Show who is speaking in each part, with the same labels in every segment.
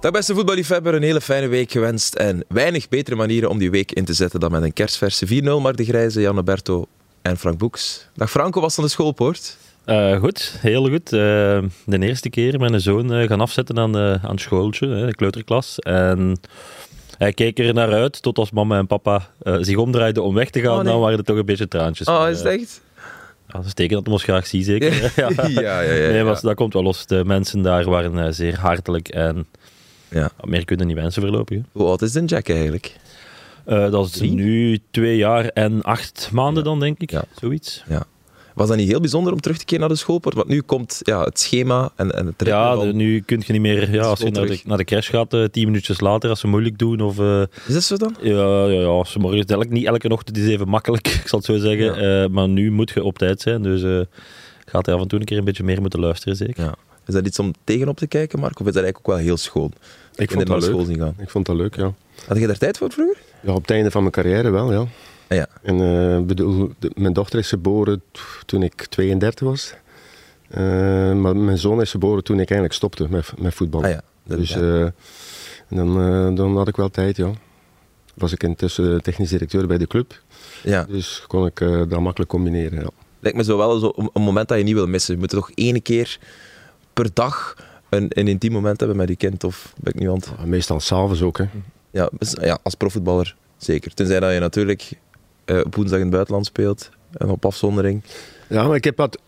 Speaker 1: Dag beste voetballiefhebber, een hele fijne week gewenst en weinig betere manieren om die week in te zetten dan met een kerstverse 4-0. Maar de Grijze, Jan Alberto en Frank Boeks. Dag Franco, was aan de schoolpoort?
Speaker 2: Eh, goed, heel goed. Eh, de eerste keer mijn zoon eh, gaan afzetten aan, de, aan het schooltje, hè, de kleuterklas. En hij keek er naar uit tot als mama en papa eh, zich omdraaiden om weg te gaan.
Speaker 1: Oh, nee.
Speaker 2: Dan waren er toch een beetje traantjes.
Speaker 1: Oh,
Speaker 2: Maar,
Speaker 1: is het
Speaker 2: eh,
Speaker 1: echt?
Speaker 2: ja, dat is een teken dat hem ons graag ziet, zeker.
Speaker 1: Ja, ja, ja. ja,
Speaker 2: nee, maar
Speaker 1: ja.
Speaker 2: dat komt wel los. De mensen daar waren eh, zeer hartelijk en
Speaker 1: Ja.
Speaker 2: meer kunnen niet wensen voorlopig. hè.
Speaker 1: Hoe oud is de Jack eigenlijk?
Speaker 2: Eh, dat is
Speaker 1: Drie?
Speaker 2: nu twee jaar en acht maanden dan, denk ik.
Speaker 1: Ja.
Speaker 2: Zoiets.
Speaker 1: Was dat niet heel bijzonder om terug te keren naar de schoolpoort? Want nu komt ja, het schema en, en het ritme
Speaker 2: Ja,
Speaker 1: van-
Speaker 2: de- nu kun je niet meer... Ja, als je
Speaker 1: wel
Speaker 2: naar de,
Speaker 1: terug.
Speaker 2: naar de crash gaat, eh, tien minuutjes later, als ze moeilijk doen of... eh,
Speaker 1: Is dat zo dan?
Speaker 2: Ja, ja, ja. Ze morgen is het eigenlijk niet elke ochtend is even makkelijk, ik zal het zo zeggen. Eh, maar nu moet je op tijd zijn, dus eh, gaat hij af en toe een keer een beetje meer moeten luisteren, zeker.
Speaker 1: Ja. Is dat iets om tegenop te kijken, Mark? Of is dat eigenlijk ook wel heel schoon?
Speaker 3: Ik
Speaker 1: Kinderen
Speaker 3: vond
Speaker 1: naar
Speaker 3: dat
Speaker 1: school
Speaker 3: leuk.
Speaker 1: zien gaan.
Speaker 3: Ik vond dat leuk, ja.
Speaker 1: Had je daar tijd voor vroeger?
Speaker 3: ja op het einde van mijn carrière wel, ja.
Speaker 1: Ah, ja.
Speaker 3: En eh, bedoel, de- mijn dochter is geboren t- toen ik 32 was. Eh, maar mijn zoon is geboren toen ik eigenlijk stopte met, met voetbal.
Speaker 1: Ah, ja. Dat-
Speaker 3: Dus
Speaker 1: ja.
Speaker 3: eh, dan, eh, dan had ik wel tijd, ja. Was ik intussen technisch directeur bij de club.
Speaker 1: ja.
Speaker 3: Dus kon ik eh, dat makkelijk combineren, ja.
Speaker 1: Lijkt me zo wel zo een, een moment dat je niet wil missen. Je moet toch één keer per dag een, een intiem moment hebben met je kind of ben ik nu aan het-
Speaker 3: Maar Meestal s'avonds ook, hè.
Speaker 1: Ja, dus- ja, als profvoetballer zeker. Tenzij dat je natuurlijk eh, op woensdag in het buitenland speelt en op afzondering.
Speaker 3: Ja, maar ik heb wat...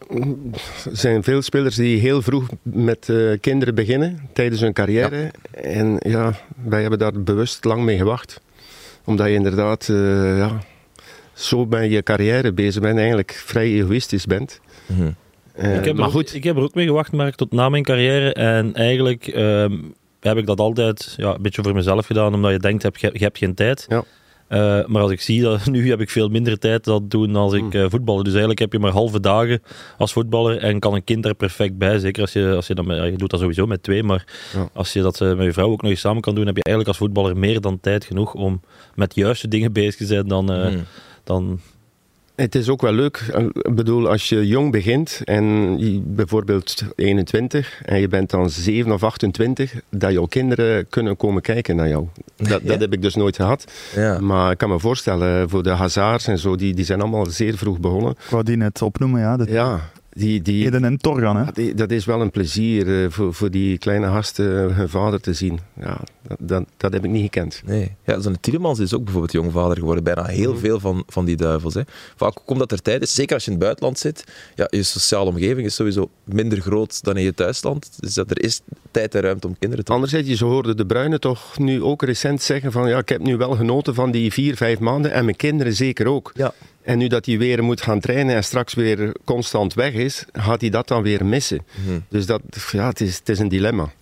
Speaker 3: Er zijn veel spelers die heel vroeg met eh, kinderen beginnen tijdens hun carrière. En ja, wij hebben daar bewust lang mee gewacht. Omdat je inderdaad eh, ja, zo met je carrière bezig bent, eigenlijk vrij egoïstisch bent.
Speaker 1: Mhm.
Speaker 3: Eh,
Speaker 2: Ik, heb er
Speaker 3: maar
Speaker 2: ook,
Speaker 3: goed,
Speaker 2: ik heb er ook mee gewacht, maar tot na mijn carrière. En eigenlijk ehm, heb ik dat altijd ja, een beetje voor mezelf gedaan, omdat je denkt, heb, je, je hebt geen tijd.
Speaker 3: Ja.
Speaker 2: Eh, maar als ik zie, dat, nu heb ik veel minder tijd dan toen als
Speaker 3: Mm.
Speaker 2: ik eh voetbalde. Dus eigenlijk heb je maar halve dagen als voetballer en kan een kind er perfect bij. Zeker als je, als je, dat met, ja, je doet dat sowieso met twee, maar
Speaker 3: Ja.
Speaker 2: als je dat eh, met je vrouw ook nog eens samen kan doen, heb je eigenlijk als voetballer meer dan tijd genoeg om met juiste dingen bezig te zijn dan...
Speaker 3: Mm.
Speaker 2: eh,
Speaker 1: Mhm.
Speaker 2: dan
Speaker 3: het is ook wel leuk. Eh, Ik bedoel, als je jong begint en je- bijvoorbeeld 21 en je bent dan 7 of 28, dat jouw kinderen kunnen komen kijken naar jou. Dat,
Speaker 1: Ja.
Speaker 3: dat heb ik dus nooit gehad.
Speaker 1: Ja.
Speaker 3: Maar ik kan me voorstellen, voor de Hazards en zo, die, die zijn allemaal zeer vroeg begonnen.
Speaker 4: Ik wou die net opnoemen, ja. De
Speaker 3: Ja, die, die,
Speaker 4: Eden en Torgan, hè.
Speaker 3: die- dat is wel een plezier eh, voor, voor die kleine gasten eh, hun vader te zien. Ja, dat, dat, dat heb ik niet gekend.
Speaker 1: Nee. Ja, zo'n Tielemans is ook bijvoorbeeld jongvader geworden. Bijna heel veel van, van die duivels. Hè. Vaak ook omdat er tijd is. Zeker als je in het buitenland zit. Ja, je sociale omgeving is sowieso minder groot dan in je thuisland. Dus dat er is tijd en ruimte om kinderen te
Speaker 3: Anderzijds, je hoorde de Bruyne toch nu ook recent zeggen van ja, ik heb nu wel genoten van die vier, vijf maanden en mijn kinderen zeker ook.
Speaker 1: Ja.
Speaker 3: En nu dat hij weer moet gaan trainen en straks weer constant weg is, gaat hij dat dan weer missen. Dus dat, ja, het is, het is een dilemma.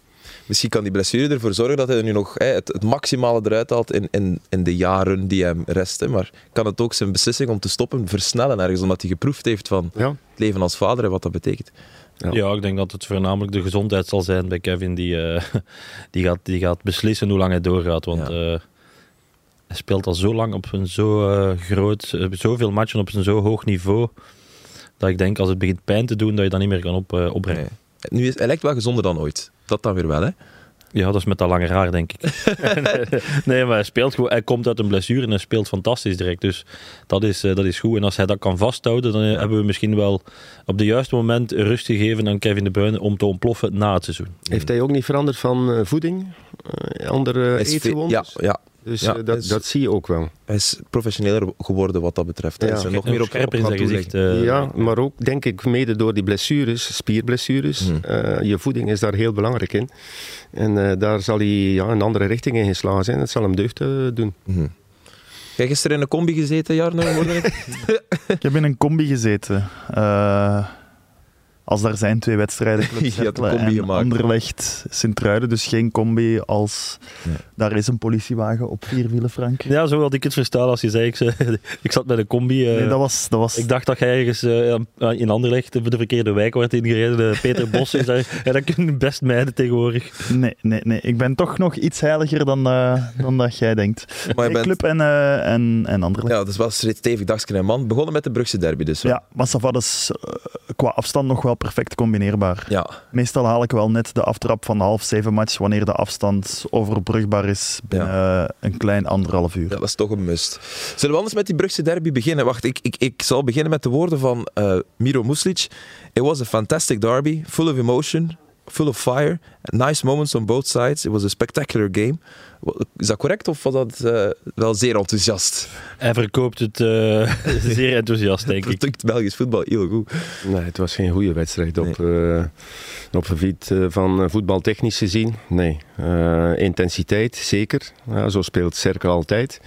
Speaker 1: Misschien kan die blessure ervoor zorgen dat hij nu nog hè, het, het maximale eruit haalt in, in, in de jaren die hem resten. Maar kan het ook zijn beslissing om te stoppen versnellen ergens, omdat hij geproefd heeft van
Speaker 3: Ja.
Speaker 1: het leven als vader en wat dat betekent.
Speaker 3: Ja.
Speaker 2: Ja, ik denk dat het voornamelijk de gezondheid zal zijn bij Kevin die, eh, die, gaat, die gaat beslissen hoe lang hij doorgaat. Want
Speaker 1: Ja.
Speaker 2: eh, hij speelt al zo lang op een zo eh, groot, eh, zoveel matchen op een zo hoog niveau, dat ik denk als het begint pijn te doen, dat je dat niet meer kan op, eh, opbrengen.
Speaker 1: Nu is, hij lijkt wel gezonder dan ooit. Dat dan weer wel, hè?
Speaker 2: Ja, dat is met dat lange haar, denk ik. nee, maar hij speelt gewoon, hij komt uit een blessure en hij speelt fantastisch direct. Dus dat is, eh, dat is goed. En als hij dat kan vasthouden, dan eh, hebben we misschien wel op de juiste moment rust gegeven aan Kevin De Bruyne om te ontploffen na het seizoen.
Speaker 3: Heeft hij ook niet veranderd van eh, voeding? Eh, andere
Speaker 1: Hij is ve-
Speaker 3: eetgewoontes?
Speaker 1: ja, ja,
Speaker 3: Dus
Speaker 1: Ja,
Speaker 3: eh, dat,
Speaker 1: dat is-
Speaker 3: dat zie je ook wel.
Speaker 1: hij is professioneler geworden wat dat betreft. Hij
Speaker 3: Ja.
Speaker 1: is er nog
Speaker 2: En
Speaker 1: meer op
Speaker 2: ook scherper
Speaker 1: op
Speaker 2: in
Speaker 1: gaan
Speaker 2: zijn gezicht.
Speaker 1: toeleggen.
Speaker 2: eh,
Speaker 3: ja, maar ook denk ik mede door die blessures, spierblessures.
Speaker 1: Mhm.
Speaker 3: eh, je voeding is daar heel belangrijk in. En eh, daar zal hij ja, een andere richting in geslagen zijn. Dat zal hem deugd eh, doen.
Speaker 1: Mhm. Jij gisteren in een combi gezeten, Jarno? hoorde ik?
Speaker 4: Ik heb in een combi gezeten. Eh, als daar zijn twee wedstrijden. Club
Speaker 1: Je had een
Speaker 4: Cercle
Speaker 1: combi
Speaker 4: en
Speaker 1: gemaakt.
Speaker 4: Anderlecht, Sint-Truiden, dus geen combi als...
Speaker 1: Nee.
Speaker 4: Daar is een politiewagen op vier wielen, Frank.
Speaker 2: Ja, zo had ik het verstaan als je zei, ik, ze- ik zat met een combi. eh,
Speaker 4: Nee, dat was... Dat was
Speaker 2: Ik dacht dat je ergens eh, aan- in Anderlecht eh, de verkeerde wijk werd ingereden. Eh, Peter Bos is daar. En dat kun je best mijden tegenwoordig.
Speaker 4: nee, nee, nee. Ik ben toch nog iets heiliger dan, eh, dan dat jij denkt.
Speaker 1: maar je bent,
Speaker 4: Nee, Club en, eh, en, en Anderlecht.
Speaker 1: ja, dat is wel een stevig dagje en man. Begonnen met de Brugse derby dus. wel.
Speaker 4: Ja, maar Sava is eh, qua afstand nog wel perfect combineerbaar.
Speaker 1: Ja,
Speaker 4: Meestal haal ik wel net de aftrap van de half zeven match wanneer de afstand overbrugbaar is binnen eh, een klein anderhalf uur.
Speaker 1: ja, dat is toch een must. Zullen we anders met die Brugse derby beginnen? Wacht, ik, ik, ik zal beginnen met de woorden van eh, Miro Muslic. It was a fantastic derby, full of emotion, full of fire. Nice moments on both sides. It was a spectacular game. Wa- Is dat correct of was dat eh, wel zeer enthousiast?
Speaker 2: Hij verkoopt het eh, zeer enthousiast, denk ik.
Speaker 1: Product Belgisch voetbal, heel goed.
Speaker 3: Nee, het was geen goede wedstrijd op, eh, op gebied eh, van eh, voetbaltechnisch gezien. Nee. Eh, intensiteit, zeker. Ja, zo speelt Cerkel altijd.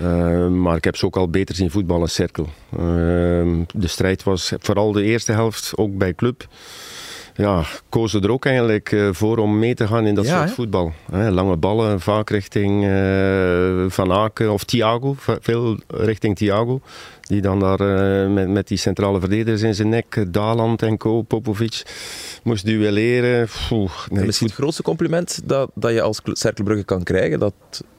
Speaker 3: Eh, maar ik heb ze ook al beter zien voetballen, Cerkel. Eh, de strijd was vooral de eerste helft, ook bij club. Ja, kozen er ook eigenlijk eh, voor om mee te gaan in dat
Speaker 1: Ja,
Speaker 3: soort
Speaker 1: hè?
Speaker 3: voetbal. Hè, lange ballen, vaak richting eh, Van Aken of Thiago. va- Veel richting Thiago. Die dan daar eh, met, met die centrale verdedigers in zijn nek, eh, Daland en Co, Popovic, moest duelleren. Poeh, nee,
Speaker 1: en misschien het grootste compliment dat, dat je als cl- Cercle Brugge kan krijgen, dat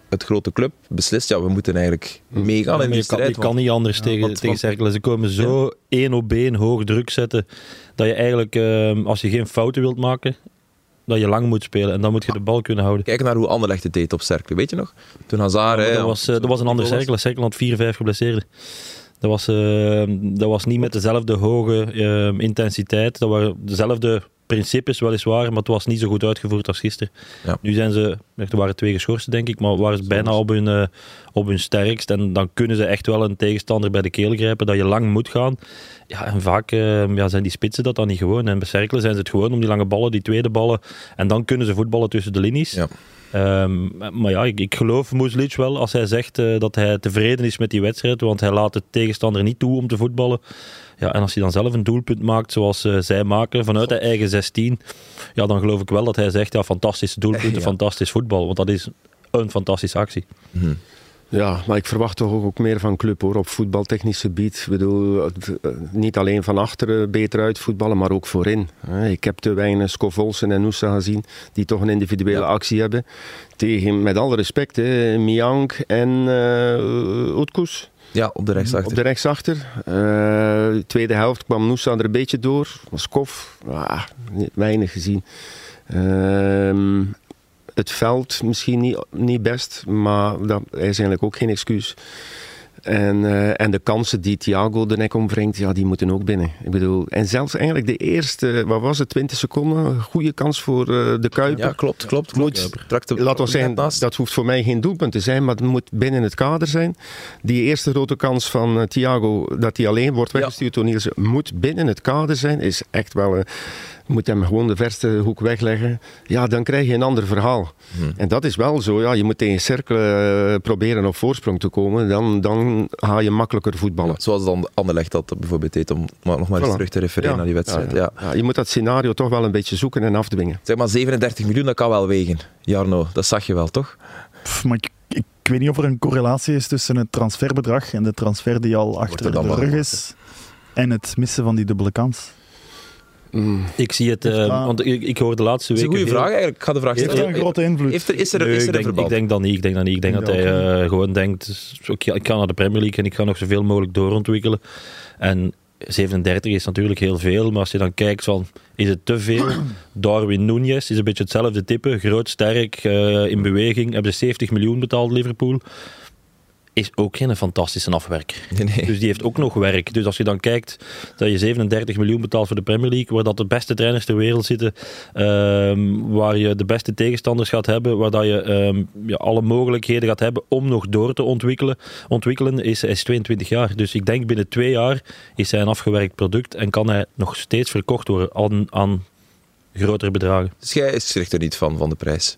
Speaker 1: het grote club beslist, ja, we moeten eigenlijk meegaan
Speaker 2: Mm. Ja,
Speaker 1: in
Speaker 2: maar
Speaker 1: die
Speaker 2: je, kan, je
Speaker 1: strijd.
Speaker 2: kan niet anders tegen,
Speaker 1: want-
Speaker 2: tegen
Speaker 1: want-
Speaker 2: Cerkelen. Ze komen zo één op één hoog druk zetten. Dat je eigenlijk, ehm, als je geen fouten wilt maken, dat je lang moet spelen. En dan moet je de bal kunnen houden.
Speaker 1: Kijk naar hoe Anderlecht het deed op Cercle, weet je nog? Toen Hazard...
Speaker 2: Maar
Speaker 1: hè,
Speaker 2: dat, was, eh, dat was een andere Cerkelen. Cerkelen had 4-5 geblesseerd. Dat was, ehm, dat was niet met dezelfde hoge ehm, intensiteit. Dat waren dezelfde principes weliswaar, maar het was niet zo goed uitgevoerd als gisteren.
Speaker 1: Ja.
Speaker 2: Nu zijn ze, echt, er waren twee geschorst denk ik, maar waren ze bijna op hun, eh, op hun sterkst. En dan kunnen ze echt wel een tegenstander bij de keel grijpen, dat je lang moet gaan. Ja, en vaak ehm, ja, zijn die spitsen dat dan niet gewoon. En bij Cerkelen zijn ze het gewoon om die lange ballen, die tweede ballen. En dan kunnen ze voetballen tussen de linies.
Speaker 1: Ja.
Speaker 2: Ehm, maar ja, ik, ik geloof Moeslic wel als hij zegt eh, dat hij tevreden is met die wedstrijd, want hij laat de tegenstander niet toe om te voetballen. Ja, en als hij dan zelf een doelpunt maakt zoals eh, zij maken, vanuit de eigen 16, ja, dan geloof ik wel dat hij zegt, ja, fantastische doelpunten,
Speaker 1: Ja.
Speaker 2: fantastisch voetbal, want dat is een fantastische actie.
Speaker 1: Mhm.
Speaker 3: Ja, maar ik verwacht toch ook meer van club hoor, op voetbaltechnisch gebied. Ik bedoel, het, eh, niet alleen van achteren beter uit voetballen, maar ook voorin. hè. Ik heb te weinig Scovolsen en Noosa gezien, die toch een individuele actie hebben. Tegen, met alle respect, hè, Miang en eh Utkus.
Speaker 1: Ja, op de rechtsachter.
Speaker 3: Op de rechtsachter. Eh, tweede helft kwam Noosa er een beetje door. Was kof. Ah, niet- weinig gezien. Ehm, het veld misschien niet, niet best, maar dat is eigenlijk ook geen excuus. En, eh, en de kansen die Thiago de nek omwringt, ja, die moeten ook binnen. Ik bedoel, en zelfs eigenlijk de eerste, wat was het, 20 seconden, goede kans voor eh, de Kuiper.
Speaker 1: Ja, klopt, klopt. klopt.
Speaker 3: Moet-
Speaker 1: Trakte-
Speaker 3: Laat wel zeggen,
Speaker 1: net naast.
Speaker 3: dat hoeft voor mij geen doelpunt te zijn, maar het moet binnen het kader zijn. Die eerste grote kans van eh, Thiago, dat hij alleen wordt weggestuurd door Nielsen, moet binnen het kader zijn. Is echt wel, eh, moet hem gewoon de verste hoek wegleggen. Ja, dan krijg je een ander verhaal.
Speaker 1: Hmm.
Speaker 3: En dat is wel zo, ja, je moet tegen cirkelen eh, proberen op voorsprong te komen. Dan, dan ga je makkelijker voetballen.
Speaker 1: Zoals dan Anderlecht dat bijvoorbeeld deed, om maar nog maar eens
Speaker 3: Voilà.
Speaker 1: terug te refereren naar die wedstrijd. Ja,
Speaker 3: Ja, je moet dat scenario toch wel een beetje zoeken en afdwingen.
Speaker 1: Zeg maar 37 miljoen, dat kan wel wegen. Jarno, dat zag je wel, toch?
Speaker 4: Pff, maar ik, ik weet niet of er een correlatie is tussen het transferbedrag en de transfer die al
Speaker 1: er
Speaker 4: achter
Speaker 1: dan
Speaker 4: de
Speaker 1: wel
Speaker 4: rug
Speaker 1: gemaakt,
Speaker 4: is. En het missen van die dubbele kans.
Speaker 2: Ik zie het,
Speaker 4: Heeft
Speaker 2: eh,
Speaker 4: daar-
Speaker 2: want ik, ik hoor de laatste
Speaker 1: Dat is
Speaker 2: weken...
Speaker 1: een goede
Speaker 2: heel-
Speaker 1: vraag eigenlijk. Ik ga de vraag
Speaker 4: Heeft dat
Speaker 1: stellen.
Speaker 4: een grote invloed?
Speaker 1: Heeft er, is er, is
Speaker 2: Nee, ik,
Speaker 1: er een
Speaker 2: denk, ik
Speaker 1: verband?
Speaker 2: denk dat niet. Ik denk dat niet. Ik denk
Speaker 4: Ik
Speaker 2: dat hij
Speaker 4: denk dat
Speaker 2: eh, gewoon denkt, "Dus, ik, ik ga naar de Premier League en ik ga nog zoveel mogelijk doorontwikkelen. En 37 is natuurlijk heel veel, maar als je dan kijkt van, is het te veel? Darwin Nunez is een beetje hetzelfde type, groot, sterk, eh, in beweging. Hebben ze 70 miljoen betaald, Liverpool. Is ook geen fantastische afwerker.
Speaker 1: Nee, nee.
Speaker 2: Dus die heeft ook nog werk. Dus als je dan kijkt dat je 37 miljoen betaalt voor de Premier League, waar dat de beste trainers ter wereld zitten, ehm, waar je de beste tegenstanders gaat hebben, waar dat je ehm, ja, alle mogelijkheden gaat hebben om nog door te ontwikkelen, ontwikkelen is, hij is 22 jaar. Dus ik denk binnen twee jaar is hij een afgewerkt product en kan hij nog steeds verkocht worden aan, aan grotere bedragen.
Speaker 1: Dus jij schrikt er niet van, van de prijs.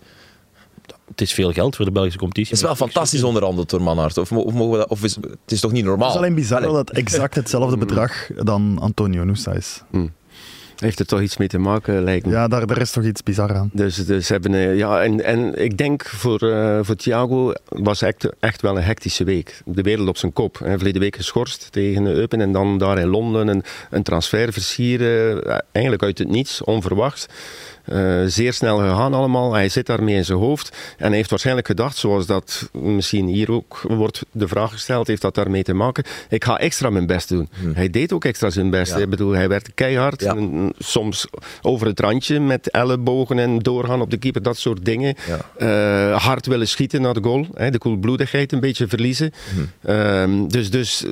Speaker 2: Het is veel geld voor de Belgische competitie.
Speaker 1: Het is wel
Speaker 2: maar ik- ik
Speaker 1: fantastisch onderhandeld door Manhart. Of, mo- of mogen we dat, of is, het is toch niet normaal?
Speaker 4: Het is alleen bizar
Speaker 1: Allee.
Speaker 4: dat het exact hetzelfde bedrag dan Antonio Nusa is.
Speaker 3: heeft er toch iets mee te maken, lijkt me.
Speaker 4: Ja, daar, daar is toch iets bizar aan.
Speaker 3: Dus, dus hebben, eh, ja, en, en ik denk voor, eh, voor Thiago was echt, echt wel een hectische week. De wereld op zijn kop. Hij verleden week geschorst tegen Eupen en dan daar in Londen een, een transfer versieren. Eh, Eigenlijk uit het niets, onverwacht. Eh, zeer snel gegaan allemaal. Hij zit daarmee in zijn hoofd. En hij heeft waarschijnlijk gedacht, zoals dat misschien hier ook wordt de vraag gesteld, heeft dat daarmee te maken? Ik ga extra mijn best doen. Hij deed ook extra zijn best.
Speaker 1: Hmm. Ja.
Speaker 3: Ik bedoel, hij werd keihard.
Speaker 1: Ja.
Speaker 3: En- Mm, soms over het randje met ellebogen en doorgaan op de keeper, dat soort dingen.
Speaker 1: Ja.
Speaker 3: Eh, hard willen schieten naar de goal, hè, de koelbloedigheid een beetje verliezen.
Speaker 1: Hm.
Speaker 3: Ehm, dus dus eh,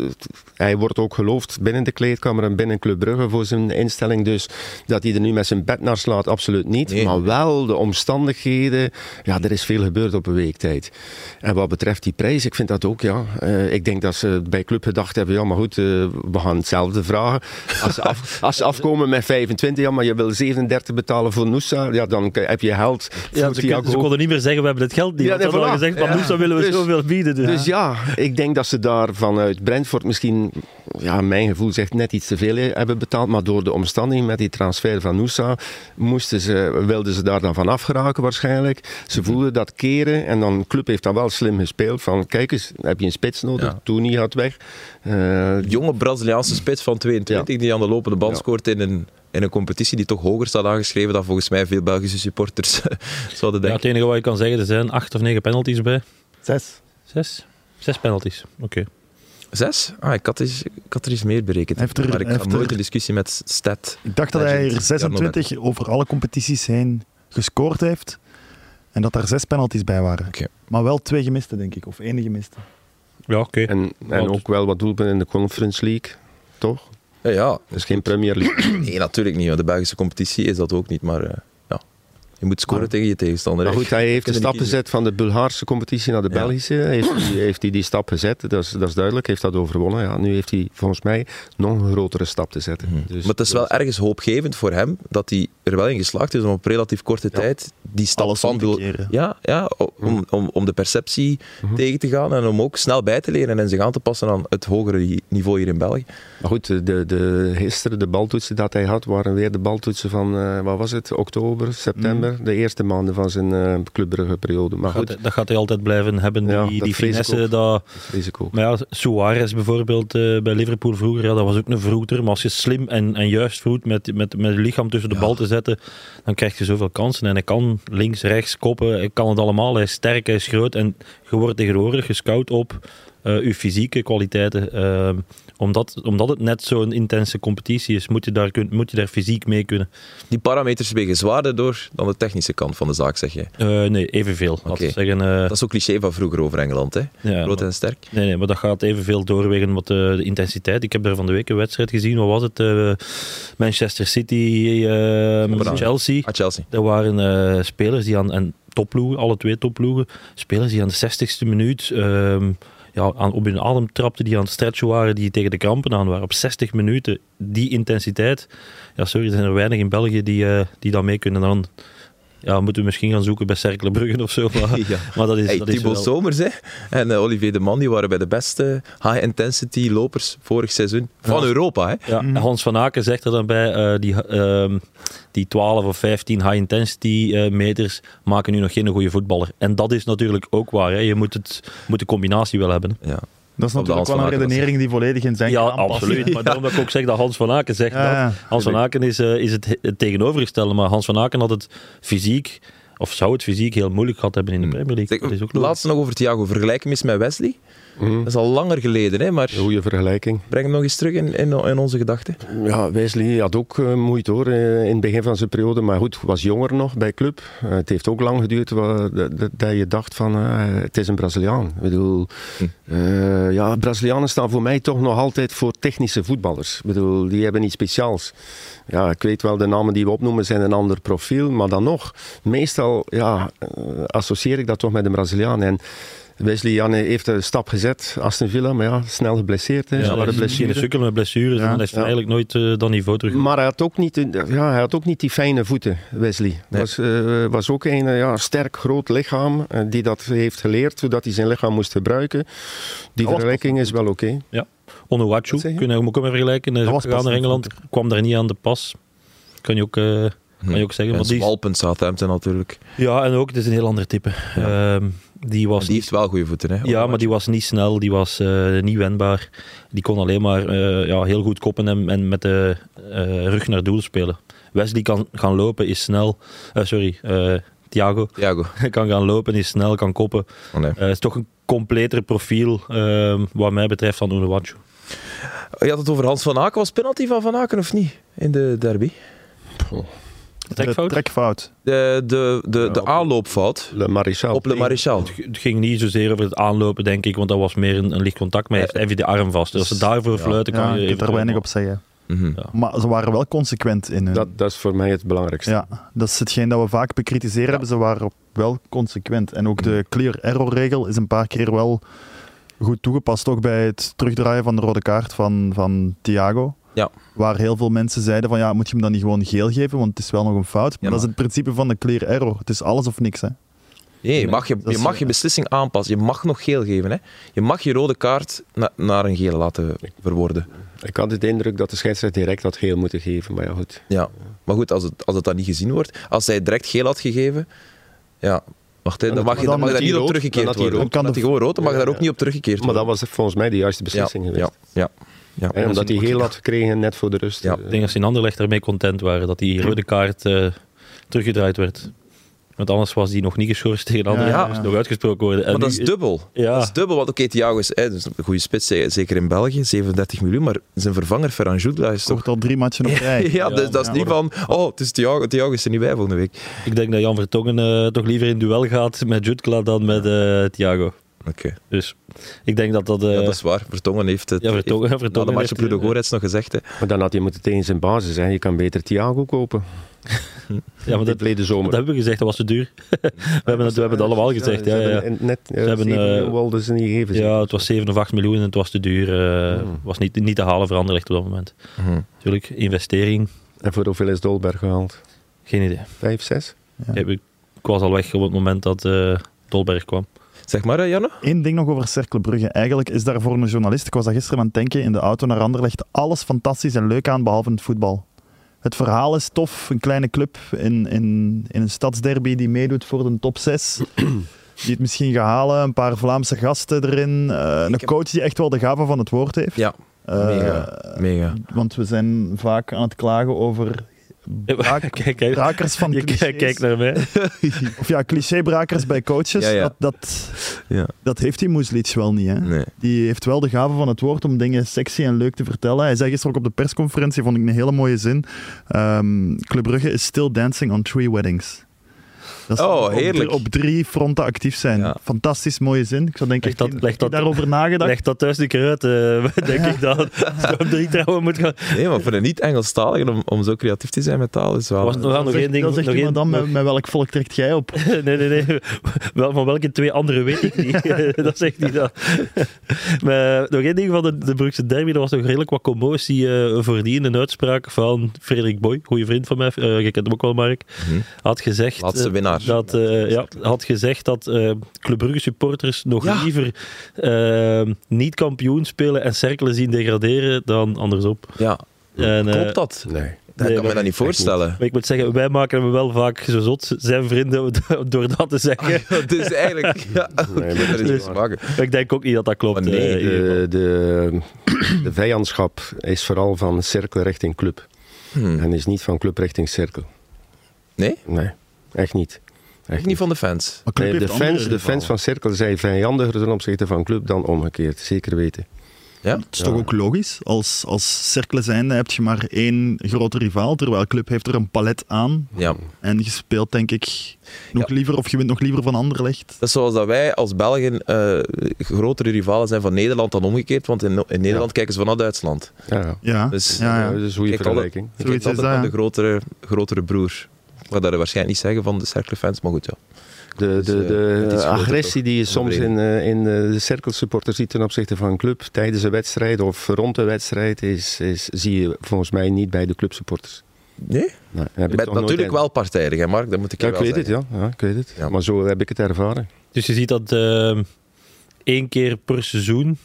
Speaker 3: hij wordt ook geloofd binnen de kleedkamer en binnen Club Brugge voor zijn instelling. Dus dat hij er nu met zijn bed naar slaat, absoluut niet.
Speaker 1: Nee.
Speaker 3: Maar wel de omstandigheden. Ja, er is veel gebeurd op een week tijd. En wat betreft die prijs, ik vind dat ook, ja. Eh, ik denk dat ze bij Club gedacht hebben, ja, maar goed, eh, we gaan hetzelfde vragen. Als ze, af, als ze afkomen met 25, ja, maar je wil 37 betalen voor Noosa, ja, dan k- heb je held voor
Speaker 2: Ja, ze, kon-
Speaker 3: Thiago.
Speaker 2: ze konden niet meer zeggen, we hebben dit geld niet.
Speaker 3: Ja,
Speaker 2: want
Speaker 3: nee,
Speaker 2: ze hadden al
Speaker 3: voilà.
Speaker 2: gezegd, van
Speaker 3: Ja.
Speaker 2: Loes, dan willen we
Speaker 3: Dus-
Speaker 2: zoveel bieden. Dus,
Speaker 3: Dus ja, ik denk dat ze daar vanuit Brentford misschien, ja, mijn gevoel zegt, net iets te veel hebben betaald. Maar door de omstandigheden met die transfer van Noosa moesten ze, wilden ze daar dan van afgeraken waarschijnlijk. Ze voelden dat keren en dan, club heeft dan wel slim gespeeld. Van kijk eens, heb je een spits nodig?
Speaker 1: Ja.
Speaker 3: Tony had weg. Eh,
Speaker 1: jonge Braziliaanse spits van 22 die aan de lopende band
Speaker 3: Ja.
Speaker 1: scoort in een, in een competitie die toch hoger staat aangeschreven dan volgens mij veel Belgische supporters zouden
Speaker 2: ja,
Speaker 1: denken.
Speaker 2: het enige wat je kan zeggen, er zijn acht of negen penalties bij.
Speaker 4: Zes.
Speaker 2: Zes? Zes penalties, oké.
Speaker 1: Zes? Ah, ik had, eens, ik had er iets meer berekend.
Speaker 4: Hij heeft er-
Speaker 1: maar ik
Speaker 4: hij
Speaker 1: had
Speaker 4: heeft er-
Speaker 1: nooit een discussie met Stat.
Speaker 4: Ik dacht dat hij er
Speaker 1: Legend.
Speaker 4: 26 over alle competities heen gescoord heeft. En dat daar zes penalties bij waren.
Speaker 1: Oké.
Speaker 4: Maar wel twee gemiste, denk ik. Of één gemiste.
Speaker 2: Ja, oké.
Speaker 3: En, en ook wel wat doelpunten in de Conference League, toch?
Speaker 1: Ja, Eh, ja.
Speaker 3: Dus geen Premier League.
Speaker 1: Nee, natuurlijk niet. want De Belgische competitie is dat ook niet. Maar eh, ja, je moet scoren tegen je tegenstander.
Speaker 3: Maar
Speaker 1: hè.
Speaker 3: goed, hij heeft de
Speaker 1: Kunnen
Speaker 3: stap
Speaker 1: niet kiezen.
Speaker 3: gezet van de Bulgaarse competitie naar de
Speaker 1: Ja.
Speaker 3: Belgische. Heeft hij, heeft hij die stap gezet, dat is, dat is duidelijk. Heeft dat overwonnen. Ja, nu heeft hij volgens mij nog een grotere stap te zetten. Dus,
Speaker 1: Hmm. maar het is wel ergens hoopgevend voor hem dat hij er wel in geslaagd is om op relatief korte tijd die stap
Speaker 4: Alles om
Speaker 1: van
Speaker 4: te
Speaker 1: wil-
Speaker 4: keren.
Speaker 1: Ja, ja o- om, om, om de perceptie tegen te gaan en om ook snel bij te leren en zich aan te passen aan het hogere hi- niveau hier in België.
Speaker 3: Maar goed, de, de, gisteren de baltoetsen dat hij had, waren weer de baltoetsen van, eh, wat was het, oktober, september.
Speaker 1: Hmm.
Speaker 3: De eerste maanden van zijn eh Club Brugge periode. Maar
Speaker 2: Gaat
Speaker 3: goed,
Speaker 2: hij- dat gaat hij altijd blijven hebben,
Speaker 3: Ja,
Speaker 2: die,
Speaker 3: dat
Speaker 2: die
Speaker 3: vrees ik
Speaker 2: finesse.
Speaker 3: ook.
Speaker 2: Dat,
Speaker 3: risico.
Speaker 2: maar ja, Suarez bijvoorbeeld eh, bij Liverpool vroeger, ja, dat was ook een vroeter. Maar als je slim en, en juist voet met, met, met het lichaam tussen de bal te zetten, dan krijg je zoveel kansen. En hij kan links, rechts, koppen, hij kan het allemaal. Hij is sterk, hij is groot. En je wordt tegenwoordig gescout op eh, je fysieke kwaliteiten. Ehm, omdat, omdat het net zo'n intense competitie is, moet je, daar kun, moet je daar fysiek mee kunnen.
Speaker 1: Die parameters wegen zwaarder door dan de technische kant van de zaak, zeg je.
Speaker 2: Eh, nee, evenveel. Laten
Speaker 1: Oké.
Speaker 2: we zeggen, eh,
Speaker 1: Dat is ook cliché van vroeger over Engeland, hè?
Speaker 2: ja,
Speaker 1: Groot en sterk.
Speaker 2: Nee, nee, maar dat gaat evenveel doorwegen met eh, de intensiteit. Ik heb daar van de week een wedstrijd gezien. Wat was het? Eh, Manchester City, eh,
Speaker 1: Opera.
Speaker 2: Chelsea.
Speaker 1: Ah, Chelsea.
Speaker 2: Er waren eh, spelers die aan... En topploegen, alle twee topploegen. Spelers die aan de 60ste minuut... ehm, ja, aan, op hun adem trapten, die aan het stretchen waren, die tegen de krampen aan waren. Op 60 minuten, die intensiteit. Ja, sorry, er zijn er weinig in België die, eh, die dat mee kunnen. Dan ja, moeten we misschien gaan zoeken bij Cercle Bruggen of zo. Maar,
Speaker 1: Ja.
Speaker 2: maar dat is,
Speaker 1: Hey,
Speaker 2: dat is
Speaker 1: Thibaut
Speaker 2: wel-
Speaker 1: Somers hè, en eh, Olivier de Man die waren bij de beste high-intensity lopers vorig seizoen van
Speaker 2: Ja.
Speaker 1: Europa. Hè.
Speaker 2: Ja, Hans van Aken zegt er dan bij, eh, die, ehm, die 12 of 15 high-intensity eh, meters maken nu nog geen goede voetballer. En dat is natuurlijk ook waar. Hè. Je moet, het, moet de combinatie wel hebben.
Speaker 1: Ja.
Speaker 4: Dat is
Speaker 1: Op de
Speaker 4: natuurlijk
Speaker 1: Hans
Speaker 4: wel
Speaker 1: van
Speaker 4: een
Speaker 1: Aken was
Speaker 4: redenering die volledig in zijn
Speaker 2: ja,
Speaker 4: kan passen.
Speaker 2: absoluut. Maar daarom dat ik ook zeg dat Hans van Aken zegt
Speaker 4: Ja, ja.
Speaker 2: dat. Hans van Aken is, eh, is het, he- het tegenovergestelde. Maar Hans van Aken had het fysiek, of zou het fysiek heel moeilijk gehad hebben in de Premier League.
Speaker 1: Zeg,
Speaker 2: Dat is ook logisch.
Speaker 1: laatste nog over Thiago. Vergelijk hem eens met Wesley. Dat is al langer geleden, hè, maar
Speaker 3: Goede vergelijking.
Speaker 1: breng hem nog eens terug in, in, in onze gedachten.
Speaker 3: Ja, Wesley had ook eh, moeite hoor, eh, in het begin van zijn periode. Maar goed, was jonger nog bij club. Eh, het heeft ook lang geduurd wa- dat, dat- dat je dacht van, eh, het is een Braziliaan. Ik bedoel, eh, ja, Brazilianen staan voor mij toch nog altijd voor technische voetballers. Ik bedoel, die hebben iets speciaals. Ja, ik weet wel, de namen die we opnoemen zijn een ander profiel. Maar dan nog, meestal ja, eh, associeer ik dat toch met een Braziliaan. En Wesley Janne heeft een stap gezet, Aston Villa. Maar ja, snel geblesseerd. Hè,
Speaker 2: Ja,
Speaker 3: zware
Speaker 2: dat is misschien een
Speaker 3: blessure.
Speaker 2: sukkel met blessures.
Speaker 4: Ja.
Speaker 2: En dan heeft hij
Speaker 3: Ja.
Speaker 2: eigenlijk nooit eh, dat niveau terug.
Speaker 3: Maar hij had ook niet, ja, hij had ook niet die fijne voeten, Wesley.
Speaker 1: Nee.
Speaker 3: Was, eh, was ook een eh, ja, sterk, groot lichaam eh, die dat heeft geleerd, zodat hij zijn lichaam moest gebruiken. Die
Speaker 4: was
Speaker 3: vergelijking is wel oké.
Speaker 2: Onuwachu,
Speaker 3: Wat zeg je?
Speaker 2: kunnen we ook mee vergelijken. Hij is
Speaker 4: Dat
Speaker 2: ook
Speaker 4: was
Speaker 2: gegaan
Speaker 4: pas
Speaker 2: naar
Speaker 4: niet
Speaker 2: Engeland, kwam daar niet aan de pas. kan je ook, eh, kan je ook zeggen.
Speaker 1: Hm. En
Speaker 2: Want die is-
Speaker 1: Swalpen Southampton natuurlijk.
Speaker 2: ja, en ook, het is een heel ander type. Ehm, die was
Speaker 1: Die heeft wel goede voeten, hè?
Speaker 2: Ja, maar die was niet snel, die was eh, niet wendbaar. Die kon alleen maar eh, ja, heel goed koppen en, en met de eh, rug naar doel spelen. Wesley kan gaan lopen, is snel. Eh, sorry, eh, Thiago
Speaker 1: Thiago.
Speaker 2: kan gaan lopen, is snel, kan koppen.
Speaker 1: Oh, nee.
Speaker 2: Eh, Het is toch een completer profiel, ehm, wat mij betreft, dan Onuwachu.
Speaker 1: Je had het over Hans van Aken. Was penalty van Van Aken of niet? In de derby.
Speaker 2: Trekfout?
Speaker 4: De trekfout.
Speaker 1: De, de, de, de
Speaker 4: op-
Speaker 1: aanloopfout
Speaker 3: Le Maréchal.
Speaker 1: op Le Maréchal.
Speaker 2: Het ging niet zozeer over het aanlopen, denk ik, want dat was meer een, een licht contact. Maar hij
Speaker 1: Eh,
Speaker 2: heeft even de arm vast. Dus als ze daarvoor fluiten, kan
Speaker 4: Ja,
Speaker 2: je
Speaker 4: ik
Speaker 2: even...
Speaker 4: heb daar weinig op zeggen.
Speaker 1: Mhm.
Speaker 2: Ja.
Speaker 4: Maar ze waren wel consequent in hun...
Speaker 3: Dat, dat is voor mij het belangrijkste.
Speaker 4: Ja, dat is hetgeen dat we vaak bekritiseren hebben. Ze waren op- wel consequent. En ook
Speaker 1: Hmm.
Speaker 4: de clear-error-regel is een paar keer wel goed toegepast. Ook bij het terugdraaien van de rode kaart van, van Thiago.
Speaker 1: Ja.
Speaker 4: Waar heel veel mensen zeiden van ja, moet je hem dan niet gewoon geel geven, want het is wel nog een fout. Maar,
Speaker 1: maar-
Speaker 4: dat is het principe van de clear-error. Het is alles of niks. Hè.
Speaker 1: Nee, je mag je,
Speaker 4: dat
Speaker 1: je,
Speaker 4: is-
Speaker 1: mag je beslissing aanpassen. Je mag nog geel geven. Hè. Je mag je rode kaart na- naar een gele laten verwoorden.
Speaker 3: Ik had het indruk dat de scheidsrechter direct had geel moeten geven, maar ja, goed.
Speaker 1: Ja. Maar goed, als het, als het dan niet gezien wordt. Als hij direct geel had gegeven. Ja, wacht, hè, dan
Speaker 3: Dan
Speaker 1: mag je
Speaker 4: dan
Speaker 1: dan mag
Speaker 4: had
Speaker 1: daar
Speaker 3: hij
Speaker 1: niet op
Speaker 3: rood, dan
Speaker 1: teruggekeerd
Speaker 3: had hij
Speaker 1: worden. Dan
Speaker 4: rood. Dan
Speaker 1: kan hij
Speaker 4: kan
Speaker 1: gewoon rood, dan mag
Speaker 3: Ja,
Speaker 1: daar ook
Speaker 3: ja.
Speaker 1: niet op teruggekeerd
Speaker 3: Maar dat
Speaker 1: worden.
Speaker 3: was volgens mij de juiste
Speaker 1: Ja,
Speaker 3: beslissing
Speaker 1: ja,
Speaker 3: geweest.
Speaker 1: ja, ja.
Speaker 3: En omdat hij heel had gekregen net voor de rust.
Speaker 1: Ja.
Speaker 3: eh,
Speaker 2: Ik denk dat ze in Anderlecht ermee content waren dat die rode kaart eh, teruggedraaid werd. Want anders was die nog niet geschorst tegen Anderlecht.
Speaker 1: Ja.
Speaker 2: Ja, moest nog uitgesproken worden. En
Speaker 1: Maar dat
Speaker 2: nu
Speaker 1: is dubbel.
Speaker 2: Ja.
Speaker 1: Dat is dubbel, want oké, Thiago is, hè, dus een goede spits, hè, zeker in België, 37 miljoen, maar zijn vervanger Ferran Jutla is toch...
Speaker 4: Toch al drie matchen op
Speaker 1: Ja,
Speaker 4: rij.
Speaker 1: dus dat is
Speaker 4: ja.
Speaker 1: niet van, oh, het is Thiago, Thiago is er niet bij volgende week.
Speaker 2: Ik denk dat Jan Vertongen eh, toch liever in duel gaat met Jutkla dan met eh, Thiago.
Speaker 1: Oké,
Speaker 2: Dus ik denk dat dat... eh,
Speaker 1: ja, dat is waar. Vertongen heeft het...
Speaker 2: Ja, Vertongen-
Speaker 1: heeft,
Speaker 2: Vertongen
Speaker 1: na de match
Speaker 2: heeft
Speaker 1: op Ludo
Speaker 2: het, eh,
Speaker 1: Gorets nog gezegd, hè.
Speaker 3: Maar dan had hij moeten tegen zijn basis zijn. Je kan beter Thiago kopen.
Speaker 2: ja, maar
Speaker 3: dit
Speaker 2: dat,
Speaker 3: verleden
Speaker 2: dat
Speaker 3: zomer.
Speaker 2: hebben we gezegd, dat was te duur. we hebben het, we hebben het allemaal gezegd. Ja,
Speaker 3: ze
Speaker 2: ja, ja.
Speaker 3: hebben Net, ze
Speaker 2: hebben,
Speaker 3: hebben,
Speaker 2: eh,
Speaker 3: wilden ze dus niet geven.
Speaker 2: Ja, het was 7 of 8 miljoen en het was te duur. eh, was niet, niet te halen voor Anderlecht op dat moment.
Speaker 1: Mhm.
Speaker 2: Natuurlijk, investering,
Speaker 3: En voor hoeveel is Dolberg gehaald?
Speaker 2: geen idee.
Speaker 3: Vijf, zes?
Speaker 2: Ik, ik was al weg op het moment dat eh Dolberg kwam.
Speaker 1: Zeg maar, hè, Janne?
Speaker 4: Eén ding nog over Cercle Brugge. Eigenlijk is daar voor een journalist, ik was daar gisteren aan het denken, in de auto naar Anderlecht, alles fantastisch en leuk aan, behalve het voetbal. Het verhaal is tof, een kleine club in, in, in een stadsderby die meedoet voor de top 6. Die het misschien gaat halen, een paar Vlaamse gasten erin. eh, een
Speaker 1: heb-
Speaker 4: coach die echt wel de gave van het woord heeft.
Speaker 1: Ja,
Speaker 4: Eh,
Speaker 1: mega. mega.
Speaker 4: Want we zijn vaak aan het klagen over braak-
Speaker 2: Kijk, kijk.
Speaker 4: brakers van
Speaker 2: Je
Speaker 4: clichés.
Speaker 2: kijkt kijkt naar mij.
Speaker 4: Of ja, clichébrakers bij coaches.
Speaker 1: Ja, ja.
Speaker 4: Dat, dat,
Speaker 1: Ja.
Speaker 4: dat heeft die Moeslic wel niet. Hè?
Speaker 1: Nee.
Speaker 4: Die heeft wel de gave van het woord om dingen sexy en leuk te vertellen. Hij zei gisteren ook op de persconferentie, vond ik een hele mooie zin. ehm, Club Brugge is still dancing on three weddings. Dat ze
Speaker 1: Oh,
Speaker 4: op,
Speaker 1: heerlijk.
Speaker 4: Op drie fronten actief zijn.
Speaker 1: Ja.
Speaker 4: Fantastisch mooie zin. Ik zou denken,
Speaker 2: Leg dat-
Speaker 4: ik- ik
Speaker 2: leg dat-
Speaker 4: daarover nagedacht.
Speaker 2: Leg dat thuis een keer uit, eh, denk ik dan. Als je op drie trouwen moet gaan.
Speaker 1: nee, maar voor een niet-Engelstaligen om, om zo creatief te zijn met taal is wel...
Speaker 2: Was het nog aan nog
Speaker 4: zegt-
Speaker 2: één ding?
Speaker 4: dan zegt
Speaker 2: nog één-
Speaker 4: iemand dan,
Speaker 2: nog-
Speaker 4: met, met welk volk trekt jij op?
Speaker 2: Nee, nee, nee. Wel, van welke twee anderen weet ik niet. dat zegt hij dan. maar nog één ding van de, de Brugse derby. Er was nog redelijk wat commotie eh voor die in een uitspraak van Frederik Boy, goede vriend van mij. eh je kent hem ook wel, Mark.
Speaker 1: Mhm.
Speaker 2: Had gezegd...
Speaker 1: Laatste
Speaker 2: eh,
Speaker 1: winnaar.
Speaker 2: dat, eh, ja, had gezegd dat eh Club Brugge supporters nog
Speaker 1: Ja.
Speaker 2: liever eh, niet kampioen spelen en cerkelen zien degraderen dan andersom.
Speaker 1: Ja,
Speaker 2: En, eh,
Speaker 1: klopt dat?
Speaker 3: Nee.
Speaker 1: Dat
Speaker 2: nee,
Speaker 1: kan me
Speaker 2: maar-
Speaker 1: dat niet voorstellen.
Speaker 2: Maar ik moet zeggen, wij maken hem wel vaak zo zot, zijn vrienden, door dat te zeggen.
Speaker 1: Het is eigenlijk... Ja,
Speaker 3: Nee, maar
Speaker 1: dat is
Speaker 3: dus-
Speaker 1: niet maken.
Speaker 2: Maar ik denk ook niet dat dat klopt.
Speaker 1: Maar nee,
Speaker 2: eh, in ieder geval.
Speaker 3: De, de, de vijandschap is vooral van cirkel richting club.
Speaker 1: Hm.
Speaker 3: En is niet van club richting cirkel.
Speaker 1: Nee?
Speaker 3: Nee, echt niet. Echt
Speaker 1: Echt niet van de fans.
Speaker 4: Maar
Speaker 3: Nee,
Speaker 4: Club
Speaker 3: Eh, de,
Speaker 4: heeft andere
Speaker 3: fans, de
Speaker 4: gevallen.
Speaker 3: fans van cirkel zijn vijandiger ten opzichte van club dan omgekeerd. Zeker weten.
Speaker 1: Ja?
Speaker 4: Het is toch ook logisch? Als, als cirkelen zijnde heb je maar één grote rivaal, terwijl Club heeft er een palet aan.
Speaker 1: Ja.
Speaker 4: En je speelt denk ik nog
Speaker 1: Ja.
Speaker 4: liever, of je wint nog liever van Anderlecht.
Speaker 1: Dat is zoals dat wij als Belgen eh, grotere rivalen zijn van Nederland dan omgekeerd, want in, in Nederland kijken ze vanuit Duitsland.
Speaker 3: Ja,
Speaker 4: Ja, Ah,
Speaker 1: Dus-
Speaker 4: ja,
Speaker 3: ja.
Speaker 4: ja.
Speaker 3: dat is een goede
Speaker 1: Kijk, alle-
Speaker 3: vergelijking.
Speaker 1: Je
Speaker 4: Zoiets
Speaker 1: kijkt altijd
Speaker 4: is dat,
Speaker 1: naar
Speaker 4: ja.
Speaker 1: de grotere, grotere broer. Ik ga dat waarschijnlijk niet zeggen van de cercle fans, maar goed, ja.
Speaker 3: De,
Speaker 1: Dus,
Speaker 3: de,
Speaker 1: eh, het
Speaker 3: de
Speaker 1: is groter
Speaker 3: agressie
Speaker 1: toch,
Speaker 3: die je
Speaker 1: in de
Speaker 3: soms in, eh, in eh, de cirkelsupporters ziet ten opzichte van een club tijdens een wedstrijd of rond een wedstrijd, is, is, zie je volgens mij niet bij de clubsupporters.
Speaker 1: Nee?
Speaker 3: Nee, heb
Speaker 1: Je
Speaker 3: ik
Speaker 1: bent
Speaker 3: toch nooit
Speaker 1: natuurlijk
Speaker 3: een-
Speaker 1: wel partijdig, hè Mark? Dat moet ik
Speaker 3: Ja,
Speaker 1: je
Speaker 3: ik
Speaker 1: wel
Speaker 3: weet het,
Speaker 1: zeggen.
Speaker 3: ja. ja, ik weet het.
Speaker 1: Ja.
Speaker 3: Maar zo heb ik het ervaren.
Speaker 2: Dus je ziet dat eh, één keer per seizoen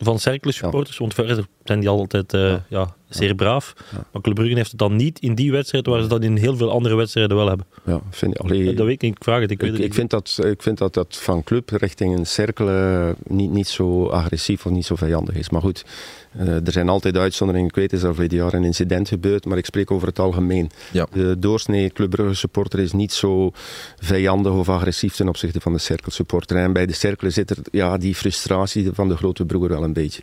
Speaker 2: van cerkelen supporters, want verder zijn die altijd eh, ja. zeer braaf. Maar Club Brugge heeft het dan niet in die wedstrijd waar ze dat in heel veel andere wedstrijden wel hebben.
Speaker 3: Ja, vind, allee,
Speaker 2: Dat weet ik niet, ik vraag het. Ik, weet
Speaker 3: ik,
Speaker 2: het
Speaker 3: ik,
Speaker 2: niet.
Speaker 3: vind dat, ik vind dat dat van club richting een cirkel eh, niet, niet zo agressief of niet zo vijandig is. Maar goed, eh, er zijn altijd uitzonderingen. Ik weet, is er vorig jaar een incident gebeurd, maar ik spreek over het algemeen.
Speaker 1: Ja.
Speaker 3: De doorsnee Club Brugge supporter is niet zo vijandig of agressief ten opzichte van de cirkel supporter. En bij de cirkel zit er ja, die frustratie van de grote broer wel een beetje.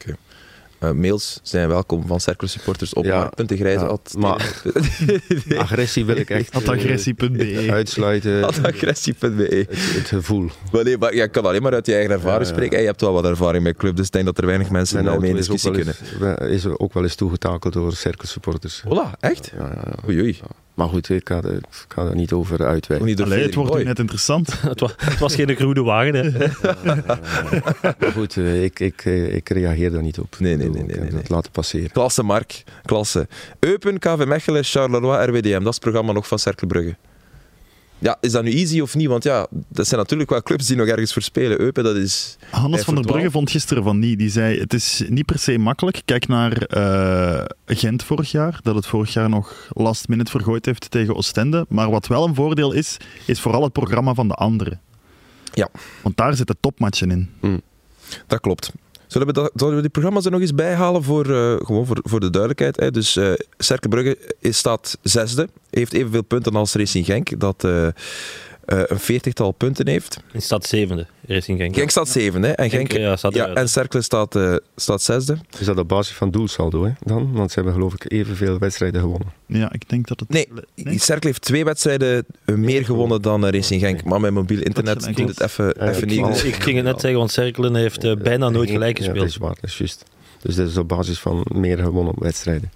Speaker 1: Eh, mails zijn welkom van Cercle supporters op
Speaker 3: Ja.
Speaker 1: ja. grijze
Speaker 3: Ja,
Speaker 1: at-
Speaker 3: maar- Agressie wil ik echt eh,
Speaker 4: Atagressie.be.
Speaker 3: uitsluiten.
Speaker 1: at agressie.be.
Speaker 3: Het, het gevoel.
Speaker 1: Maar nee, maar je kan alleen maar uit je eigen ervaring
Speaker 3: Ja, ja.
Speaker 1: spreken. En je hebt wel wat ervaring met club, dus ik denk dat er weinig mensen
Speaker 3: auto
Speaker 1: daarmee in
Speaker 3: is ook
Speaker 1: discussie
Speaker 3: wel
Speaker 1: kunnen.
Speaker 3: eens- we- is ook wel eens toegetakeld door cirkel supporters.
Speaker 1: Hola, echt?
Speaker 3: Ja, ja, ja.
Speaker 1: Oei, oei.
Speaker 3: Maar goed, ik ga, er- ik ga daar niet over
Speaker 1: Ook
Speaker 3: uitweiden.
Speaker 1: niet door
Speaker 4: Allee, het
Speaker 1: Frederik
Speaker 4: wordt nu
Speaker 1: Boy.
Speaker 4: net interessant.
Speaker 2: het, was, het was geen groene wagen. Hè.
Speaker 3: Maar goed, eh, ik, ik, eh, ik reageer daar niet op.
Speaker 1: Nee, nee,
Speaker 3: Ik bedoel,
Speaker 1: nee,
Speaker 3: ik
Speaker 1: nee,
Speaker 3: heb
Speaker 1: nee.
Speaker 3: Dat laten passeren.
Speaker 1: Klasse, Mark. Klasse. Eupen, KV Mechelen, Charleroi, RWDM. Dat is het programma nog van Cercle Brugge. Ja, is dat nu easy of niet? Want ja, dat zijn natuurlijk wel clubs die nog ergens voor spelen. Eupen, dat is... Vijf
Speaker 4: Hannes van der
Speaker 1: voor
Speaker 4: Brugge
Speaker 1: twaalf.
Speaker 4: vond gisteren van niet. Die zei, het is niet per se makkelijk. Kijk naar eh, Gent vorig jaar, dat het vorig jaar nog last minute vergooid heeft tegen Oostende. Maar wat wel een voordeel is, is vooral het programma van de anderen.
Speaker 1: Ja.
Speaker 4: Want daar zitten topmatchen in.
Speaker 1: Dat klopt. Zullen we, dat, zullen we die programma's er nog eens bij halen voor, eh, gewoon voor, voor de duidelijkheid? Hè? Dus eh Cercle Brugge is, staat zesde, heeft evenveel punten als Racing Genk, dat eh, eh, een veertigtal punten heeft.
Speaker 2: Het staat zevende, Racing Genk.
Speaker 1: Genk staat zevende hè? en
Speaker 2: Genk,
Speaker 1: Genk...
Speaker 2: ja, staat
Speaker 1: ja,
Speaker 2: eruit.
Speaker 1: en Cercle staat, eh, staat zesde.
Speaker 3: Is dat op basis van doelsaldo hè, dan? Want ze hebben geloof ik evenveel wedstrijden gewonnen.
Speaker 4: Ja, ik denk dat het...
Speaker 1: Nee,
Speaker 4: Nee?
Speaker 1: Cercle heeft twee wedstrijden eh, meer gewonnen dan eh, Racing Genk. Maar mijn mobiel internet
Speaker 4: gelijk
Speaker 1: doet
Speaker 4: is.
Speaker 1: het even,
Speaker 3: Ja,
Speaker 1: even
Speaker 3: ik
Speaker 1: niet.
Speaker 3: zal-
Speaker 1: Dus
Speaker 2: Ik ging het net zeggen, want Cerkelen heeft eh, bijna nooit gelijk
Speaker 3: Ja, dat
Speaker 2: gespeeld.
Speaker 3: is waar, dat is juist. Dus dat is op basis van meer gewonnen wedstrijden.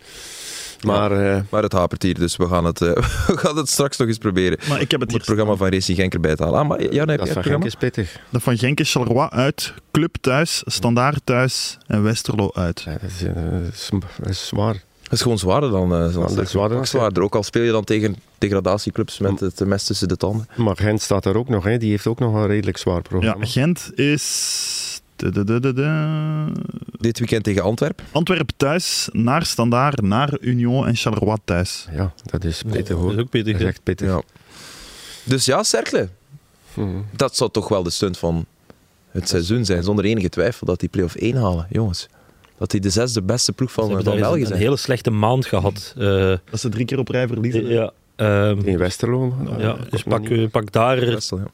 Speaker 3: Maar eh,
Speaker 1: Maar het hapert hier, dus we gaan het, eh, we gaan het straks nog eens proberen.
Speaker 4: Maar ik heb het
Speaker 1: Om het
Speaker 4: hier.
Speaker 1: programma van Racing Genk erbij te halen. Ah, maar Jan, heb je
Speaker 3: dat van
Speaker 1: het
Speaker 3: Genk
Speaker 1: programma?
Speaker 3: is pittig.
Speaker 4: De Van Genk is Charleroi uit, Club thuis, Standaard thuis en Westerlo uit.
Speaker 3: Ja, dat, is, eh, dat is- dat is zwaar.
Speaker 1: Dat is gewoon zwaarder dan... eh, zo'n
Speaker 3: dat is
Speaker 1: sterke-
Speaker 3: zwaarder dan
Speaker 1: ook zwaarder. Ook al speel je dan tegen degradatieclubs met het eh, mes tussen de tanden.
Speaker 3: Maar Gent staat daar ook nog, hè. die heeft ook nog een redelijk zwaar
Speaker 4: Ja,
Speaker 3: programma.
Speaker 4: Gent is... de- de- de- de- de-
Speaker 1: Dit weekend tegen Antwerpen.
Speaker 4: Antwerpen thuis, naar Standaard, naar Union en Charleroi thuis.
Speaker 3: Ja, dat is pittig
Speaker 2: Dat
Speaker 3: hoor. "Oh,
Speaker 2: is
Speaker 3: Dat
Speaker 2: ook pittig.
Speaker 3: is
Speaker 2: hè.
Speaker 3: echt pittig.
Speaker 1: Ja. Dus ja, Cercle.
Speaker 3: Hm.
Speaker 1: Dat zou toch wel de stunt van het seizoen zijn. Zonder enige twijfel dat die play-off 1 halen, jongens. Dat die de zesde beste ploeg
Speaker 2: Ze
Speaker 1: van,
Speaker 2: hebben
Speaker 1: van
Speaker 2: daar
Speaker 1: België
Speaker 2: eens een
Speaker 1: zijn.
Speaker 2: hele slechte maand gehad. eh,
Speaker 4: Dat ze drie keer op rij verliezen.
Speaker 2: ja, ehm,
Speaker 3: In Westerlo.
Speaker 2: ja, dus pak, eh, pak daar
Speaker 1: Best wel, ja.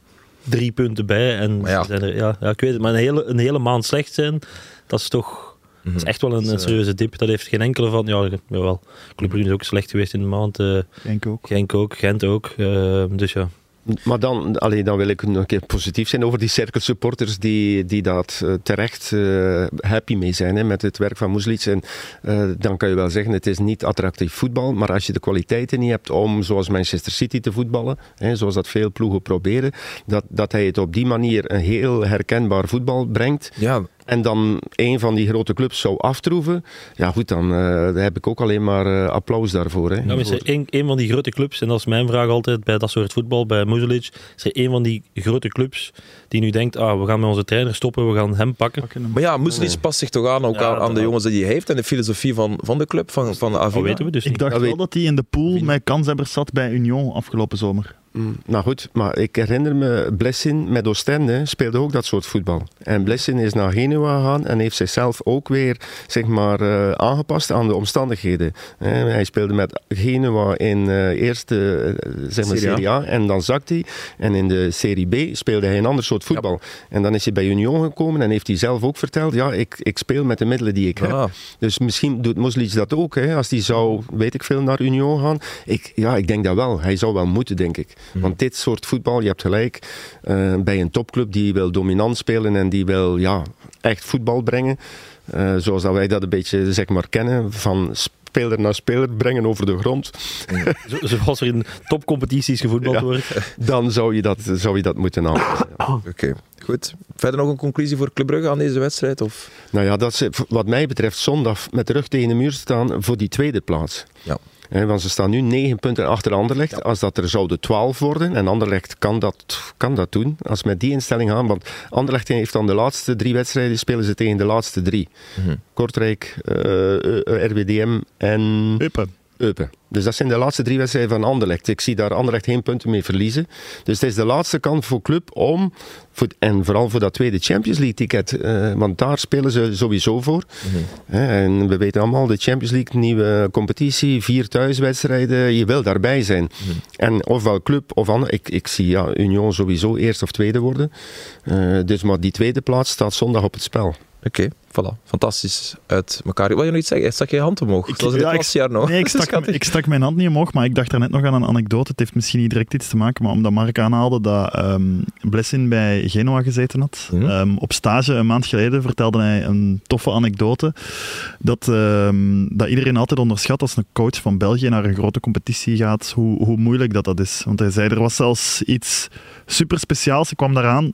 Speaker 2: drie punten bij. En
Speaker 1: Maar ja.
Speaker 2: ze zijn er, ja, ja, ik weet het, maar een hele, een hele maand slecht zijn, dat is toch dat is echt wel een, een serieuze dip. Dat heeft geen enkele van. Ja, jawel. Club Brugge is ook slecht geweest in de maand. eh,
Speaker 4: Genk ook.
Speaker 2: Genk ook, Gent ook. eh, dus ja.
Speaker 3: Maar dan, allee, dan wil ik nog een keer positief zijn over die cirkelsupporters die, die dat eh, terecht eh, happy mee zijn hè, met het werk van Moeslits. En eh, dan kan je wel zeggen, het is niet attractief voetbal, maar als je de kwaliteiten niet hebt om zoals Manchester City te voetballen, hè, zoals dat veel ploegen proberen, dat, dat hij het op die manier een heel herkenbaar voetbal brengt,
Speaker 1: Ja,
Speaker 3: en dan een van die grote clubs zou aftroeven, ja goed, dan eh, heb ik ook alleen maar eh, applaus daarvoor. Hè,
Speaker 2: Ja, maar Nou, is er één, één van die grote clubs, en dat is mijn vraag altijd bij dat soort voetbal, bij Muzelic, is er één van die grote clubs die nu denkt, ah, we gaan met onze trainer stoppen, we gaan hem pakken.
Speaker 1: Maar ja, Moeslies past zich toch aan, ook
Speaker 2: Ja,
Speaker 1: aan, aan de
Speaker 2: dat-
Speaker 1: jongens die hij heeft en de filosofie van, van de club, van, van de
Speaker 2: Dat
Speaker 1: Avila.
Speaker 2: weten we dus
Speaker 4: Ik
Speaker 2: niet.
Speaker 4: dacht
Speaker 3: Dat
Speaker 4: wel
Speaker 3: weet-
Speaker 4: dat hij in de pool met kanshebbers zat bij Union afgelopen zomer.
Speaker 3: Mm, Nou goed, maar ik herinner me, Blessin met Oostende hè, speelde ook dat soort voetbal. En Blessin is naar Genua gegaan en heeft zichzelf ook weer zeg maar, eh, aangepast aan de omstandigheden. Hè, hij speelde met Genua in eh, eerste eh, zeg maar,
Speaker 1: Serie A.
Speaker 3: Serie A en dan zakt hij. En in de Serie B speelde hij een ander soort voetbal. En dan is hij bij Union gekomen en heeft hij zelf ook verteld, ja, ik, ik speel met de middelen die ik heb.
Speaker 1: Ah,
Speaker 3: Dus misschien doet Moslic dat ook, hè? als die zou, weet ik veel, naar Union gaan. Ik, ja, ik denk dat wel. Hij zou wel moeten, denk ik. Want dit soort voetbal, je hebt gelijk, eh, bij een topclub die wil dominant spelen en die wil ja, echt voetbal brengen. eh, zoals dat wij dat een beetje zeg maar, kennen, van speler naar speler brengen over de grond.
Speaker 2: Zo- Zoals er in topcompetities gevoetbald
Speaker 3: Ja.
Speaker 2: wordt.
Speaker 3: Dan zou je dat, zou je dat moeten aanpassen. ja.
Speaker 1: Oké, goed. Verder nog een conclusie voor Club Brugge aan deze wedstrijd? Of?
Speaker 3: Nou ja, dat ze v- wat mij betreft zondag met de rug tegen de muur staan voor die tweede plaats.
Speaker 1: Ja.
Speaker 3: Hè, want ze staan nu 9 punten achter Anderlecht. Als dat er zouden 12 worden, en Anderlecht kan dat, kan dat doen, als ze met die instelling gaan. Want Anderlecht heeft dan de laatste drie wedstrijden, spelen ze tegen de laatste drie. Kortrijk, eh, eh, RWDM en
Speaker 4: Uppen.
Speaker 3: Eupen. Dus dat zijn de laatste drie wedstrijden van Anderlecht. Ik zie daar Anderlecht geen punten mee verliezen. Dus het is de laatste kans voor club om, voor, en vooral voor dat tweede Champions League ticket, eh, want daar spelen ze sowieso voor. Hè, en we weten allemaal, de Champions League, nieuwe competitie, vier thuiswedstrijden, je wil daarbij zijn. En ofwel club of ander, ik, ik zie ja, Union sowieso eerst of tweede worden. Eh, dus maar die tweede plaats staat zondag op het spel.
Speaker 1: Oké, voilà. Fantastisch uit elkaar. Wil je nog iets zeggen? Stak je je hand omhoog? Ik, was in
Speaker 4: ja,
Speaker 1: het
Speaker 4: ik-
Speaker 1: klasjaar nog.
Speaker 4: Nee, ik stak,
Speaker 1: Schattig.
Speaker 4: ik stak mijn hand niet omhoog, maar ik dacht daarnet nog aan een anekdote. Het heeft misschien niet direct iets te maken, maar omdat Mark aanhaalde dat ehm Blessin bij Genoa gezeten had.
Speaker 1: Mhm.
Speaker 4: Ehm, op stage een maand geleden vertelde hij een toffe anekdote. Dat, ehm, dat iedereen altijd onderschat als een coach van België naar een grote competitie gaat, hoe, hoe moeilijk dat, dat is. Want hij zei, er was zelfs iets super speciaals. Ik kwam daaraan.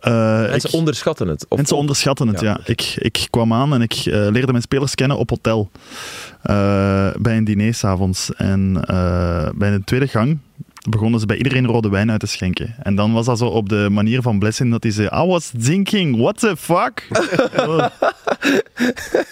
Speaker 4: Eh,
Speaker 1: Mensen
Speaker 4: ik-
Speaker 1: onderschatten het. Of
Speaker 4: Mensen onderschatten het,
Speaker 1: Ja,
Speaker 4: ja. Ik, ik kwam aan en ik eh, leerde mijn spelers kennen op hotel. eh, bij een diner s'avonds. En eh, bij de tweede gang begonnen ze bij iedereen rode wijn uit te schenken. En dan was dat zo op de manier van Blessing dat hij zei... I was thinking, what the fuck? Oh.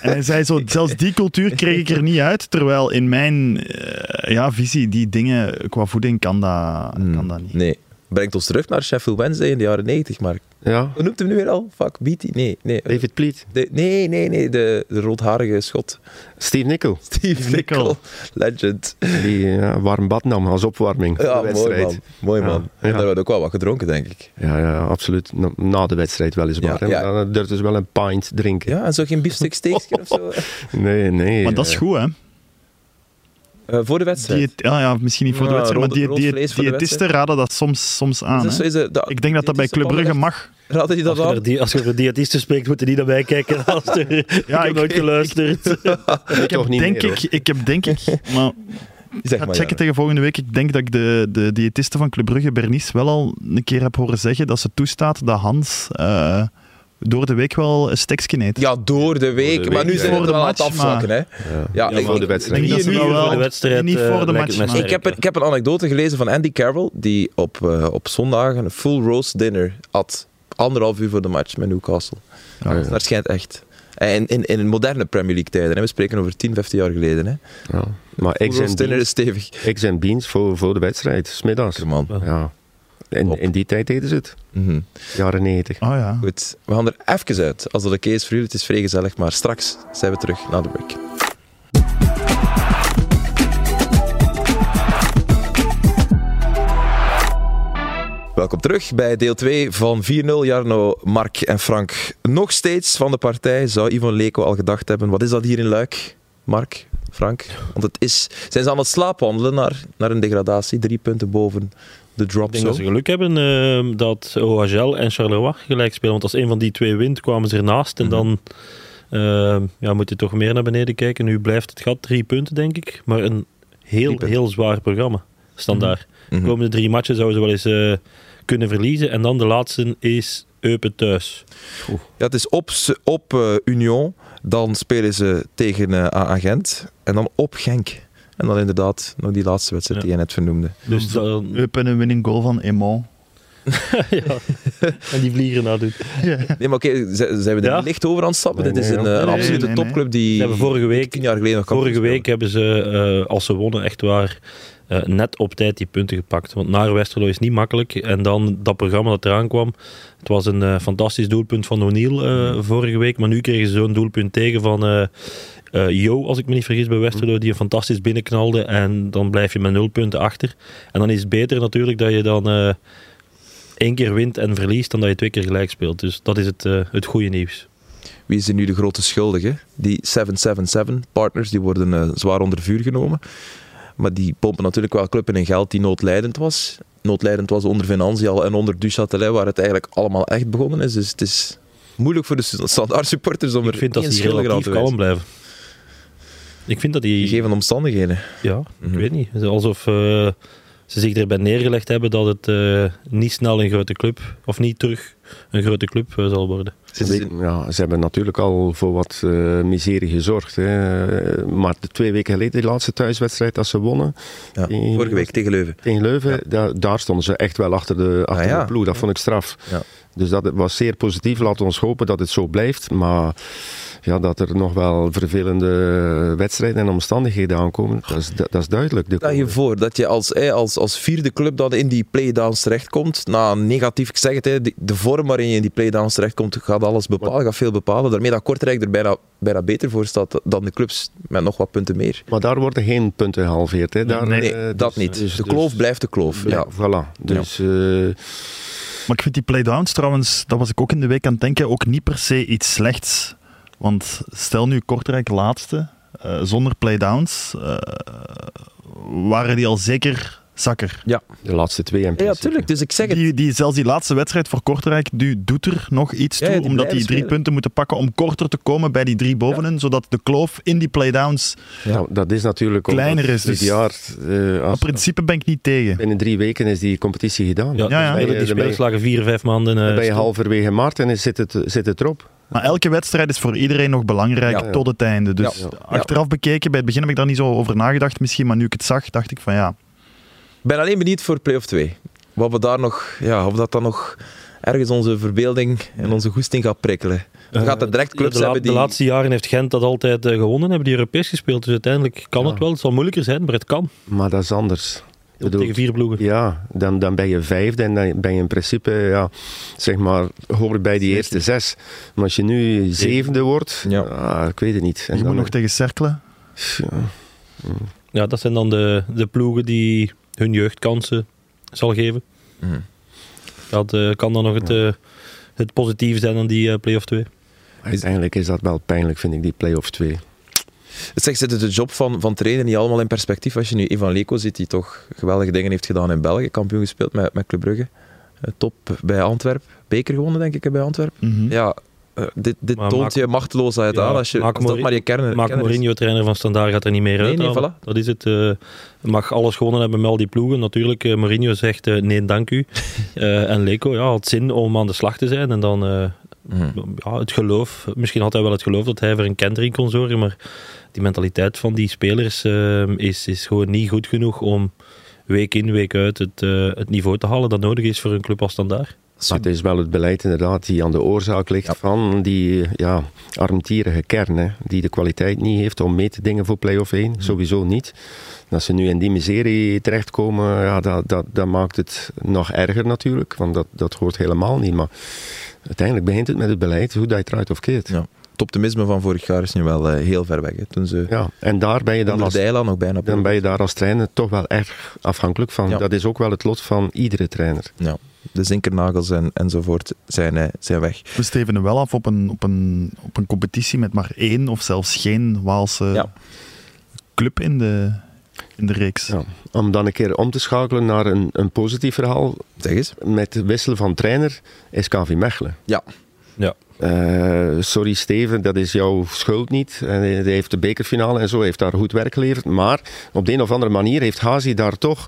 Speaker 4: en hij zei zo, zelfs die cultuur kreeg ik er niet uit. Terwijl in mijn eh, ja, visie, die dingen qua voeding kan dat,
Speaker 1: Hmm.
Speaker 4: kan dat niet.
Speaker 1: Nee. Brengt ons terug naar Sheffield Wednesday in de jaren 90, Mark.
Speaker 3: Ja,
Speaker 1: Hoe noemt hem nu weer al? Fuck, Beatty? Nee, nee.
Speaker 3: David Pleat,
Speaker 1: De- nee, nee, nee. De, de roodharige schot.
Speaker 3: Steve Nickel,
Speaker 1: Steve
Speaker 4: Nickel.
Speaker 1: Nickel. Legend.
Speaker 3: die ja, warm bad nam als opwarming voor
Speaker 1: Ja,
Speaker 3: de wedstrijd.
Speaker 1: mooi man. Mooi man.
Speaker 3: Ja,
Speaker 1: En
Speaker 3: ja.
Speaker 1: daar werd ook wel wat gedronken, denk ik.
Speaker 3: Ja, ja, absoluut. Na, na de wedstrijd weliswaar.
Speaker 1: Ja,
Speaker 3: Ja,
Speaker 1: ja.
Speaker 3: Dan durfde ze wel een pint drinken.
Speaker 1: Ja, en zo geen biefstuk steekje of zo. eh,
Speaker 3: Nee, nee.
Speaker 4: Maar dat is
Speaker 3: eh,
Speaker 4: goed, hè?
Speaker 1: Eh, voor de wedstrijd.
Speaker 4: Diët- ah ja, misschien niet voor de
Speaker 1: Ja,
Speaker 4: wedstrijd, maar
Speaker 1: rood-
Speaker 4: die,
Speaker 1: rood
Speaker 4: die,
Speaker 1: vlees voor de
Speaker 4: diëtisten raden dat soms, soms aan.
Speaker 1: Is dat
Speaker 4: hè.
Speaker 1: zo, is het-
Speaker 4: Ik denk dat dat bij
Speaker 1: diëtische
Speaker 4: Club Brugge
Speaker 1: mannen
Speaker 4: mag.
Speaker 1: echt- Raad je dat
Speaker 2: Als je, er
Speaker 1: aan?
Speaker 2: die, als je er diëtisten spreekt, moeten die daarbij kijken. Als er, ik
Speaker 4: Ja,
Speaker 2: heb
Speaker 4: ik-
Speaker 2: nooit geluisterd.
Speaker 3: Ik toch niet
Speaker 4: Denk
Speaker 3: meer,
Speaker 4: ik, ik heb denk ik, maar
Speaker 1: Zeg
Speaker 4: ga
Speaker 1: maar,
Speaker 4: checken
Speaker 1: Jan.
Speaker 4: tegen volgende week. Ik denk dat ik de, de diëtiste van Club Brugge, Bernice, wel al een keer heb horen zeggen dat ze toestaat dat Hans eh, door de week wel een stekje eet.
Speaker 1: Ja, door de week.
Speaker 3: week,
Speaker 1: maar nu
Speaker 3: ja.
Speaker 1: zijn we
Speaker 4: Voor
Speaker 1: er
Speaker 4: de
Speaker 1: wel aan het
Speaker 4: match,
Speaker 1: afvlakken, hè.
Speaker 3: hoor. Ja.
Speaker 1: Ja,
Speaker 2: Ja,
Speaker 1: ik-
Speaker 2: voor
Speaker 1: ik-
Speaker 3: de wedstrijd.
Speaker 1: drie
Speaker 4: Ik denk dat ze
Speaker 1: uur
Speaker 4: dat wel-
Speaker 1: van-
Speaker 2: Voor nou de wedstrijd
Speaker 4: niet voor
Speaker 2: eh,
Speaker 4: de
Speaker 2: lijkt het
Speaker 4: match,
Speaker 2: me
Speaker 4: maar-
Speaker 1: Ik heb,
Speaker 2: sterk,
Speaker 1: een, ik heb een anekdote gelezen van Andy Carroll, die op, eh, op zondag een full roast dinner at. Anderhalf uur voor de match met Newcastle.
Speaker 4: Ja.
Speaker 1: Dus Dat schijnt echt. En in, in moderne Premier League tijden, hè. we spreken over 10, 15 jaar geleden. Hè.
Speaker 3: Ja. Maar
Speaker 1: Full
Speaker 3: eggs en
Speaker 1: roast dinner
Speaker 3: beans,
Speaker 1: is stevig.
Speaker 3: eggs en beans voor, voor de wedstrijd, smiddags.
Speaker 1: Man.
Speaker 3: Ja. En in die tijd deden ze het,
Speaker 1: Mhm.
Speaker 3: jaren 90.
Speaker 1: Ah,
Speaker 4: Oh ja.
Speaker 1: Goed, we gaan er even uit. Als dat oké is voor jullie, het is vrij gezellig, maar straks zijn we terug naar de break. Welkom terug bij deel 2 van 4-0. Jarno, Mark en Frank nog steeds van de partij. Zou Yvonne Leko al gedacht hebben, wat is dat hier in Luik? Mark, Frank? Want het is... Zijn ze aan het slaapwandelen naar, naar een degradatie? Drie punten boven de
Speaker 2: Ik
Speaker 1: drop
Speaker 2: denk dat ze
Speaker 1: zone.
Speaker 2: geluk hebben eh, dat OHL en Charleroi gelijk spelen. Want als een van die twee wint, kwamen ze ernaast. En
Speaker 4: Mhm.
Speaker 2: dan eh, ja, moet je toch meer naar beneden kijken. Nu blijft het gat drie punten, denk ik. Maar een heel,
Speaker 1: punten.
Speaker 2: heel zwaar programma. Standaard.
Speaker 1: Mhm.
Speaker 2: De komende drie matchen zouden ze wel eens eh, kunnen verliezen. En dan de laatste is Eupen thuis.
Speaker 1: Ja, het is op, ze- op eh, Union, dan spelen ze tegen eh Agent en dan op Genk. En dan inderdaad nog die laatste wedstrijd
Speaker 2: Ja.
Speaker 1: die je net vernoemde.
Speaker 2: Dus dan,
Speaker 4: Up en een winning goal van Emon.
Speaker 2: ja. En die vliegen nou, naar doen.
Speaker 1: Nee, maar oké, z- zijn we er
Speaker 2: Ja?
Speaker 1: niet licht over aan het stappen?
Speaker 3: Nee,
Speaker 1: Dit is
Speaker 3: nee,
Speaker 1: een,
Speaker 3: ja.
Speaker 1: eh, een
Speaker 4: Nee,
Speaker 1: absolute
Speaker 4: nee, nee.
Speaker 1: topclub die
Speaker 2: Ze hebben vorige week-
Speaker 1: tien jaar geleden nog kampioen
Speaker 2: Vorige week
Speaker 1: speelde.
Speaker 2: hebben ze, eh, als ze wonnen, echt waar eh, net op tijd die punten gepakt. Want naar Westerlo is niet makkelijk. En dan dat programma dat eraan kwam. Het was een eh, fantastisch doelpunt van O'Neill
Speaker 1: Mm.
Speaker 2: eh, vorige week. Maar nu kregen ze zo'n doelpunt tegen van eh eh, Jo, als ik me niet vergis, bij
Speaker 1: Mm.
Speaker 2: Westerlo. Die een fantastisch binnenknalde. En dan blijf je met nul punten achter. En dan is het beter natuurlijk dat je dan eh, één keer wint en verliest. dan dat je twee keer gelijk speelt. Dus dat is het, eh, het goede nieuws.
Speaker 1: Wie is er nu de grote schuldige? Die 777-partners, die worden eh, zwaar onder vuur genomen. Maar die pompen natuurlijk wel club in een geld die noodlijdend was. Noodlijdend was onder Financial en onder Duchatelet, waar het eigenlijk allemaal echt begonnen is. Dus het is moeilijk voor de standaard supporters om
Speaker 2: Ik
Speaker 1: er
Speaker 2: vind dat
Speaker 1: één
Speaker 2: die
Speaker 1: schuldige aan
Speaker 2: relatief
Speaker 1: te wijzen.
Speaker 2: kalm blijven. Ik vind dat die...
Speaker 1: Gegeven omstandigheden.
Speaker 2: Ja,
Speaker 1: Mhm.
Speaker 2: ik weet niet. Het is Alsof eh, ze zich erbij neergelegd hebben dat het eh, niet snel een grote club, of niet terug een grote club eh, zal worden.
Speaker 1: Zitten ze in-
Speaker 3: Ja, ze hebben natuurlijk al voor wat eh, miserie gezorgd. Hè. Eh, Maar de twee weken geleden, die laatste thuiswedstrijd dat ze wonnen
Speaker 1: ja,
Speaker 3: in-
Speaker 1: vorige week tegen Leuven.
Speaker 3: tegen Leuven, da- daar stonden ze echt wel achter de, achter
Speaker 1: Ah, ja.
Speaker 3: de ploeg. Dat vond ik straf.
Speaker 1: Ja.
Speaker 3: Dus dat was zeer positief. Laten we ons hopen dat het zo blijft. Maar ja, dat er nog wel vervelende wedstrijden en omstandigheden aankomen, dat is, dat, dat is duidelijk. De
Speaker 1: Stel je voor dat je als, eh, als, als vierde club dan in die playdowns terechtkomt, na een negatief, ik zeg het, hè, de, de vorm waarin je in die playdowns terechtkomt, gaat alles bepalen, gaat veel bepalen. Daarmee dat Kortrijk er bijna, bijna beter voor staat dan de clubs met nog wat punten meer.
Speaker 3: Maar daar worden geen punten gehalveerd. Hè. Daar,
Speaker 1: Nee,
Speaker 3: eh,
Speaker 1: dat
Speaker 3: dus-
Speaker 1: niet.
Speaker 3: dus-
Speaker 1: de
Speaker 3: dus-
Speaker 1: kloof blijft de kloof. Ja.
Speaker 3: Ja, voilà. Dus eh,
Speaker 4: Maar ik vind die playdowns trouwens, dat was ik ook in de week aan het denken, ook niet per se iets slechts. Want stel nu Kortrijk laatste, eh, zonder playdowns, eh waren die al zeker zakker.
Speaker 3: de laatste twee in
Speaker 1: Ja,
Speaker 3: principe.
Speaker 1: tuurlijk. Dus ik zeg het.
Speaker 4: Die, die, zelfs die laatste wedstrijd voor Kortrijk die doet er nog iets
Speaker 1: Ja,
Speaker 4: toe,
Speaker 1: ja, die
Speaker 4: omdat
Speaker 1: blijven
Speaker 4: die drie
Speaker 1: spelen.
Speaker 4: punten moeten pakken om korter te komen bij die drie bovenin, zodat de kloof in die playdowns...
Speaker 1: Ja.
Speaker 3: Nou, dat is natuurlijk omdat
Speaker 4: Kleiner is
Speaker 3: dit
Speaker 4: dus-
Speaker 3: jaar. eh,
Speaker 4: In
Speaker 3: als-
Speaker 4: principe ben ik niet tegen.
Speaker 3: binnen drie weken is die competitie gedaan.
Speaker 2: Ja, die
Speaker 4: ja.
Speaker 2: spelers-
Speaker 3: Dan
Speaker 2: Die
Speaker 3: ben je-
Speaker 2: spelers lagen vier, vijf maanden. eh,
Speaker 3: Dan ben je
Speaker 2: stil.
Speaker 3: halverwege maart en is- zit het, zit het erop.
Speaker 4: Maar elke wedstrijd is voor iedereen nog belangrijk
Speaker 1: Ja.
Speaker 4: tot het einde. Dus
Speaker 1: Ja.
Speaker 4: achteraf bekeken, bij het begin heb ik daar niet zo over nagedacht misschien, maar nu ik het zag, dacht ik van ja...
Speaker 1: Ik ben alleen benieuwd voor play-off 2. Wat we daar nog, ja, of dat dan nog ergens onze verbeelding en onze goesting gaat prikkelen. Dan gaat er direct
Speaker 2: Ja,
Speaker 1: clubs
Speaker 2: de, la-
Speaker 1: hebben die...
Speaker 2: de laatste jaren heeft Gent dat altijd eh, gewonnen, hebben die Europees gespeeld. Dus uiteindelijk kan
Speaker 3: Ja.
Speaker 2: het wel. Het zal moeilijker zijn, maar het kan.
Speaker 3: Maar dat is anders. Ik bedoel,
Speaker 2: tegen vier ploegen.
Speaker 3: ja, dan, dan ben je vijfde en dan ben je in principe, ja, zeg maar, hoort bij die eerste zes. Maar als je nu zevende wordt,
Speaker 1: Ja.
Speaker 3: ah, ik weet het niet. En
Speaker 4: Je
Speaker 3: dan-
Speaker 4: moet nog tegen cerkelen.
Speaker 3: ja.
Speaker 2: Ja, dat zijn dan de, de ploegen die hun jeugdkansen zal geven.
Speaker 1: Mhm.
Speaker 2: Dat eh, kan dan nog het, eh, het positieve zijn aan die eh play-off 2.
Speaker 3: Uiteindelijk is dat wel pijnlijk, vind ik, die play-off 2.
Speaker 1: Zeg, zit het de job van, van trainer niet allemaal in perspectief als je nu Ivan Leko ziet, die toch geweldige dingen heeft gedaan in België, kampioen gespeeld met, met Club Brugge, Eh, top bij Antwerp, beker gewonnen denk ik hè, bij Antwerp.
Speaker 3: Hm.
Speaker 4: Mhm.
Speaker 1: Ja, eh, dit, dit
Speaker 2: Maar
Speaker 1: toont
Speaker 2: Marco-
Speaker 1: je machteloosheid
Speaker 2: Ja,
Speaker 1: aan als, je,
Speaker 2: Marco
Speaker 1: als dat
Speaker 2: Mourin-
Speaker 1: maar je kern
Speaker 2: Maak
Speaker 1: kenner is.
Speaker 2: Mourinho, trainer van Standaard, gaat er niet meer
Speaker 1: Nee,
Speaker 2: uit.
Speaker 1: nee,
Speaker 2: halen.
Speaker 1: voilà.
Speaker 2: Dat is het. eh, mag alles gewonnen hebben met al die ploegen. Natuurlijk, eh, Mourinho zegt eh, nee, dank u. Eh, en Leko ja, had zin om aan de slag te zijn. En dan eh,
Speaker 1: Mhm.
Speaker 2: ja, het geloof. Misschien had hij wel het geloof dat hij voor een kenter in kon zorgen. Maar die mentaliteit van die spelers eh, is, is gewoon niet goed genoeg om week in, week uit het, eh, het niveau te halen dat nodig is voor een club als Standaard.
Speaker 3: Maar het is wel het beleid inderdaad die aan de oorzaak ligt
Speaker 1: Ja.
Speaker 3: van die ja, armtierige kern. Hè, die de kwaliteit niet heeft om mee te dingen voor play-off 1.
Speaker 1: Mhm.
Speaker 3: Sowieso niet. En als ze nu in die miserie terechtkomen, ja, dat, dat, dat maakt het nog erger natuurlijk. Want dat, dat hoort helemaal niet. Maar uiteindelijk begint het met het beleid, hoe dat je eruit of keert.
Speaker 1: Ja. Het optimisme van vorig jaar is nu wel eh, heel ver weg. Hè. Toen ze
Speaker 3: Ja, en daar ben je dan
Speaker 1: onder
Speaker 3: als,
Speaker 1: Dijla nog bijna...
Speaker 3: dan ben je daar als trainer toch wel erg afhankelijk van.
Speaker 1: Ja.
Speaker 3: Dat is ook wel het lot van iedere trainer.
Speaker 1: Ja, de zinkernagels en, enzovoort zijn, eh, zijn weg.
Speaker 4: We stevenen wel af op een, op, een, op een competitie met maar één of zelfs geen Waalse
Speaker 1: Ja.
Speaker 4: club in de, in de reeks.
Speaker 3: Ja. Om dan een keer om te schakelen naar een, een positief verhaal.
Speaker 1: Zeg eens.
Speaker 3: met het wisselen van trainer is KV Mechelen.
Speaker 1: Ja.
Speaker 2: Ja.
Speaker 3: Eh, sorry Steven, dat is jouw schuld niet. En hij hij heeft de bekerfinale en zo, heeft daar goed werk geleverd. Maar op de een of andere manier heeft Hazi daar toch,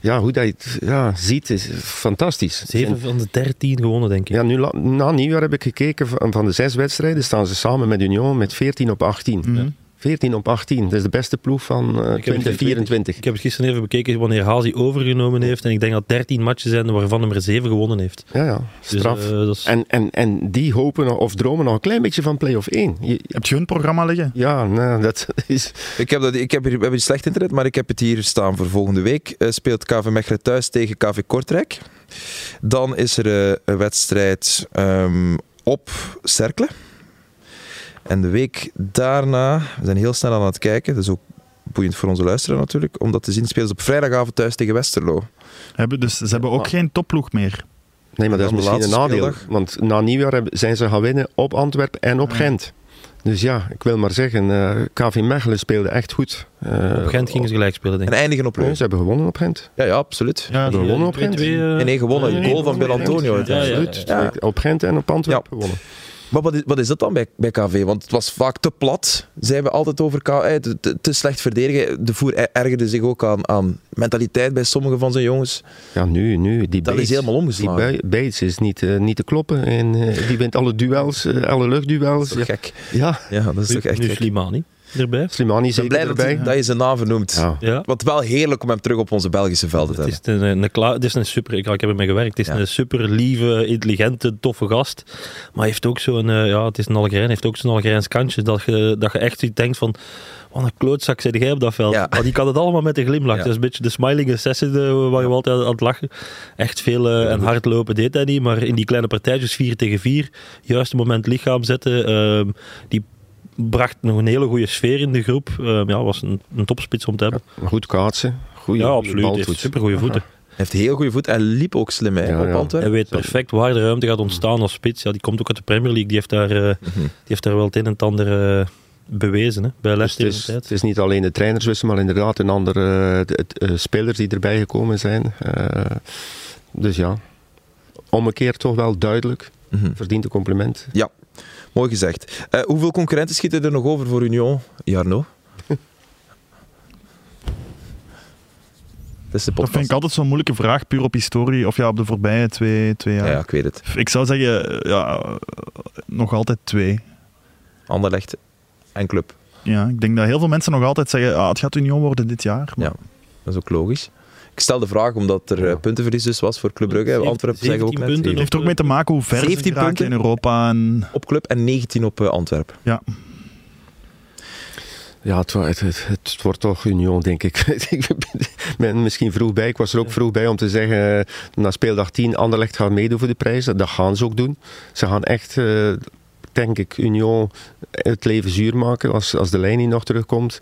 Speaker 3: ja, hoe dat je het ja, ziet, is fantastisch.
Speaker 2: Zeven van de dertien gewonnen, denk ik.
Speaker 3: Ja, nu, la- na nieuwjaar heb ik gekeken van, van de zes wedstrijden staan ze samen met Union met 14 op 18.
Speaker 4: Mhm.
Speaker 3: 14 op 18, dat is de beste ploeg van eh
Speaker 2: Ik heb het
Speaker 3: 2024.
Speaker 2: Ik heb het gisteren even bekeken wanneer Hazi overgenomen heeft. En ik denk dat 13 matchen zijn waarvan nummer 7 gewonnen heeft.
Speaker 3: Ja, ja,
Speaker 2: Dus,
Speaker 3: straf.
Speaker 2: eh, dat is-
Speaker 3: en, en, en die hopen nog- of dromen nog een klein beetje van play-off 1. Je-
Speaker 4: Heb je hun programma liggen?
Speaker 3: Ja, nou, dat is.
Speaker 1: Ik heb dat, ik heb hier, we hebben hier slecht internet, maar ik heb het hier staan voor volgende week. Eh, speelt KV Mechelen thuis tegen KV Kortrijk. Dan is er eh, een wedstrijd ehm, op Cerkelen. En de week daarna, we zijn heel snel aan het kijken, dat is ook boeiend voor onze luisteraar natuurlijk, om dat te zien spelen ze op vrijdagavond thuis tegen Westerlo.
Speaker 4: Hebben, dus ze hebben ook
Speaker 3: maar-
Speaker 4: geen topploeg meer.
Speaker 3: Nee, maar dat
Speaker 1: Dan
Speaker 3: is
Speaker 1: de
Speaker 3: misschien een
Speaker 1: laatste
Speaker 3: nadeel.
Speaker 1: speeldag. Ah,
Speaker 3: Want na nieuwjaar hebben- zijn ze gaan winnen op Antwerpen en op
Speaker 4: Ja.
Speaker 3: Gent. Dus ja, ik wil maar zeggen, eh, KV Mechelen speelde echt goed. Eh,
Speaker 2: Op Gent gingen ze gelijk spelen, denk
Speaker 1: En
Speaker 2: ik.
Speaker 1: eindigen op
Speaker 3: Nee,
Speaker 1: Leuven.
Speaker 3: ze hebben gewonnen op Gent.
Speaker 1: Ja, ja, absoluut.
Speaker 4: Ja,
Speaker 3: Hebben we gewonnen op Gent?
Speaker 2: Twee, twee, eh,
Speaker 1: Nee, nee, gewonnen.
Speaker 4: nee,
Speaker 1: goal van Bill Antonio.
Speaker 2: Ja, ja,
Speaker 1: uiteindelijk.
Speaker 3: Absoluut. Op Gent en op Antwerpen gewonnen.
Speaker 1: Maar wat is, wat is dat dan bij, bij KV? Want het was vaak te plat, zeiden we altijd over KV. eh, Te, te- te slecht verdedigen. De voer ergerde zich ook aan, aan mentaliteit bij sommige van zijn jongens.
Speaker 3: Ja, nu, nu. Die
Speaker 1: Dat is
Speaker 3: Bates-
Speaker 1: helemaal
Speaker 3: Die
Speaker 1: omgeslagen.
Speaker 3: Ba- Bates is niet, eh, niet te kloppen. En eh, die wint alle duels, eh, alle luchtduels.
Speaker 1: Dat is toch gek?
Speaker 3: Ja, ja.
Speaker 1: Ja, dat is
Speaker 2: Nu,
Speaker 1: toch echt
Speaker 2: nu
Speaker 1: gek. Ik
Speaker 2: Slimani erbij.
Speaker 3: Slimani
Speaker 1: ben
Speaker 3: zeker
Speaker 1: blij dat,
Speaker 3: erbij.
Speaker 1: dat je zijn naam vernoemt.
Speaker 3: Ja.
Speaker 2: Ja.
Speaker 1: Wat wel heerlijk om hem terug op onze Belgische velden te
Speaker 2: Het
Speaker 1: hebben.
Speaker 2: is een, een, kla- het is een super, ik, ik heb ermee gewerkt, het is
Speaker 1: Ja.
Speaker 2: een super lieve, intelligente, toffe gast. Maar hij heeft ook zo'n, eh, ja, het is een Algerijn, hij heeft ook zo'n Algerijns kantje dat je, dat je echt ziet, denkt van, wat een klootzak zit jij op dat veld.
Speaker 1: Ja.
Speaker 2: Maar die kan het allemaal met een glimlach.
Speaker 1: Ja.
Speaker 2: Dat is een beetje de smiling assassin eh, waar je altijd aan het lachen. Echt veel eh, en hard lopen deed hij niet, maar in die kleine partijtjes 4 tegen 4, juiste moment lichaam zetten, ehm, die bracht nog een hele goede sfeer in de groep. Ehm, ja, was een, een topspits om te hebben.
Speaker 3: Goed kaatsen. Goeie
Speaker 2: Ja,
Speaker 3: goeie
Speaker 2: absoluut. Hij heeft
Speaker 3: balvoet.
Speaker 2: super goede voeten.
Speaker 1: Hij heeft heel goede voet en liep ook slim hè,
Speaker 3: Ja,
Speaker 1: op
Speaker 3: ja.
Speaker 1: Antwerpen.
Speaker 2: Hij weet perfect waar de ruimte gaat ontstaan als spits. Ja, die komt ook uit de Premier League. Die heeft daar, eh,
Speaker 1: Mhm.
Speaker 2: die heeft daar wel het een en het ander eh, bewezen. Hè, bij
Speaker 3: Dus
Speaker 2: Leicester
Speaker 3: het,
Speaker 2: in de
Speaker 3: is,
Speaker 2: tijd.
Speaker 3: het is niet alleen de trainers wisselen, maar inderdaad een andere eh, de- het, eh, spelers die erbij gekomen zijn. Eh, dus ja, om een keer toch wel duidelijk.
Speaker 1: Mhm.
Speaker 3: Verdient een compliment.
Speaker 1: Ja, mooi gezegd. Eh, hoeveel concurrenten schieten er nog over voor Union, Jarno? Dat is de
Speaker 4: Dat
Speaker 1: podcast.
Speaker 4: vind ik altijd zo'n moeilijke vraag, puur op historie. Of ja, op de voorbije twee, twee
Speaker 1: ja.
Speaker 4: jaar.
Speaker 1: ja, ik weet het.
Speaker 4: Ik zou zeggen, ja, eh, nog altijd twee.
Speaker 1: Anderlecht en club.
Speaker 4: Ja, ik denk dat heel veel mensen nog altijd zeggen, ah, het gaat Union worden dit jaar. Maar
Speaker 1: Ja, dat is ook logisch. Ik stel de vraag omdat er eh, puntenverlies dus was voor Club Brugge.
Speaker 2: Zeventien-
Speaker 1: Antwerpen zeggen we ook net.
Speaker 2: zeventien
Speaker 4: het
Speaker 2: punten
Speaker 4: heeft er ook mee te maken hoe ver ze
Speaker 1: 17
Speaker 4: geraken
Speaker 1: punten.
Speaker 4: in Europa. En
Speaker 1: Op club en 19 op eh, Antwerpen.
Speaker 3: Ja, het, wa- het, het, het wordt toch Union, denk ik. ik ben misschien vroeg bij. Ik was er ook vroeg bij om te zeggen, eh, na speeldag 10, Anderlecht gaat meedoen voor de prijs. Dat gaan ze ook doen. Ze gaan echt, eh, denk ik, Union het leven zuur maken als, als de lijn niet nog terugkomt.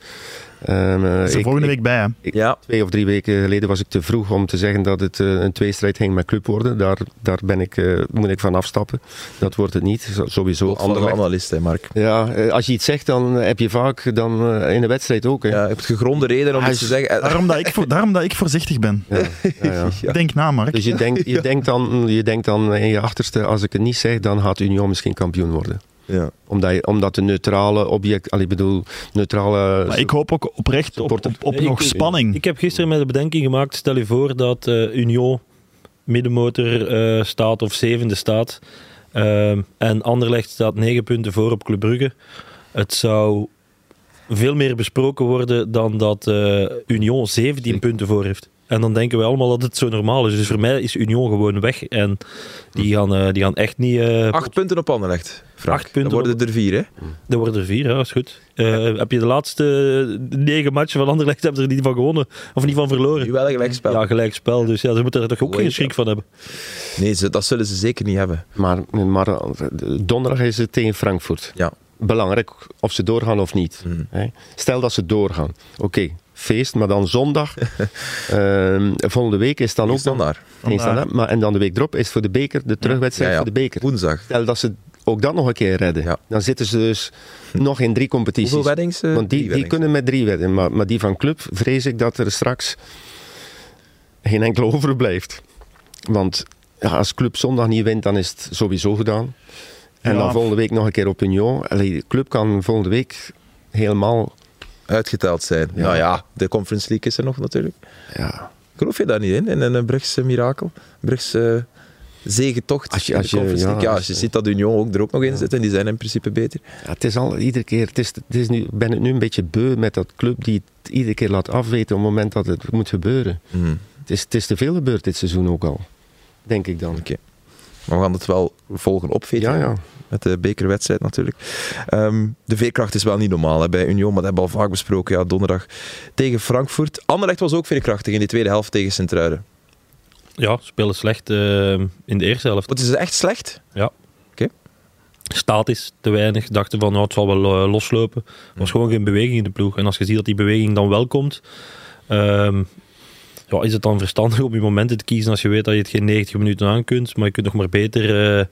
Speaker 3: Ehm, eh,
Speaker 4: ze zijn
Speaker 3: ik-
Speaker 4: volgende
Speaker 3: ik-
Speaker 4: week bij, hè.
Speaker 3: Ik-
Speaker 1: Ja,
Speaker 3: Twee of drie weken geleden was ik te vroeg om te zeggen dat het eh, een tweestrijd ging met club worden. Daar, daar ben ik, eh, moet ik van afstappen. Dat wordt het niet. Zo- Sowieso
Speaker 1: andere
Speaker 3: Anderlecht.
Speaker 1: analist, hè, Mark.
Speaker 3: Ja, eh, als je iets zegt, dan heb je vaak dan, eh, in de wedstrijd ook. Hè.
Speaker 1: Ja, je hebt gegronde reden om
Speaker 3: Hij
Speaker 1: iets te
Speaker 3: is-
Speaker 1: zeggen. Eh,
Speaker 4: Daarom dat ik, voor, daarom dat ik voorzichtig ben.
Speaker 3: Ja, ja, ja.
Speaker 1: Ja.
Speaker 4: Denk na, Mark.
Speaker 3: Dus je denkt, je, denkt dan, je denkt dan in je achterste, als ik het niet zeg, dan gaat Union misschien kampioen worden.
Speaker 1: Ja.
Speaker 3: Omdat, je, omdat de neutrale object, al, ik bedoel, neutrale...
Speaker 4: Maar ik hoop ook oprecht op, op,
Speaker 3: Supporter.
Speaker 4: op
Speaker 2: Ik-
Speaker 4: nog
Speaker 2: ik-
Speaker 4: spanning.
Speaker 2: Ik heb gisteren met de bedenking gemaakt, stel je voor dat eh, Union middenmotor eh, staat of zevende staat. Ehm, en Anderlecht staat negen punten voor op Club Brugge. Het zou veel meer besproken worden dan dat eh, Union 17 punten voor heeft. En dan denken we allemaal dat het zo normaal is. Dus voor mij is Union gewoon weg. En die gaan, eh, die gaan echt niet... eh,
Speaker 1: Acht punten op Anderlecht, Frank.
Speaker 2: Acht punten
Speaker 1: Dan worden
Speaker 2: op-
Speaker 1: er vier, hè?
Speaker 2: er worden er vier, ja, is goed. Eh, Heb je de laatste eh, negen matchen van Anderlecht hebben ze er niet van gewonnen? Of niet van verloren?
Speaker 1: Nu wel een gelijkspel.
Speaker 2: Ja, gelijk spel. Dus ja, ze moeten er toch ook
Speaker 1: Goeie
Speaker 2: geen schrik van hebben.
Speaker 1: Nee, ze, dat zullen ze zeker niet hebben.
Speaker 3: Maar, maar eh, donderdag is het tegen Frankfurt.
Speaker 1: Ja.
Speaker 3: Belangrijk of ze doorgaan of niet.
Speaker 1: Mhm.
Speaker 3: Hè? Stel dat ze doorgaan. Oké, feest, maar dan zondag. Ehm, volgende week is dan
Speaker 1: Ook
Speaker 3: ook nog...
Speaker 1: standaard.
Speaker 3: geen standaard, Maar, en dan de week erop is voor de beker, de terugwedstrijd
Speaker 1: Ja, ja.
Speaker 3: voor de beker.
Speaker 1: Woensdag.
Speaker 3: Stel dat ze ook dat nog een keer redden.
Speaker 1: Ja.
Speaker 3: Dan zitten ze dus nog in drie competities.
Speaker 1: Hoeveel weddings? eh,
Speaker 3: Want die,
Speaker 1: drie
Speaker 3: die
Speaker 1: weddings.
Speaker 3: kunnen met drie wedden. Maar, maar die van club vrees ik dat er straks geen enkele overblijft. Want ja, als club zondag niet wint, dan is het sowieso gedaan. En
Speaker 4: Ja.
Speaker 3: dan volgende week nog een keer op Union. Allee, de club kan volgende week helemaal...
Speaker 1: uitgeteld zijn.
Speaker 3: Ja.
Speaker 1: Nou ja, de Conference League is er nog natuurlijk.
Speaker 3: Ja,
Speaker 1: Geloof je daar niet in, in een Brugse mirakel? Brugse eh, zegentocht
Speaker 3: Als je-
Speaker 1: in de
Speaker 3: als je-
Speaker 1: Conference
Speaker 3: ja,
Speaker 1: League. Ja, als
Speaker 3: als
Speaker 1: je
Speaker 3: je-
Speaker 1: ziet dat Union ook er ook nog in zit en die zijn in principe beter.
Speaker 3: ja, het is al iedere keer... Het is, het is nu, ben het nu een beetje beu met dat club die het iedere keer laat afweten op het moment dat het moet gebeuren.
Speaker 1: Hmm,
Speaker 3: Het is, het is te veel gebeurd dit seizoen ook al. Denk ik dan.
Speaker 1: Oké. Maar we gaan het wel volgen op
Speaker 3: Ja, ja.
Speaker 1: met de bekerwedstrijd natuurlijk. Ehm, de veerkracht is wel niet normaal hè, bij Union, maar dat hebben we al vaak besproken. Ja, donderdag tegen Frankfurt. Anderlecht was ook veerkrachtig in die tweede helft tegen Sint-Truiden.
Speaker 2: Ja, ze spelen slecht eh, in de eerste helft.
Speaker 1: Wat is het echt slecht?
Speaker 2: Statisch, te weinig. Dachten van, nou, het zal wel eh, loslopen. Er was gewoon geen beweging in de ploeg. En als je ziet dat die beweging dan wel komt... ehm, ja, is het dan verstandig om je momenten te kiezen als je weet dat je het geen 90 minuten aan kunt, maar je kunt nog maar beter eh,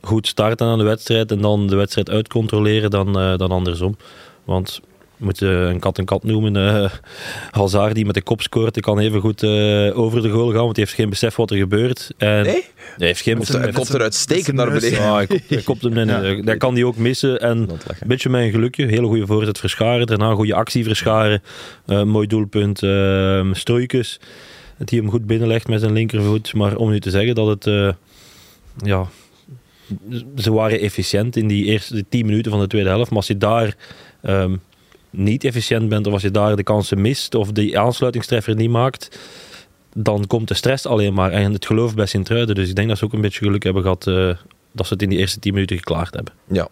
Speaker 2: goed starten aan de wedstrijd en dan de wedstrijd uitcontroleren dan, eh, dan andersom. Want moet eh, een kat een kat noemen. eh Hazard die met de kop scoort, die kan even goed eh, over de goal gaan, want die heeft geen besef wat er gebeurt. En
Speaker 1: Nee?
Speaker 2: Hij heeft geen
Speaker 1: Komt er-
Speaker 2: besef.
Speaker 1: Hij komt er uitstekend
Speaker 4: zijn
Speaker 1: naar
Speaker 4: neus,
Speaker 1: beneden.
Speaker 2: Ja, hij kopt, hij kopt hem in.
Speaker 4: Ja.
Speaker 2: Eh, Dat kan hij ook missen. En een beetje mijn gelukje. Hele goede voorzet verscharen. Daarna een goede actie verscharen. Eh, mooi doelpunt. eh Struikens. Die hem goed binnenlegt met zijn linkervoet. Maar om nu te zeggen dat het... eh, ja, ze waren efficiënt in die eerste 10 minuten van de tweede helft. Maar als je daar ehm, niet efficiënt bent, of als je daar de kansen mist, of die aansluitingstreffer niet maakt, dan komt de stress alleen maar. En het geloof bij Sint-Truiden. Dus ik denk dat ze ook een beetje geluk hebben gehad eh, dat ze het in die eerste 10 minuten geklaard hebben.
Speaker 1: Ja.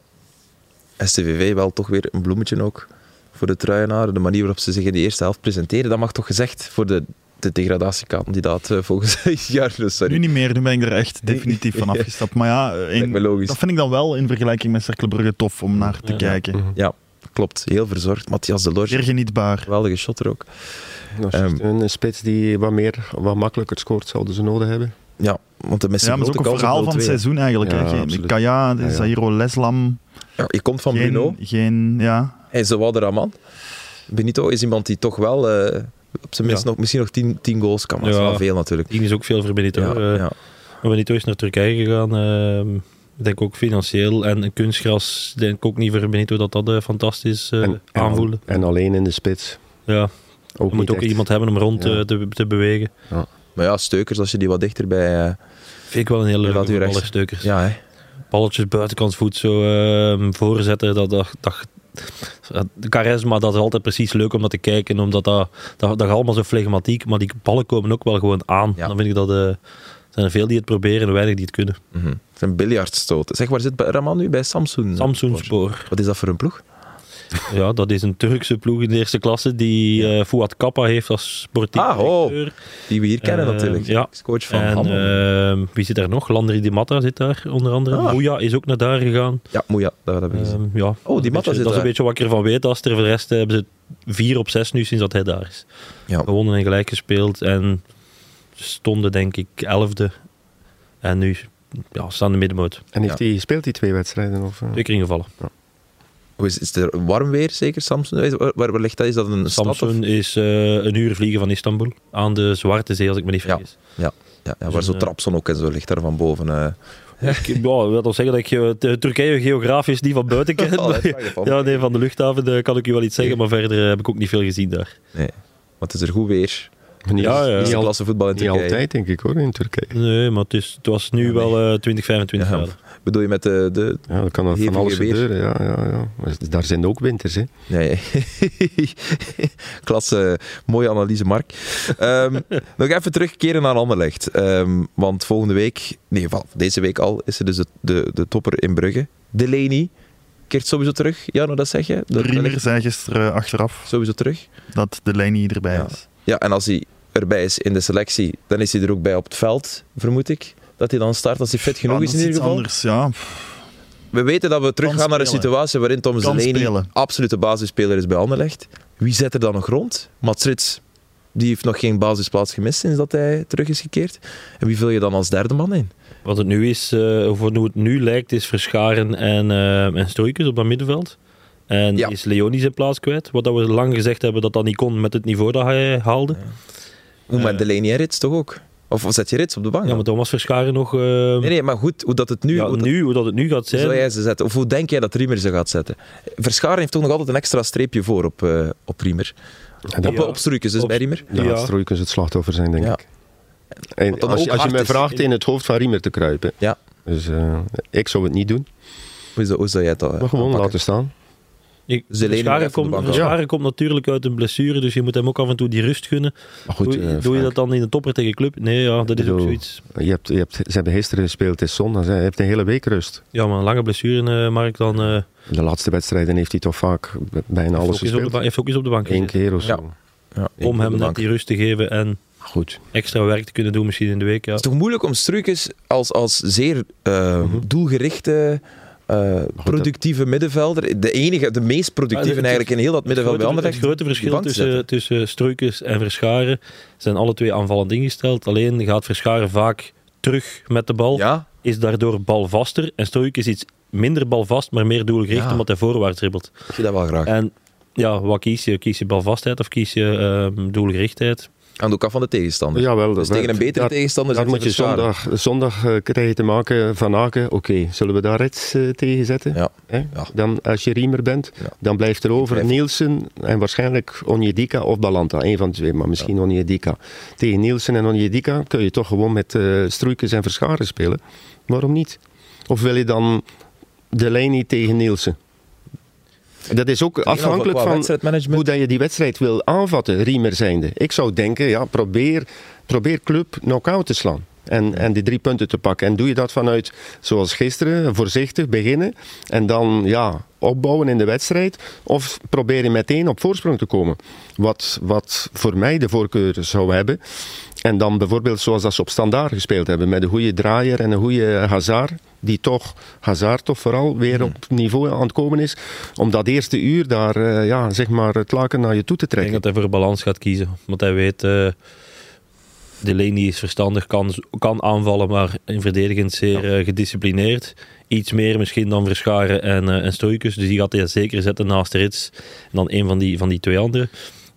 Speaker 1: STVV wel toch weer een bloemetje ook voor de truienaren. De manier waarop ze zich in de eerste helft presenteren, dat mag toch gezegd voor de, de degradatiekandidaat eh, volgens Jarno, sorry.
Speaker 4: Nu niet meer, nu ben ik er echt definitief van afgestapt. Maar ja, eh, in-
Speaker 1: Lijkt me logisch.
Speaker 4: dat vind ik dan wel in vergelijking met Cercle Brugge tof om naar te
Speaker 2: Ja.
Speaker 4: kijken.
Speaker 1: Ja, klopt. Heel verzorgd. Matthias de Lorge,
Speaker 4: Zeer genietbaar.
Speaker 1: geweldige shotter ook.
Speaker 3: Dat is juist
Speaker 1: Ehm.
Speaker 3: een spits die wat meer, wat makkelijker scoort, zouden ze nodig hebben.
Speaker 1: Ja, want de missen
Speaker 4: Ja, maar het is ook een verhaal van het seizoen eigenlijk.
Speaker 3: Ja,
Speaker 4: hè. Geen-
Speaker 3: absoluut.
Speaker 4: Kaya,
Speaker 3: Ja, ja.
Speaker 4: Zairo Leslam.
Speaker 1: Ja, je komt van Bruno.
Speaker 4: Geen, geen, ja.
Speaker 1: Hij is de Raman. Benito is iemand die toch wel eh, op zijn minst
Speaker 2: Ja.
Speaker 1: nog, misschien nog tien, tien goals kan maken.
Speaker 2: Ja.
Speaker 1: Dat is wel veel natuurlijk.
Speaker 2: Die is ook veel voor Benito.
Speaker 1: Ja,
Speaker 2: hoor. Eh,
Speaker 1: ja.
Speaker 2: Maar Benito is naar Turkije gegaan. ehm, ik denk ook financieel. En een kunstgras, denk ik ook niet voor Benito dat dat eh, fantastisch eh, aanvoelde.
Speaker 3: En alleen in de spits.
Speaker 2: Ja,
Speaker 3: Ook
Speaker 2: je moet
Speaker 3: niet
Speaker 2: ook
Speaker 3: echt.
Speaker 2: iemand hebben om rond
Speaker 3: Ja.
Speaker 2: eh, te, te bewegen.
Speaker 1: Maar ja, Steukers, als je die wat dichter bij... eh,
Speaker 2: Vind ik wel een hele
Speaker 1: Ja, dat u
Speaker 2: leuke
Speaker 1: recht-
Speaker 2: ballerstukkers.
Speaker 1: ja, hè.
Speaker 2: Balletjes buitenkant voet zo ehm, voorzetten. Dat, dat, dat, de charisma, dat is altijd precies leuk om naar te kijken. Omdat dat, dat, dat is allemaal zo flegmatiek. Maar die ballen komen ook wel gewoon aan.
Speaker 1: Ja.
Speaker 2: Dan vind ik dat... eh, er zijn er veel die het proberen en weinig die het kunnen.
Speaker 1: Mhm. Het zijn biljartstoten. Zeg, waar zit Raman nu? Bij Samsung?
Speaker 2: Samsung Spoor.
Speaker 1: Wat is dat voor een ploeg?
Speaker 2: Ja, dat is een Turkse ploeg in de eerste klasse die eh, Fouad Kappa heeft als sportief
Speaker 1: Ah, ho.
Speaker 2: directeur.
Speaker 1: Die we hier kennen
Speaker 2: Eh,
Speaker 1: natuurlijk.
Speaker 2: ja.
Speaker 1: Is coach van
Speaker 2: en
Speaker 1: Hammel.
Speaker 2: ehm, wie zit daar nog? Landry Di Matta zit daar onder andere.
Speaker 1: Ah.
Speaker 2: Mouya is ook naar daar gegaan.
Speaker 1: ja, Moeja, dat heb ik gezien.
Speaker 2: Ehm, ja.
Speaker 1: Oh, Matta
Speaker 2: Dat is een beetje-
Speaker 1: zit
Speaker 2: Dat is
Speaker 1: daar.
Speaker 2: een beetje wat ik ervan weet. Als er voor de rest eh, hebben ze vier op zes nu sinds dat hij daar is.
Speaker 1: Ja.
Speaker 2: Gewonnen en gelijk gespeeld en stonden denk ik elfde. En nu ja, staan de middenmoot.
Speaker 3: En heeft
Speaker 1: Ja.
Speaker 3: hij gespeeld die twee wedstrijden? Of, eh?
Speaker 2: Zeker ingevallen.
Speaker 1: Hoe is, is er warm weer zeker, Samsung? Waar, waar ligt dat? Is dat een stad? of-
Speaker 2: Samsung is eh, een uur vliegen van Istanbul. Aan de Zwarte Zee, als ik me niet
Speaker 1: Ja.
Speaker 2: vergis.
Speaker 1: Ja, ja,
Speaker 2: is
Speaker 1: waar
Speaker 2: een,
Speaker 1: zo
Speaker 2: eh,
Speaker 1: Trapson ook en zo ligt daar van boven. eh.
Speaker 2: Ik, ja, wil toch zeggen dat ik eh, Tur- Turkije geografisch niet van buiten
Speaker 1: Oh,
Speaker 2: ken.
Speaker 1: daar
Speaker 2: maar-
Speaker 1: vraag je van.
Speaker 2: ja, nee, van de luchthaven eh, kan ik u wel iets zeggen, maar verder eh, heb ik ook niet veel gezien daar.
Speaker 1: Nee. Want het is er goed weer.
Speaker 3: Niet-
Speaker 2: ja, ja.
Speaker 1: Is
Speaker 3: Eh, Niet,
Speaker 1: de
Speaker 3: al-
Speaker 1: klasse voetbal in
Speaker 3: niet
Speaker 1: Turkije.
Speaker 3: altijd, denk ik hoor, in Turkije.
Speaker 2: Nee, maar het, is, het was nu
Speaker 1: Ja, nee.
Speaker 2: wel eh 20, 25
Speaker 1: Ja.
Speaker 2: graden.
Speaker 1: Bedoel je met de... de
Speaker 3: Ja, dan kan dat van
Speaker 1: Hevige
Speaker 3: alles
Speaker 1: weer.
Speaker 3: gebeuren. Ja, ja, ja. Maar daar zijn ook winters, hè.
Speaker 1: nee. klasse. Mooie analyse, Mark. Ehm, nog even terugkeren naar Anderlecht. Ehm, want volgende week... Nee, van deze week al is er dus de, de, de topper in Brugge. Delaney keert sowieso terug. Jano, dat zeg je? Dat- Dat,
Speaker 4: Riemer
Speaker 1: ligt
Speaker 4: zei gisteren achteraf
Speaker 1: sowieso terug.
Speaker 4: dat de lijn niet erbij
Speaker 1: Ja.
Speaker 4: is.
Speaker 1: Ja, en als hij erbij is in de selectie, dan is hij er ook bij op het veld, vermoed ik. Dat hij dan start als hij fit genoeg
Speaker 4: Ja,
Speaker 1: is
Speaker 4: dat
Speaker 1: in ieder
Speaker 4: iets
Speaker 1: geval.
Speaker 4: anders, ja.
Speaker 1: We weten dat we teruggaan naar een
Speaker 4: spelen.
Speaker 1: situatie waarin Tom
Speaker 4: Kan
Speaker 1: Zeleni
Speaker 4: spelen.
Speaker 1: absolute basisspeler is bij Anderlecht. Wie zet er dan nog rond? Mats Rits, die heeft nog geen basisplaats gemist sinds dat hij terug is gekeerd. En wie vul je dan als derde man in?
Speaker 2: Wat het nu is, eh, of hoe het nu lijkt, is Verscharen en, eh en Strooikens op dat middenveld. En
Speaker 1: Ja.
Speaker 2: is Leonie zijn plaats kwijt. Wat dat we lang gezegd hebben dat dat niet kon met het niveau dat hij haalde.
Speaker 1: Hoe maar
Speaker 2: Eh.
Speaker 1: Delaney en Rits toch ook? Of zet je Rits op de bank?
Speaker 2: Ja, maar dan was Verscharen nog... eh,
Speaker 1: Nee, nee, maar goed, hoe dat het nu...
Speaker 2: ja,
Speaker 1: hoe dat-
Speaker 2: nu, hoe dat het nu gaat zijn.
Speaker 1: Zou jij ze zetten? Of hoe denk jij dat Riemer ze gaat zetten? Verscharen heeft toch nog altijd een extra streepje voor op, eh, op Riemer.
Speaker 3: Ja.
Speaker 1: Op, op Struikens, dus
Speaker 2: eh, Op-
Speaker 1: bij Riemer.
Speaker 3: Ja,
Speaker 2: Ja.
Speaker 3: Strooikens het slachtoffer zijn, denk
Speaker 1: Ja.
Speaker 3: ik. En
Speaker 1: Wat dan
Speaker 3: als,
Speaker 1: ook
Speaker 3: je, als je
Speaker 1: hard
Speaker 3: mij
Speaker 1: is.
Speaker 3: vraagt in het hoofd van Riemer te kruipen.
Speaker 1: Ja.
Speaker 3: Dus eh, ik zou het niet doen.
Speaker 1: Hoe zou, hoe zou jij het dan
Speaker 3: Maar gewoon
Speaker 1: aanpakken?
Speaker 3: laten staan.
Speaker 2: Ik,
Speaker 1: Ze lenen nog
Speaker 2: Verscharen
Speaker 1: even de
Speaker 2: komt,
Speaker 1: bank af.
Speaker 2: Verscharen komt natuurlijk uit een blessure, dus je moet hem ook af en toe die rust gunnen.
Speaker 3: Maar goed,
Speaker 2: doe,
Speaker 3: eh,
Speaker 2: doe je
Speaker 3: Frank,
Speaker 2: dat dan in de topper tegen club? Nee, ja, dat is ook
Speaker 3: bedoel-
Speaker 2: zoiets.
Speaker 3: je hebt, je hebt, ze hebben gisteren gespeeld, het is zondag. Hij heeft een hele week rust.
Speaker 2: Ja, maar een lange blessure, eh Mark, dan eh,
Speaker 3: De laatste wedstrijden heeft hij toch vaak b- bijna
Speaker 2: heeft,
Speaker 3: alles
Speaker 2: ook eens op de
Speaker 3: gespeeld.
Speaker 2: ba- heeft ook eens op de bank
Speaker 3: Eén
Speaker 2: gezeten.
Speaker 3: keer of zo.
Speaker 1: Ja. Ja.
Speaker 3: Eén
Speaker 2: Om
Speaker 3: keer op
Speaker 2: hem
Speaker 3: de
Speaker 2: net
Speaker 3: bank.
Speaker 2: die rust te geven en
Speaker 3: Goed.
Speaker 2: extra werk te kunnen doen misschien in de week. Ja.
Speaker 1: Het is toch moeilijk om Struikens als, als zeer eh, doelgerichte, eh,
Speaker 3: Mhm. dat-
Speaker 1: productieve middenvelder, de enige, de meest productieve
Speaker 2: Maar het-
Speaker 1: eigenlijk in heel dat
Speaker 2: Het
Speaker 1: middenveld bij
Speaker 2: grote, het
Speaker 1: Anderlecht,
Speaker 2: grote
Speaker 1: op die
Speaker 2: verschil
Speaker 1: bank te
Speaker 2: tussen,
Speaker 1: zetten.
Speaker 2: tussen Struikers en Verscharen zijn alle twee aanvallend ingesteld. Alleen gaat Verscharen vaak terug met de bal,
Speaker 1: Ja,
Speaker 2: is daardoor balvaster. En Struikers is iets minder balvast, maar meer doelgericht
Speaker 1: Ja.
Speaker 2: omdat hij voorwaarts dribbelt.
Speaker 1: ik zie dat wel graag.
Speaker 2: En ja, wat kies je? Kies je balvastheid of kies je ehm, doelgerichtheid?
Speaker 1: Aan de kant van de tegenstander.
Speaker 3: Jawel,
Speaker 1: dus
Speaker 3: dat-
Speaker 1: tegen een betere
Speaker 3: dat-
Speaker 1: tegenstander
Speaker 3: Dat
Speaker 1: zit
Speaker 3: moet je
Speaker 1: het zwaarder.
Speaker 3: zondag, zondag eh, krijg je te maken van Aken. Oké, zullen we daar iets eh, tegen zetten?
Speaker 1: Ja.
Speaker 3: Hè?
Speaker 1: Ja.
Speaker 3: Dan, als je Riemer bent,
Speaker 1: Ja.
Speaker 3: dan blijft er over
Speaker 1: twijfel.
Speaker 3: Nielsen en waarschijnlijk Onjedika of Balanta. Eén van de twee, maar misschien Onjedika. Tegen Nielsen en Onjedika kun je toch gewoon met eh Stroeikens en Verscharen spelen. Waarom niet? Of wil je dan de lijn niet tegen Nielsen? Dat is ook
Speaker 1: Alleen al
Speaker 3: afhankelijk
Speaker 1: qua
Speaker 3: van
Speaker 1: wedstrijdmanagement.
Speaker 3: hoe dat je die wedstrijd wil aanvatten, Riemer zijnde. Ik zou denken, ja, probeer, probeer club knock-out te slaan. En, en die drie punten te pakken. En doe je dat vanuit, zoals gisteren, voorzichtig beginnen. En dan ja, opbouwen in de wedstrijd. Of probeer je meteen op voorsprong te komen. Wat, wat voor mij de voorkeur zou hebben. En dan bijvoorbeeld zoals dat ze op standaard gespeeld hebben. Met een goede draaier en een goede Hazard. Die toch, Hazard toch vooral, weer op niveau aan het komen is. Om dat eerste uur daar eh, ja, zeg maar het laken naar je toe te
Speaker 2: Ik denk
Speaker 3: trekken.
Speaker 2: dat hij voor balans gaat kiezen. Want hij weet, eh de Leni is verstandig, kan, kan aanvallen, maar in verdedigend zeer eh, gedisciplineerd. Iets meer misschien dan Verscharen en, eh en Stoikus. Dus die gaat hij zeker zetten naast de rits. En dan een van die, van die twee anderen.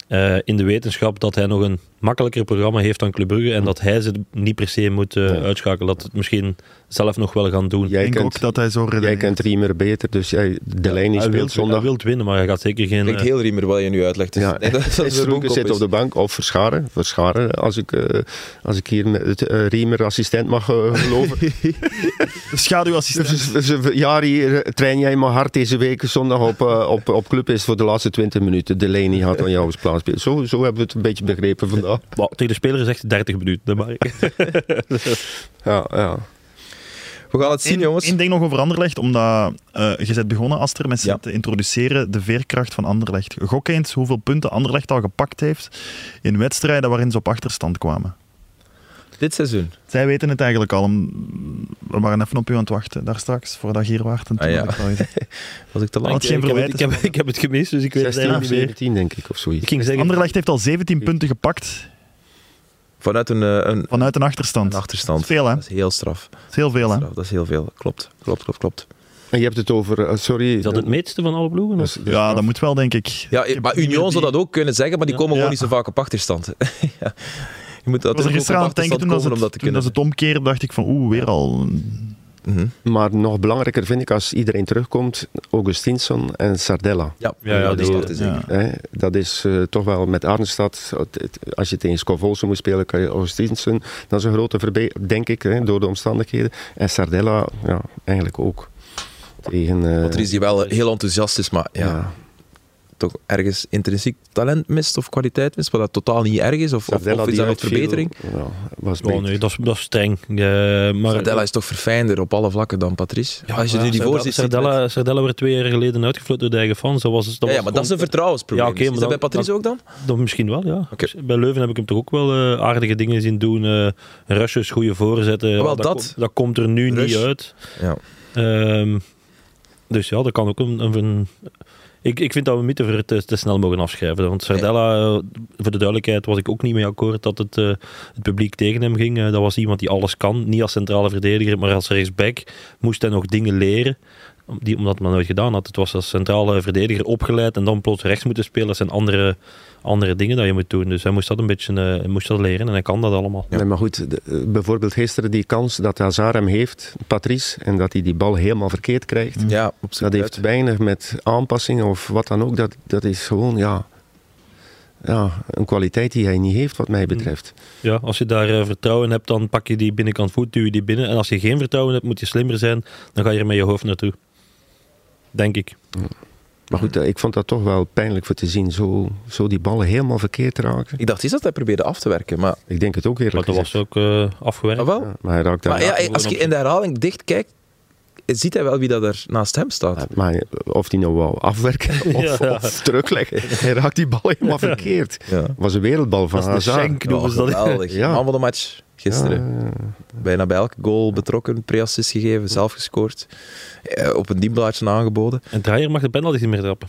Speaker 2: Eh, in de wetenschap dat hij nog een makkelijker programma heeft dan Club Brugge. En dat hij ze niet per se moet eh, uitschakelen. Dat het misschien zelf nog wel gaan doen.
Speaker 3: Jij
Speaker 4: Ik denk ook
Speaker 3: kent,
Speaker 4: dat hij zo
Speaker 3: jij
Speaker 4: redeneert.
Speaker 3: kent Riemer beter, dus jij, de lijn die
Speaker 2: hij wil
Speaker 3: speelt zondag.
Speaker 2: winnen, maar hij gaat zeker geen...
Speaker 1: Klinkt
Speaker 2: eh,
Speaker 1: heel riemer wat je nu uitlegt. Dus
Speaker 3: Ja,
Speaker 1: nee, dat, dat
Speaker 3: en
Speaker 1: is de
Speaker 3: Stroeken
Speaker 1: boekkop
Speaker 3: zit
Speaker 1: is.
Speaker 3: op de bank of verscharen. Verscharen, als ik, eh, als ik hier met het eh, Riemer assistent mag eh, geloven.
Speaker 4: De schaduwassistent.
Speaker 2: Dus
Speaker 3: Z- z- Dus, Jari, eh, train jij maar hard deze week zondag op, eh, op, op club is voor de laatste 20 minuten. De Leni had aan jou plaats. Zo, zo hebben we het een beetje begrepen vandaag.
Speaker 2: Wow, tegen de speler is echt 30 minuten. dat mag ik.
Speaker 3: Ja, ja.
Speaker 1: We gaan het zien,
Speaker 4: Eén-
Speaker 1: jongens.
Speaker 4: één ding nog over Anderlecht, omdat eh, je bent begonnen, Aster, met
Speaker 1: Ja.
Speaker 4: te introduceren de veerkracht van Anderlecht. Gok eens hoeveel punten Anderlecht al gepakt heeft in wedstrijden waarin ze op achterstand kwamen.
Speaker 1: Dit seizoen.
Speaker 4: Zij weten het eigenlijk al. om- We waren even op u aan het wachten, daar straks, voordat je hier waart. En toen
Speaker 1: Ah, ja.
Speaker 4: had ik al gezegd.
Speaker 1: Was ik te lang?
Speaker 4: Had geen
Speaker 2: ik, heb het,
Speaker 4: verwijten.
Speaker 2: ik, heb, ik heb het gemist, dus ik weet het
Speaker 3: 16,
Speaker 2: eigenlijk niet meer.
Speaker 3: 17 denk ik of zoiets.
Speaker 2: Ik ging zeggen,
Speaker 4: Anderlecht heeft al 17 punten gepakt
Speaker 1: Vanuit een, eh, een,
Speaker 4: vanuit een achterstand.
Speaker 1: een
Speaker 4: Dat
Speaker 1: achterstand.
Speaker 4: is veel, hè?
Speaker 1: Dat
Speaker 4: Dat
Speaker 1: is heel straf.
Speaker 4: is heel veel, hè?
Speaker 1: Straf, Dat is heel veel. Klopt, klopt, klopt, klopt.
Speaker 3: En je hebt het over, eh, sorry.
Speaker 2: is dat het meeste van alle ploegen?
Speaker 3: Dus-
Speaker 2: of?
Speaker 3: dus-
Speaker 4: Ja, dat moet wel, denk ik.
Speaker 1: Ja, eh,
Speaker 4: Ik heb
Speaker 1: maar
Speaker 4: niet
Speaker 1: Union
Speaker 4: meer
Speaker 1: zou
Speaker 4: die-
Speaker 1: dat ook kunnen zeggen, maar die komen
Speaker 4: Ja.
Speaker 1: gewoon niet zo vaak op achterstand. Ja. Je moet
Speaker 4: Ik was er
Speaker 1: natuurlijk ook
Speaker 4: gisteren
Speaker 1: op
Speaker 4: aan het denken,
Speaker 1: achterstand
Speaker 4: toen als
Speaker 1: komen om dat
Speaker 4: het,
Speaker 1: te
Speaker 4: toen als
Speaker 1: kunnen.
Speaker 4: het omkeerde, dacht ik van oeh, weer al.
Speaker 1: Mhm.
Speaker 3: Maar nog belangrijker vind ik als iedereen terugkomt, Augustinsson en Sardella.
Speaker 1: Ja,
Speaker 2: Ja, ja,
Speaker 1: dat is
Speaker 2: die-
Speaker 1: waar, dat is
Speaker 4: Ja.
Speaker 1: zeker.
Speaker 3: Hè, dat is eh, toch wel met Arnstad. het- het- Als je tegen Scovolsen moet spelen, kan je Austinsen. Dat is een grote verbetering, denk ik, hè, door de omstandigheden. En Sardella, ja, eigenlijk ook. Tegen. eh,
Speaker 1: Patrice die wel heel enthousiast is, maar ja, toch ergens intrinsiek talent mist of kwaliteit mist, wat dat totaal niet erg is, of, of,
Speaker 3: Sardella
Speaker 1: of is
Speaker 3: die
Speaker 1: dat nog
Speaker 3: uitviel,
Speaker 1: verbetering?
Speaker 3: Ja, was
Speaker 2: Oh,
Speaker 3: beter.
Speaker 2: nee, dat, is, dat is streng. Eh, maar
Speaker 1: Sardella is toch verfijnder op alle vlakken dan Patrice? Als je nu die
Speaker 2: Sardella-
Speaker 1: voorziet... ziet met-
Speaker 2: Sardella, Sardella werd twee jaar geleden uitgefloten door de eigen fans. Dat was, dat
Speaker 1: Ja,
Speaker 2: was
Speaker 1: ja, maar dat is een
Speaker 2: gewoon-
Speaker 1: vertrouwensprobleem.
Speaker 2: Ja, oké, maar
Speaker 1: is dat bij
Speaker 2: dan-
Speaker 1: Patrice ook dan?
Speaker 2: dat Misschien wel, ja.
Speaker 1: Oké.
Speaker 2: Bij Leuven heb ik hem toch ook wel eh, aardige dingen zien doen. eh rushes, goede voorzetten.
Speaker 1: wel, dat.
Speaker 2: komt- dat komt er nu
Speaker 1: Rush.
Speaker 2: niet uit.
Speaker 1: Ja.
Speaker 2: Ehm, dus ja, dat kan ook een... een- een- ik, ik vind dat we mythe voor eh, te, te snel mogen afschrijven. Want Sardella, eh, voor de duidelijkheid, was ik ook niet mee akkoord dat het, eh, het publiek tegen hem ging. Eh, dat was iemand die alles kan. Niet als centrale verdediger, maar als rechtsback moest hij nog dingen leren. om- Die, omdat men nooit gedaan had. Het was als centrale verdediger opgeleid en dan plots rechts moeten spelen. Dat zijn andere, andere dingen dat je moet doen. Dus hij moest dat een beetje eh, hij moest dat leren en hij kan dat allemaal.
Speaker 1: Ja.
Speaker 3: Nee, maar goed, de- eh, bijvoorbeeld gisteren die kans dat Hazard hem heeft, Patrice, en dat hij die bal helemaal verkeerd krijgt.
Speaker 1: Ja, op zich
Speaker 3: Dat heeft
Speaker 1: Mm. uit.
Speaker 3: weinig met aanpassingen of wat dan ook. Dat, dat is gewoon, ja, ja, een kwaliteit die hij niet heeft, wat mij
Speaker 1: Mm.
Speaker 3: betreft.
Speaker 2: Ja, als je daar eh, vertrouwen in hebt, dan pak je die binnenkant voet, duw je die binnen. En als je geen vertrouwen hebt, moet je slimmer zijn. Dan ga je er met je hoofd naartoe. Denk ik.
Speaker 3: Maar goed, eh, ik vond dat toch wel pijnlijk voor te zien. Zo, zo die ballen helemaal verkeerd raken.
Speaker 1: Ik dacht is dat hij probeerde af te werken, maar,
Speaker 3: Ik denk het ook
Speaker 2: Maar
Speaker 3: eerlijk
Speaker 2: dat was ook
Speaker 3: gezegd.
Speaker 2: eh, afgewerkt.
Speaker 1: Ah, wel.
Speaker 3: Ja, maar hij raakt daar.
Speaker 1: maar ja,
Speaker 2: ja,
Speaker 1: als je in de herhaling dicht kijkt, ziet hij wel wie dat er naast hem staat.
Speaker 3: Maar of die nou wou afwerken of,
Speaker 2: Ja, ja.
Speaker 3: of terugleggen. Hij raakt die bal helemaal verkeerd.
Speaker 1: Ja.
Speaker 3: was een wereldbal van
Speaker 2: Dat is de
Speaker 3: Hazard.
Speaker 2: schenk noemen ze dat.
Speaker 1: geweldig.
Speaker 3: Ja.
Speaker 1: Man van de match gisteren. Bijna bij elke goal betrokken, pre-assist gegeven, zelf gescoord. Eh, op een dienblaadje aangeboden.
Speaker 2: En Draaier mag de penalty niet meer trappen.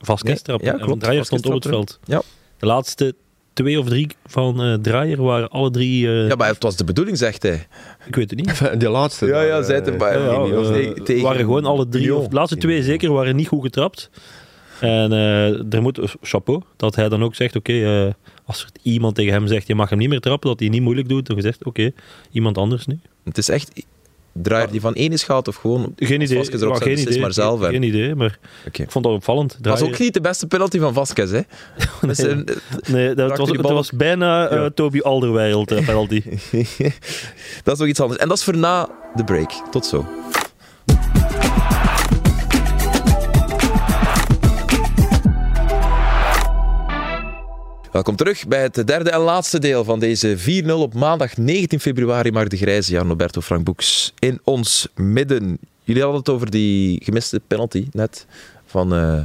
Speaker 2: Vasquez
Speaker 1: Nee,
Speaker 2: trappen.
Speaker 1: ja,
Speaker 2: En
Speaker 1: klopt,
Speaker 2: Draaier
Speaker 1: Vasquez
Speaker 2: stond op het veld.
Speaker 1: Ja.
Speaker 2: De laatste twee of drie van eh Draaier waren alle drie... eh,
Speaker 1: Ja, maar het was de bedoeling, zegt hij.
Speaker 2: Ik weet het niet.
Speaker 3: De laatste.
Speaker 1: Ja,
Speaker 3: daar,
Speaker 1: ja,
Speaker 3: eh,
Speaker 1: zei het erbij.
Speaker 2: Ja, ja,
Speaker 1: Nee, nee,
Speaker 2: eh,
Speaker 1: nee, tegen
Speaker 2: waren gewoon alle drie.
Speaker 1: Lyon.
Speaker 2: Of, de laatste twee zeker waren niet goed getrapt. En eh, er moet, chapeau, dat hij dan ook zegt, oké, eh, als er iemand tegen hem zegt, je mag hem niet meer trappen, dat hij niet moeilijk doet, dan zegt, oké, iemand anders nu.
Speaker 1: Het is echt... Draaier die van één is gaat of gewoon...
Speaker 2: Geen idee.
Speaker 1: Vasquez erop
Speaker 2: maar
Speaker 1: zet,
Speaker 2: geen
Speaker 1: beslist
Speaker 2: idee.
Speaker 1: maar zelf. hè.
Speaker 2: Geen idee, maar
Speaker 1: Oké.
Speaker 2: ik vond dat opvallend.
Speaker 1: Dat
Speaker 2: Draaier-
Speaker 1: was ook niet de beste penalty van Vasquez, hè? Dat is een-
Speaker 2: Nee, dat
Speaker 1: Raakte
Speaker 2: was,
Speaker 1: die
Speaker 2: dat
Speaker 1: bal
Speaker 2: was bijna eh
Speaker 1: Ja.
Speaker 2: Toby Alderweireld eh, penalty.
Speaker 1: dat is nog iets anders. En dat is voor na de break. Tot zo. Welkom terug bij het derde en laatste deel van deze 4-0 op maandag 19 februari. Mark de Grijze, Jan Roberto Frank Boeks in ons midden. Jullie hadden het over die gemiste penalty net van eh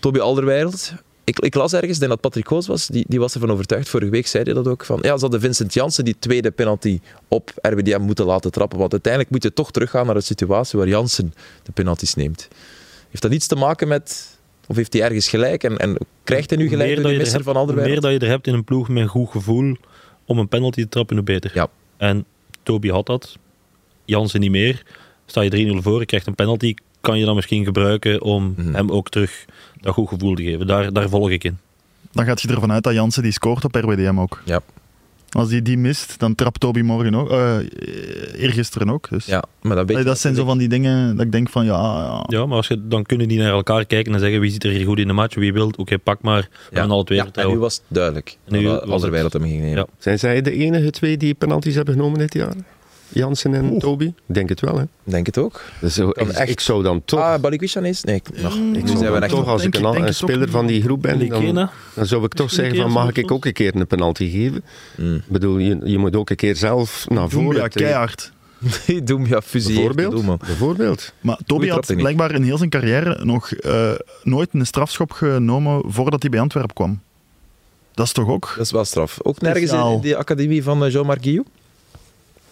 Speaker 1: Toby Alderweireld. Ik, ik las ergens, ik denk dat Patrick Koos was, die, die was ervan overtuigd. Vorige week zei hij dat ook. Van, ja, ze hadden Vincent Jansen die tweede penalty op RWDM moeten laten trappen. Want uiteindelijk moet je toch teruggaan naar de situatie waar Jansen de penalties neemt. Heeft dat iets te maken met... Of heeft hij ergens gelijk? En, en krijgt hij nu gelijk
Speaker 2: Meer
Speaker 1: door
Speaker 2: dat
Speaker 1: die
Speaker 2: je er
Speaker 1: misser
Speaker 2: hebt-
Speaker 1: van Alderweireld?
Speaker 2: Meer dat je er hebt in een ploeg met een goed gevoel om een penalty te trappen, hoe beter.
Speaker 1: Ja.
Speaker 2: En Toby had dat. Jansen niet meer. Sta je 3-0 voor, je krijgt een penalty. Kan je dan misschien gebruiken om
Speaker 1: Mhm.
Speaker 2: hem ook terug dat goed gevoel te geven? Daar, daar volg ik in.
Speaker 4: Dan gaat je ervan uit dat Jansen die scoort op RWDM ook.
Speaker 1: Ja.
Speaker 4: Als hij die mist, dan trapt Toby morgen ook. eh eergisteren ook. Dus.
Speaker 1: Ja, maar dat weet
Speaker 4: Allee,
Speaker 1: je
Speaker 4: dat zijn zo van die dingen dat ik denk van ja, ja.
Speaker 2: Ja, maar als je, dan kunnen die naar elkaar kijken en zeggen wie zit er hier goed in de match, wie wilt. Oké, pak maar. We
Speaker 1: Ja.
Speaker 2: gaan alle twee
Speaker 1: Ja, en nu
Speaker 2: vertrouwen.
Speaker 1: was het duidelijk.
Speaker 2: Nu
Speaker 1: dat
Speaker 2: was het-
Speaker 1: Alderweireld hem ging nemen.
Speaker 2: Ja.
Speaker 3: Zijn zij de enige twee die penalties hebben genomen dit jaar? Jansen en
Speaker 4: Oeh.
Speaker 3: Toby? Ik Denk het wel, hè?
Speaker 1: Denk het ook.
Speaker 3: Dus zo,
Speaker 1: Kan
Speaker 3: ik,
Speaker 1: echt.
Speaker 3: ik zou dan toch...
Speaker 1: Ah, Balikwishan is? Nee, ik- nog.
Speaker 4: Mm,
Speaker 1: nu
Speaker 3: ik zou
Speaker 1: zijn we
Speaker 3: dan
Speaker 1: echt
Speaker 3: toch, als
Speaker 4: Denk
Speaker 3: ik
Speaker 4: ik-
Speaker 3: een,
Speaker 4: denk
Speaker 3: een
Speaker 4: het ook
Speaker 3: speler van die groep ben, dan,
Speaker 2: Likena?
Speaker 3: dan zou ik toch
Speaker 2: Misschien
Speaker 3: zeggen van
Speaker 2: een keer
Speaker 3: mag
Speaker 2: zo'n
Speaker 3: ik ook een keer een penalty geven?
Speaker 1: Mm.
Speaker 3: Ik bedoel, je, je moet ook een keer zelf naar voren
Speaker 4: ja,
Speaker 3: treden.
Speaker 4: keihard.
Speaker 1: Die Doumbia fusilleert de
Speaker 3: Bijvoorbeeld.
Speaker 1: doelman.
Speaker 3: Bijvoorbeeld.
Speaker 4: Maar Toby
Speaker 1: trap,
Speaker 4: had
Speaker 1: denk ik.
Speaker 4: blijkbaar in heel zijn carrière nog eh, nooit een strafschop genomen voordat hij bij Antwerpen kwam. Dat is toch ook?
Speaker 1: Dat is wel straf. Ook nergens in-
Speaker 4: Speciaal.
Speaker 1: in de academie van eh, Jean-Marc Guillou?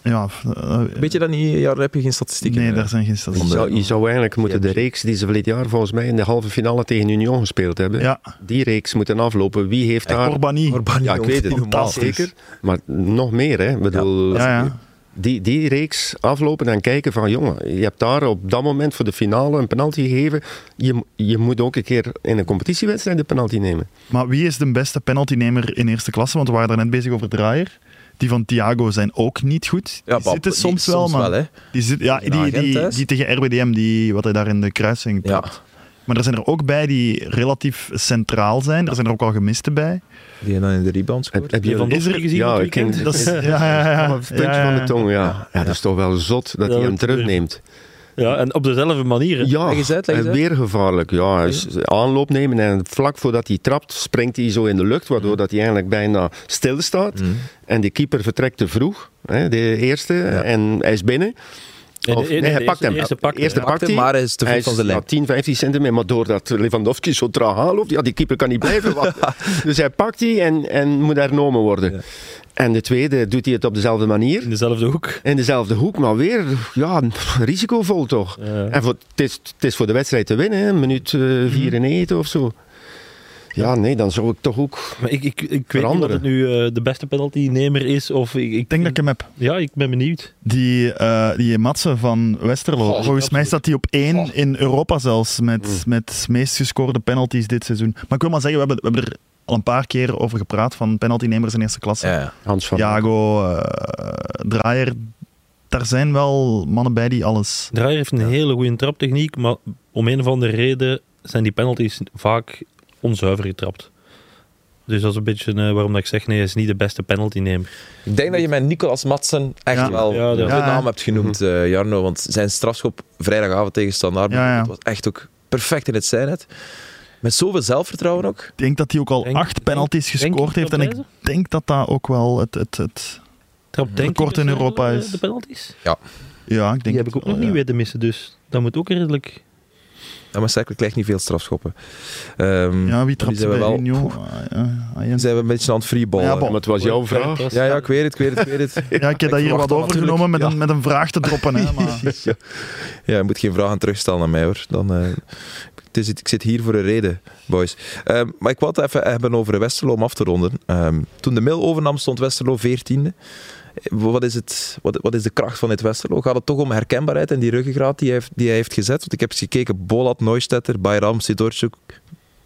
Speaker 4: Ja, eh,
Speaker 1: Weet je dat niet? Ja, daar heb je geen statistieken.
Speaker 4: nee,
Speaker 1: eh.
Speaker 4: daar zijn geen
Speaker 3: Je
Speaker 1: Om
Speaker 4: statistieken.
Speaker 1: de-
Speaker 3: zou, je zou eigenlijk moeten
Speaker 1: Ja.
Speaker 3: de reeks die ze vorig jaar volgens mij in de halve finale tegen Union gespeeld hebben,
Speaker 4: Ja,
Speaker 3: die reeks moeten aflopen. Wie heeft daar...
Speaker 4: Orbani.
Speaker 1: Orbani,
Speaker 3: Ja, ik
Speaker 1: jongen,
Speaker 3: weet het.
Speaker 1: niet normaal.
Speaker 4: Fantastisch.
Speaker 3: Zeker. Maar nog meer, hè. Ik bedoel,
Speaker 4: Ja, ja.
Speaker 3: Die, die reeks aflopen en kijken van... Jongen, je hebt daar op dat moment voor de finale een penalty gegeven. Je, mo- je moet ook een keer in een competitiewedstrijd de penalty nemen.
Speaker 4: Maar wie is de beste penaltynemer in eerste klasse? Want we waren daar net bezig over Draaier. Die van Thiago zijn ook niet goed.
Speaker 1: Ja,
Speaker 4: Die
Speaker 1: maar-
Speaker 4: zitten
Speaker 1: die-
Speaker 4: soms wel, man.
Speaker 1: hè.
Speaker 4: Die, zit, ja,
Speaker 1: Tegen
Speaker 4: die,
Speaker 1: een
Speaker 4: die,
Speaker 1: agent thuis.
Speaker 4: die, tegen RWDM, die, wat hij daar in de kruising
Speaker 1: Ja,
Speaker 4: trapt. Maar er zijn er ook bij die relatief centraal zijn. Er zijn er ook al gemiste bij.
Speaker 1: die dan in de rebound
Speaker 3: Heb,
Speaker 1: scoort.
Speaker 3: heb
Speaker 2: Heb je
Speaker 3: je
Speaker 2: Van
Speaker 4: Is
Speaker 2: Doster
Speaker 4: er-
Speaker 2: gezien
Speaker 3: ja,
Speaker 2: dit
Speaker 3: ik
Speaker 2: weekend?
Speaker 3: ging-
Speaker 4: Dat is, ja, ja, ja, ja.
Speaker 3: Op het puntje
Speaker 4: Ja, ja,
Speaker 3: van de
Speaker 4: ja.
Speaker 3: tong, ja. ja. Dat is toch wel zot dat
Speaker 2: Dat
Speaker 3: hij hem
Speaker 2: het-
Speaker 3: terugneemt.
Speaker 2: Ja, en op dezelfde manier. hè.
Speaker 3: Ja,
Speaker 1: Leg eens uit, leg eens
Speaker 3: en
Speaker 1: uit.
Speaker 3: weer gevaarlijk. Ja, hij is- aanloop nemen en vlak voordat hij trapt springt hij zo in de lucht, waardoor dat hij eigenlijk bijna stilstaat.
Speaker 1: Mm.
Speaker 3: En de keeper vertrekt te vroeg, hè, de eerste, en hij is binnen.
Speaker 2: Nee, de-
Speaker 3: Of-
Speaker 2: nee,
Speaker 3: nee, hij
Speaker 2: de
Speaker 3: pakt hem.
Speaker 2: eerste- Eerste pakt hem,
Speaker 3: Eerste
Speaker 2: ja.
Speaker 1: Pakt hem,
Speaker 3: hij.
Speaker 1: maar hij is te
Speaker 3: hij
Speaker 1: voet
Speaker 3: is
Speaker 1: van zijn
Speaker 3: ja,
Speaker 1: lijn.
Speaker 3: 10, 15 centimeter, maar doordat Lewandowski zo traag aanloopt, ja, die keeper kan niet blijven wachten. dus hij pakt die en, en moet hernomen worden.
Speaker 1: Ja.
Speaker 3: En de tweede doet hij het op dezelfde manier.
Speaker 2: In dezelfde hoek.
Speaker 3: In dezelfde hoek, maar weer ja, risicovol toch.
Speaker 2: Ja.
Speaker 3: En voor, het, is, het is voor de wedstrijd te winnen, hè. minuut eh, 94 of zo. Ja, nee, dan zou ik toch ook...
Speaker 2: Maar ik, ik, ik weet niet of
Speaker 3: Veranderen.
Speaker 2: het nu eh, de beste penaltynemer is. Of ik, ik
Speaker 4: Ik denk dat ik hem heb.
Speaker 2: Ja, ik ben benieuwd.
Speaker 4: Die, eh, die Matsen van Westerlo.
Speaker 2: Goh,
Speaker 4: Volgens mij
Speaker 2: absoluut.
Speaker 4: staat hij op één in Europa zelfs. Met, met meest gescoorde penalties dit seizoen. Maar ik wil maar zeggen, we hebben, we hebben er al een paar keer over gepraat. Van penaltynemers in eerste klasse.
Speaker 1: Ja, ja.
Speaker 3: Hans van...
Speaker 4: Thiago, eh, Draaier. Daar zijn wel mannen bij die alles.
Speaker 2: Draaier heeft een hele goede traptechniek. Maar om een of andere reden zijn die penalties vaak onzuiver getrapt. Dus dat is een beetje eh, waarom dat ik zeg: nee, hij is niet de beste penaltynemer.
Speaker 1: Ik denk dat je met Nicolas Madsen echt
Speaker 4: Ja.
Speaker 1: wel
Speaker 2: Ja, dat-
Speaker 1: de
Speaker 4: Ja, Mhm. ja.
Speaker 1: naam hebt genoemd, eh, Jarno. Want zijn strafschop vrijdagavond tegen Standaard
Speaker 4: Ja, ja.
Speaker 1: dat was echt ook perfect in het zijnet. Met zoveel zelfvertrouwen ook.
Speaker 4: Ik denk dat hij ook al
Speaker 2: Denk-
Speaker 4: acht penalties
Speaker 2: denk-
Speaker 4: gescoord
Speaker 2: denk
Speaker 4: heeft.
Speaker 2: je
Speaker 4: En ik
Speaker 2: dat
Speaker 4: denk dat dat ook wel het. het, het
Speaker 2: Trapt denk ik
Speaker 4: Record in
Speaker 2: dus wel,
Speaker 4: Europa
Speaker 2: eh,
Speaker 4: is-
Speaker 2: De penalties.
Speaker 4: ja, ik denk
Speaker 2: Die heb
Speaker 4: het
Speaker 2: ik ook
Speaker 4: wel,
Speaker 2: nog niet
Speaker 4: ja.
Speaker 2: weten missen. Dus dat moet ook redelijk.
Speaker 1: Ja, maar Cerkel krijgt niet veel strafschoppen. Ehm,
Speaker 4: Ja, wie
Speaker 1: die
Speaker 4: trapt ze
Speaker 1: zijn we
Speaker 4: bij
Speaker 1: wel-
Speaker 4: Union? Ah,
Speaker 1: dan zijn we een beetje aan het freeballen.
Speaker 4: Ja,
Speaker 1: Ja,
Speaker 4: bon.
Speaker 3: Maar het was jouw vraag.
Speaker 2: Dat is-
Speaker 1: ja, ik weet het, ik weet het, ik weet het.
Speaker 4: Ja, ik heb dat hier
Speaker 1: verwacht
Speaker 4: wat
Speaker 1: dat
Speaker 4: overgenomen met,
Speaker 1: natuurlijk,
Speaker 4: een, met een vraag te droppen. Hè, maar...
Speaker 1: Ja, je moet geen vragen terugstellen aan mij hoor. Dan, eh, het is, ik zit hier voor een reden, boys. Ehm, maar ik wil het even hebben over Westerlo om af te ronden. Ehm, toen de mail overnam stond Westerlo 14e. Wat is, het, wat, wat is de kracht van dit Westerlo? Gaat het toch om herkenbaarheid en die ruggengraat die hij, heeft- die hij heeft gezet? Want ik heb eens gekeken, Bolat, Neustetter, Bayram, Sidorchuk,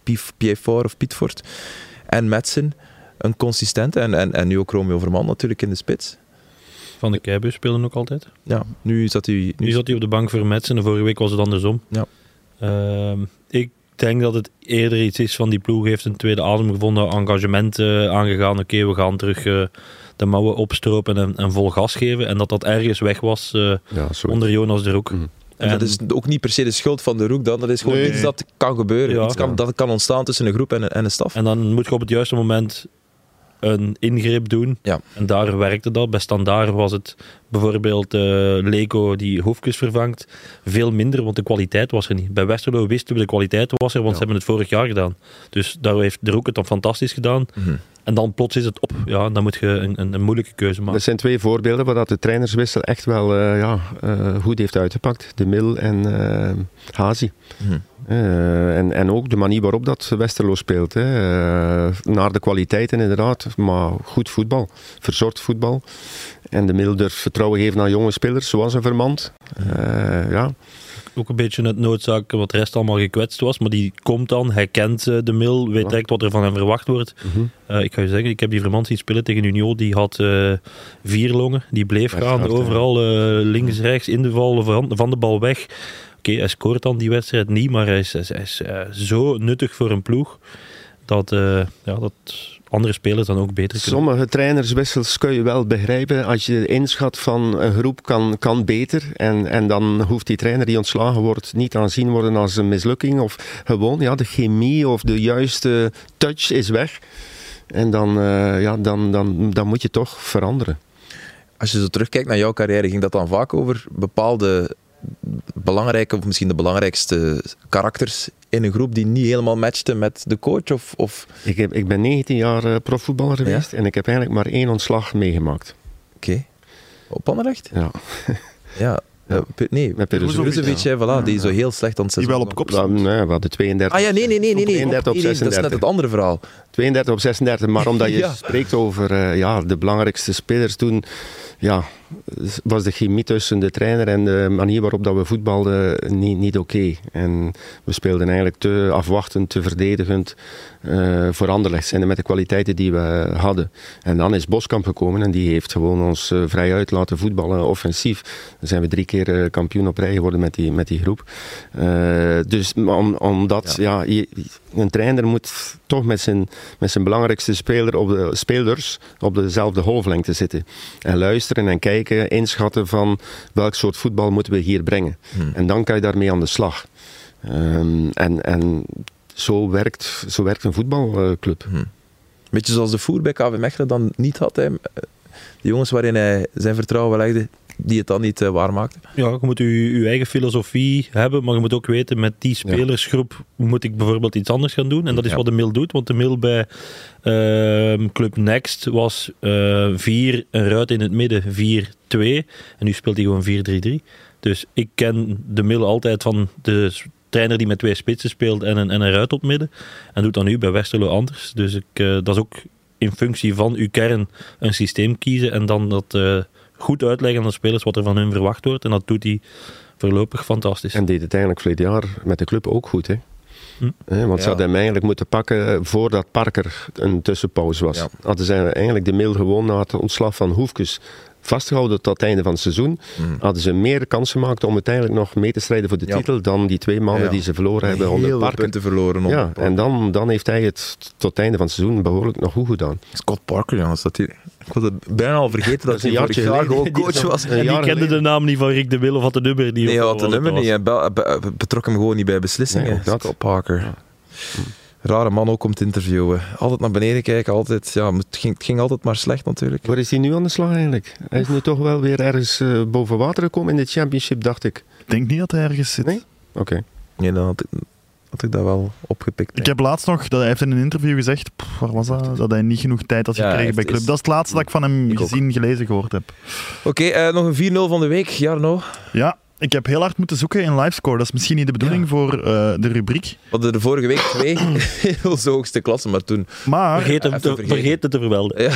Speaker 1: Pief- Piefort of Pietfort. En Metsen, een consistente. En, en, en nu ook Romeo Verman natuurlijk in de spits.
Speaker 2: Van de Keibus speelde ook altijd.
Speaker 1: Ja, nu zat hij...
Speaker 2: Nu zat hij op de bank voor Metsen en vorige week was het andersom.
Speaker 1: Ja.
Speaker 2: Ehm, ik denk dat het eerder iets is van die ploeg heeft een tweede adem gevonden, engagement eh, aangegaan. Oké, we gaan terug eh, de mouwen opstropen en, en vol gas geven. En dat dat ergens weg was eh,
Speaker 3: Ja, sorry.
Speaker 2: onder Jonas de Roek.
Speaker 3: Mhm.
Speaker 1: En dat is ook niet per se de schuld van de Roek dan. Dat is gewoon
Speaker 3: Nee.
Speaker 1: iets dat kan gebeuren.
Speaker 2: Ja.
Speaker 1: Iets kan,
Speaker 3: Ja.
Speaker 1: dat kan ontstaan tussen een groep en een, en een staf.
Speaker 2: En dan moet je op het juiste moment een ingreep doen.
Speaker 1: Ja.
Speaker 2: En daar werkte dat. Bij standaard was het bijvoorbeeld eh Leko die Hoefkes vervangt. Veel minder, want de kwaliteit was er niet. Bij Westerlo wisten we de kwaliteit was er, want ze hebben het vorig jaar gedaan. Dus daar heeft de Roek het dan fantastisch gedaan.
Speaker 1: Mhm.
Speaker 2: En dan plots is het op. Ja, en dan moet je een, een, een moeilijke keuze maken.
Speaker 3: Dat zijn twee voorbeelden waar dat de trainerswissel echt wel eh, ja, eh, goed heeft uitgepakt. De Mil en eh Hazi.
Speaker 1: Mhm.
Speaker 3: Eh, en, en ook de manier waarop dat Westerlo speelt. Hè. Eh, naar de kwaliteiten inderdaad, maar goed voetbal. Verzorgd voetbal. En de Mil durft vertrouwen geven aan jonge spelers, zoals een Vermand. Eh, ja.
Speaker 2: Ook een beetje het noodzaak wat de rest allemaal gekwetst was. Maar die komt dan, hij kent eh, de mil, weet
Speaker 3: Ja.
Speaker 2: direct wat er van hem verwacht wordt.
Speaker 3: Mhm.
Speaker 2: Eh, ik ga je zeggen, ik heb die Vermand zien spelen tegen Union. Die had eh, vier longen. Die bleef
Speaker 3: Echt
Speaker 2: gaan.
Speaker 3: hard, hè?
Speaker 2: overal eh, links, rechts, in de val, van, van de bal weg. Oké, hij scoort dan die wedstrijd niet. Maar hij is, hij is- hij is, eh, zo nuttig voor een ploeg. Dat, eh, ja, dat andere spelers dan ook beter kunnen.
Speaker 3: Sommige trainerswissels kun je wel begrijpen als je inschat van een groep kan, kan beter. En, en dan hoeft die trainer die ontslagen wordt niet aanzien worden als een mislukking. Of gewoon, ja, de chemie of de juiste touch is weg. En dan, eh, ja, dan, dan, dan moet je toch veranderen.
Speaker 1: Als je zo terugkijkt naar jouw carrière, ging dat dan vaak over bepaalde belangrijke, of misschien de belangrijkste karakters in een groep die niet helemaal matchten met de coach? Of, of...
Speaker 3: Ik, heb, ik ben 19 jaar eh, profvoetballer geweest en ik heb eigenlijk maar één ontslag meegemaakt.
Speaker 1: Oké. Op Anderlecht?
Speaker 3: Ja.
Speaker 1: Ja. Eh, Pe- nee,
Speaker 3: Met Peruzovic,
Speaker 1: Peruzovic, hè, voilà, die zo heel slecht aan het
Speaker 4: Die
Speaker 1: seizoen
Speaker 4: wel op
Speaker 1: was.
Speaker 4: kop
Speaker 3: Ja,
Speaker 4: staat.
Speaker 3: nee, eh, we hadden 32
Speaker 1: Ah ja, nee, nee, nee, nee, nee.
Speaker 3: 31 op
Speaker 1: Nee, nee, dat is net
Speaker 3: 36.
Speaker 1: het andere verhaal.
Speaker 3: 32 op 36, maar omdat je
Speaker 1: Ja.
Speaker 3: spreekt over eh, ja, de belangrijkste spelers toen, ja, was de chemie tussen de trainer en de manier waarop dat we voetbalden niet, niet oké. En we speelden eigenlijk te afwachtend, te verdedigend eh voor Anderlecht, zijnde met de kwaliteiten die we hadden. En dan is Boskamp gekomen en die heeft gewoon ons eh, vrij uit laten voetballen, offensief. Dan zijn we drie keer eh, kampioen op rij geworden met die, met die groep. Eh, dus maar om, omdat ja. je- een trainer moet toch met zijn, met zijn belangrijkste speler op de, spelers op dezelfde golflengte zitten. En luisteren en kijken, inschatten van welk soort voetbal moeten we hier brengen.
Speaker 1: Hmm.
Speaker 3: En dan kan je daarmee aan de slag. Ehm, en en zo, werkt, zo werkt een voetbalclub.
Speaker 1: Beetje zoals de voer bij KV Mechelen dan niet had. Hè. De jongens waarin hij zijn vertrouwen legde, die het dan niet eh, waarmaakte.
Speaker 2: Ja, je moet je, je eigen filosofie hebben, maar je moet ook weten met die spelersgroep moet ik bijvoorbeeld iets anders gaan doen. En dat is
Speaker 1: Ja.
Speaker 2: wat de mail doet, want de mail bij ehm, Club Next was eh, vier een ruit in het midden, 4-2. En nu speelt hij gewoon 4-3-3. Dus ik ken de mail altijd van de s- trainer die met twee spitsen speelt en een, en een ruit op het midden. En doet dat nu bij Westerlo anders. Dus ik, eh, dat is ook in functie van uw kern een systeem kiezen en dan dat eh, goed uitleggen aan de spelers wat er van hun verwacht wordt. En dat doet hij voorlopig fantastisch.
Speaker 3: En deed het eigenlijk verleden jaar met de club ook goed. Hè?
Speaker 2: Hm.
Speaker 3: Hè, want
Speaker 1: Ja.
Speaker 3: ze hadden hem eigenlijk moeten pakken voordat Parker een tussenpauze was.
Speaker 1: Ja.
Speaker 3: Hadden ze eigenlijk de mail gewoon na het ontslag van Hoefkes vastgehouden tot het einde van het seizoen. Hadden ze meer kansen gemaakt om uiteindelijk nog mee te strijden voor de
Speaker 1: Hm. Ja.
Speaker 3: titel dan die twee maanden
Speaker 1: Ja.
Speaker 3: die ze verloren hebben onder
Speaker 1: Heel veel
Speaker 3: Parker.
Speaker 1: punten verloren. onder
Speaker 3: Ja,
Speaker 1: Parker.
Speaker 3: en dan, dan heeft hij het tot het einde van het seizoen behoorlijk nog goed gedaan.
Speaker 1: Scott Parker, jongens. Dat die, ik was het bijna al vergeten dat,
Speaker 3: is een
Speaker 1: hij vorig
Speaker 3: jaartje
Speaker 1: jaar
Speaker 3: geleden.
Speaker 1: gewoon coach was.
Speaker 3: Een
Speaker 2: En die
Speaker 3: jaar
Speaker 2: kende de
Speaker 3: geleden.
Speaker 2: naam niet van Rick de Wille of had de nummer niet.
Speaker 1: Nee, hij
Speaker 2: of
Speaker 1: had
Speaker 2: wat
Speaker 1: het
Speaker 2: het
Speaker 1: nummer
Speaker 2: was.
Speaker 1: niet. Hij bel- be- be- betrok hem gewoon niet bij beslissingen.
Speaker 3: Nee, ook dat.
Speaker 1: Scott Parker. Rare man ook om te interviewen. Altijd naar beneden kijken. Altijd, ja, het, ging, het ging altijd maar slecht natuurlijk.
Speaker 3: Waar is hij nu aan de slag eigenlijk? Hij is nu toch wel weer ergens eh, boven water gekomen in de championship, dacht ik.
Speaker 4: Ik denk niet dat hij ergens zit.
Speaker 3: Nee? Oké.
Speaker 1: Nee, dan had ik, had ik dat wel opgepikt.
Speaker 4: Ik heb laatst nog, dat, hij heeft in een interview gezegd, pff, waar was dat? Dat hij niet genoeg tijd had
Speaker 1: Ja,
Speaker 4: gekregen
Speaker 1: hij
Speaker 4: bij
Speaker 1: heeft-
Speaker 4: club. Dat is het laatste dat ik van hem
Speaker 1: Ik ook.
Speaker 4: gezien, gelezen, gehoord heb.
Speaker 1: Oké, eh, nog een 4-0 van de week. Jarno.
Speaker 4: Ja, ik heb heel hard moeten zoeken in livescore. Dat is misschien niet de bedoeling voor eh, de rubriek.
Speaker 1: We hadden er vorige week twee in onze hoogste klasse, maar toen...
Speaker 4: Maar
Speaker 2: Vergeet
Speaker 1: Even
Speaker 2: het, te,
Speaker 1: vergeten.
Speaker 2: vergeet het te vermelden.
Speaker 1: Ja.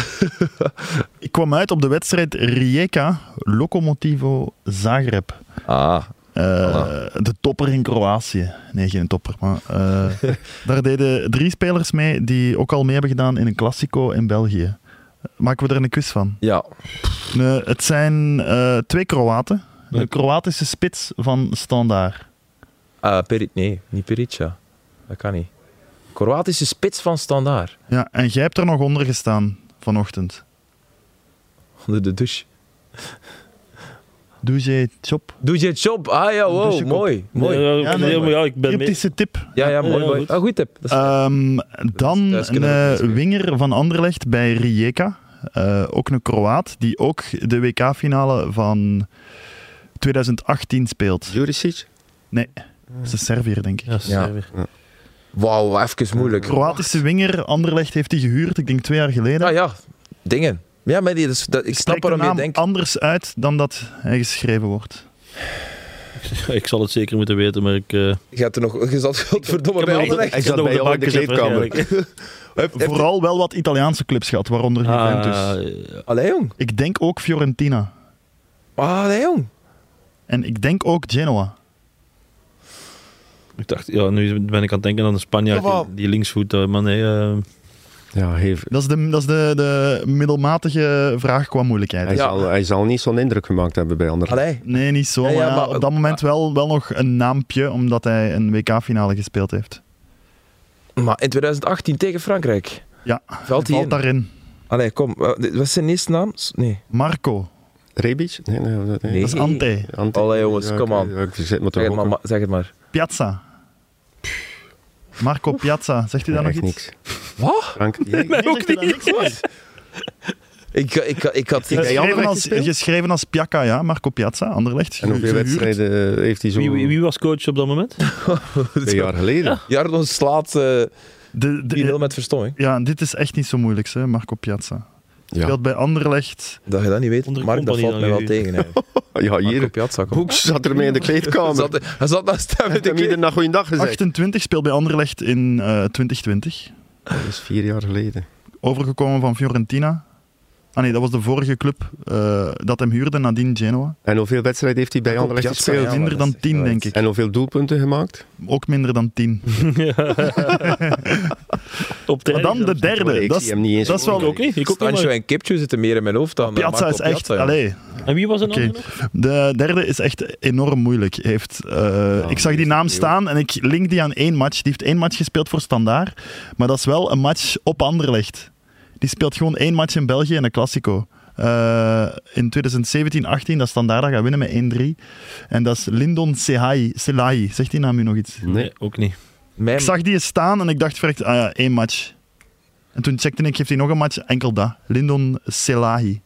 Speaker 4: ik kwam uit op de wedstrijd Rijeka Locomotivo Zagreb.
Speaker 1: Ah,
Speaker 4: Eh, De topper in Kroatië. Nee, geen topper. Maar, eh, daar deden drie spelers mee die ook al mee hebben gedaan in een Classico in België. Maken we er een quiz van?
Speaker 1: Ja,
Speaker 4: Nee, het zijn eh, twee Kroaten. De
Speaker 2: Nee.
Speaker 4: Kroatische spits van Standaard.
Speaker 1: Ah, Peric, nee, niet Perica. Dat kan niet. Kroatische spits van standaard.
Speaker 4: Ja, en jij hebt er nog onder gestaan vanochtend.
Speaker 1: Onder de douche.
Speaker 4: Doezee Chop.
Speaker 1: Doe je job. Ah ja, wow,
Speaker 4: Douchekop.
Speaker 1: mooi. mooi.
Speaker 2: Nee,
Speaker 4: Ja,
Speaker 2: ja,
Speaker 4: nee,
Speaker 2: nee, maar ja, ik ben mee.
Speaker 4: Cryptische tip.
Speaker 1: ja, ja, mooi.
Speaker 2: ja,
Speaker 1: mooi.
Speaker 2: goed.
Speaker 1: Ah, goed tip. Dat is-
Speaker 4: Ehm, dan
Speaker 1: Dat is
Speaker 4: een
Speaker 1: thuis kunnen we
Speaker 4: eh,
Speaker 1: niet
Speaker 4: winger van Anderlecht bij Rijeka. Eh, ook een Kroaat die ook de WK-finale van 2018 speelt.
Speaker 3: Juricic?
Speaker 4: Dat is de Serviër, denk ik.
Speaker 2: Ja, Servier.
Speaker 1: Wauw, even moeilijk.
Speaker 4: Kroatische winger, Anderlecht heeft die gehuurd, ik denk twee jaar geleden.
Speaker 1: Ah ja, dingen. Ja, maar die, dus, dat, ik snap
Speaker 4: Spreek de
Speaker 1: waarom je
Speaker 4: naam
Speaker 1: denkt.
Speaker 4: anders uit dan dat hij geschreven wordt.
Speaker 2: ik zal het zeker moeten weten, maar ik... eh,
Speaker 1: Je, hebt er nog, je zat godverdomme
Speaker 2: ik heb
Speaker 1: bij
Speaker 2: nog-
Speaker 1: Anderlecht.
Speaker 3: Hij
Speaker 2: ik heb
Speaker 3: zat
Speaker 2: nog
Speaker 3: bij
Speaker 2: op
Speaker 3: jou in de
Speaker 2: bank gezeten
Speaker 3: kleedkamer.
Speaker 2: waarschijnlijk.
Speaker 1: Heb- heb-
Speaker 4: Vooral wel wat Italiaanse clubs gehad, waaronder Juventus.
Speaker 2: Ah,
Speaker 1: Allee, jong.
Speaker 4: Ik denk ook Fiorentina.
Speaker 1: Ah, allee, jong.
Speaker 4: En ik denk ook Genoa.
Speaker 2: Ah, Ik dacht, ja, nu ben ik aan het denken aan de Spanjaard,
Speaker 1: Jawel.
Speaker 2: die, die linksvoet, eh, maar nee, eh,
Speaker 3: Ja, hij,
Speaker 4: Dat is de, dat is de, de middelmatige vraag qua moeilijkheid.
Speaker 3: hij, zal, hij zal niet zo'n indruk gemaakt hebben bij anderen.
Speaker 1: Allee.
Speaker 4: Nee, niet zo.
Speaker 1: Ja, ja,
Speaker 4: maar ja,
Speaker 1: maar-
Speaker 4: op dat moment wel, wel nog een naampje, omdat hij een WK-finale gespeeld heeft.
Speaker 1: Maar in 2018 tegen Frankrijk.
Speaker 4: Ja,
Speaker 1: Valt hij
Speaker 4: Valt
Speaker 1: in?
Speaker 4: daarin.
Speaker 1: Allee, kom. eh, dit- Wat is zijn eerste naam? S- Nee.
Speaker 4: Marco,
Speaker 3: Rebic? Nee, nee. nee.
Speaker 1: Nee.
Speaker 4: dat is Ante.
Speaker 3: Ante-
Speaker 1: Allee, jongens,
Speaker 3: Ja, ik-
Speaker 1: come on.
Speaker 3: ja, ik zit met de
Speaker 1: Zeg het maar.
Speaker 3: hokken.
Speaker 1: ma- Zeg het maar.
Speaker 4: Piazza. Marco Piazza, zegt u daar nog
Speaker 3: Echt
Speaker 4: iets?
Speaker 3: niks.
Speaker 1: Wat?
Speaker 3: Frank, jij-
Speaker 4: Nee, zegt u daar niks van?
Speaker 1: Ik, ik, ik had...
Speaker 3: Bij
Speaker 4: Geschreven
Speaker 3: Anderlecht
Speaker 4: als,
Speaker 3: gespeeld?
Speaker 4: geschreven als Piaka, ja, Marco Piazza, Anderlecht.
Speaker 3: En hoeveel
Speaker 4: gehuurd.
Speaker 3: wedstrijden eh, heeft hij zo
Speaker 2: wie, wie, wie was coach op dat moment?
Speaker 3: twee jaar geleden?
Speaker 1: Jarno slaat eh 3-0
Speaker 4: De, de-
Speaker 1: met verstomming.
Speaker 4: ja, dit is echt niet zo moeilijk, hè, Marco Piazza.
Speaker 3: Ja.
Speaker 4: Speelt bij Anderlecht.
Speaker 1: Dat je dat niet weet,
Speaker 2: Onder
Speaker 1: Mark, dat
Speaker 2: Company
Speaker 1: valt
Speaker 2: dan
Speaker 1: mij wel
Speaker 2: nu.
Speaker 1: tegen. eigenlijk.
Speaker 3: Ah, Ja,
Speaker 1: Marco
Speaker 3: hier.
Speaker 1: Piazza, kom.
Speaker 3: Hoeks zat ermee in de
Speaker 1: Hij
Speaker 3: kleedkamer.
Speaker 1: zat, hij zat naast hem in
Speaker 3: Heeft
Speaker 1: de
Speaker 3: hem iedere
Speaker 1: kleding.
Speaker 3: dag goeiedag gezegd.
Speaker 4: 28 speelt bij Anderlecht in eh, 2020.
Speaker 3: Dat is vier jaar geleden.
Speaker 4: Overgekomen van Fiorentina. Ah nee, dat was de vorige club eh, dat hem huurde, nadien Genoa.
Speaker 3: En hoeveel wedstrijden heeft hij bij
Speaker 1: Marco
Speaker 3: Anderlecht
Speaker 1: Piazza,
Speaker 3: gespeeld?
Speaker 1: ja. maar
Speaker 4: Minder
Speaker 1: dat
Speaker 4: dan
Speaker 1: is echt
Speaker 4: 10,
Speaker 1: wel
Speaker 4: denk
Speaker 1: iets.
Speaker 4: ik.
Speaker 3: En hoeveel doelpunten gemaakt?
Speaker 4: Ook minder dan 10.
Speaker 2: Op
Speaker 4: Maar dan
Speaker 2: training
Speaker 4: de
Speaker 2: zelfs.
Speaker 4: derde.
Speaker 3: Ik
Speaker 4: Dat
Speaker 3: zie
Speaker 4: is,
Speaker 3: hem niet eens.
Speaker 4: dat is wel
Speaker 2: Ik ook niet, ik ook niet,
Speaker 1: Stancho
Speaker 2: maar-
Speaker 1: en Kipchu zitten meer in mijn hoofd dan eh,
Speaker 4: Piazza
Speaker 1: Marco
Speaker 4: is echt...
Speaker 1: Piazza, ja.
Speaker 4: allee,
Speaker 2: En wie was een
Speaker 4: Oké.
Speaker 2: andere nog?
Speaker 4: de derde is echt enorm moeilijk. Hij Heeft, eh, ik zag die
Speaker 3: Ah, die
Speaker 4: naam
Speaker 3: is
Speaker 4: staan en ik link die aan één match. Die heeft één match gespeeld voor Standaard, maar dat is wel een match op Anderlecht. Die speelt gewoon één match in België in een Classico. Eh, in 2017-18 dat Standaard dat gaat winnen met 1-3. En dat is Lindon Sehai. Selahi. Zegt die naam u nog iets?
Speaker 3: Nee.
Speaker 2: ook niet.
Speaker 1: Mijn-
Speaker 4: Ik zag die eens staan en ik dacht verrekt, ah ja, één match. En toen checkte ik, heeft hij nog een match? Enkel dat. Lindon Selahi.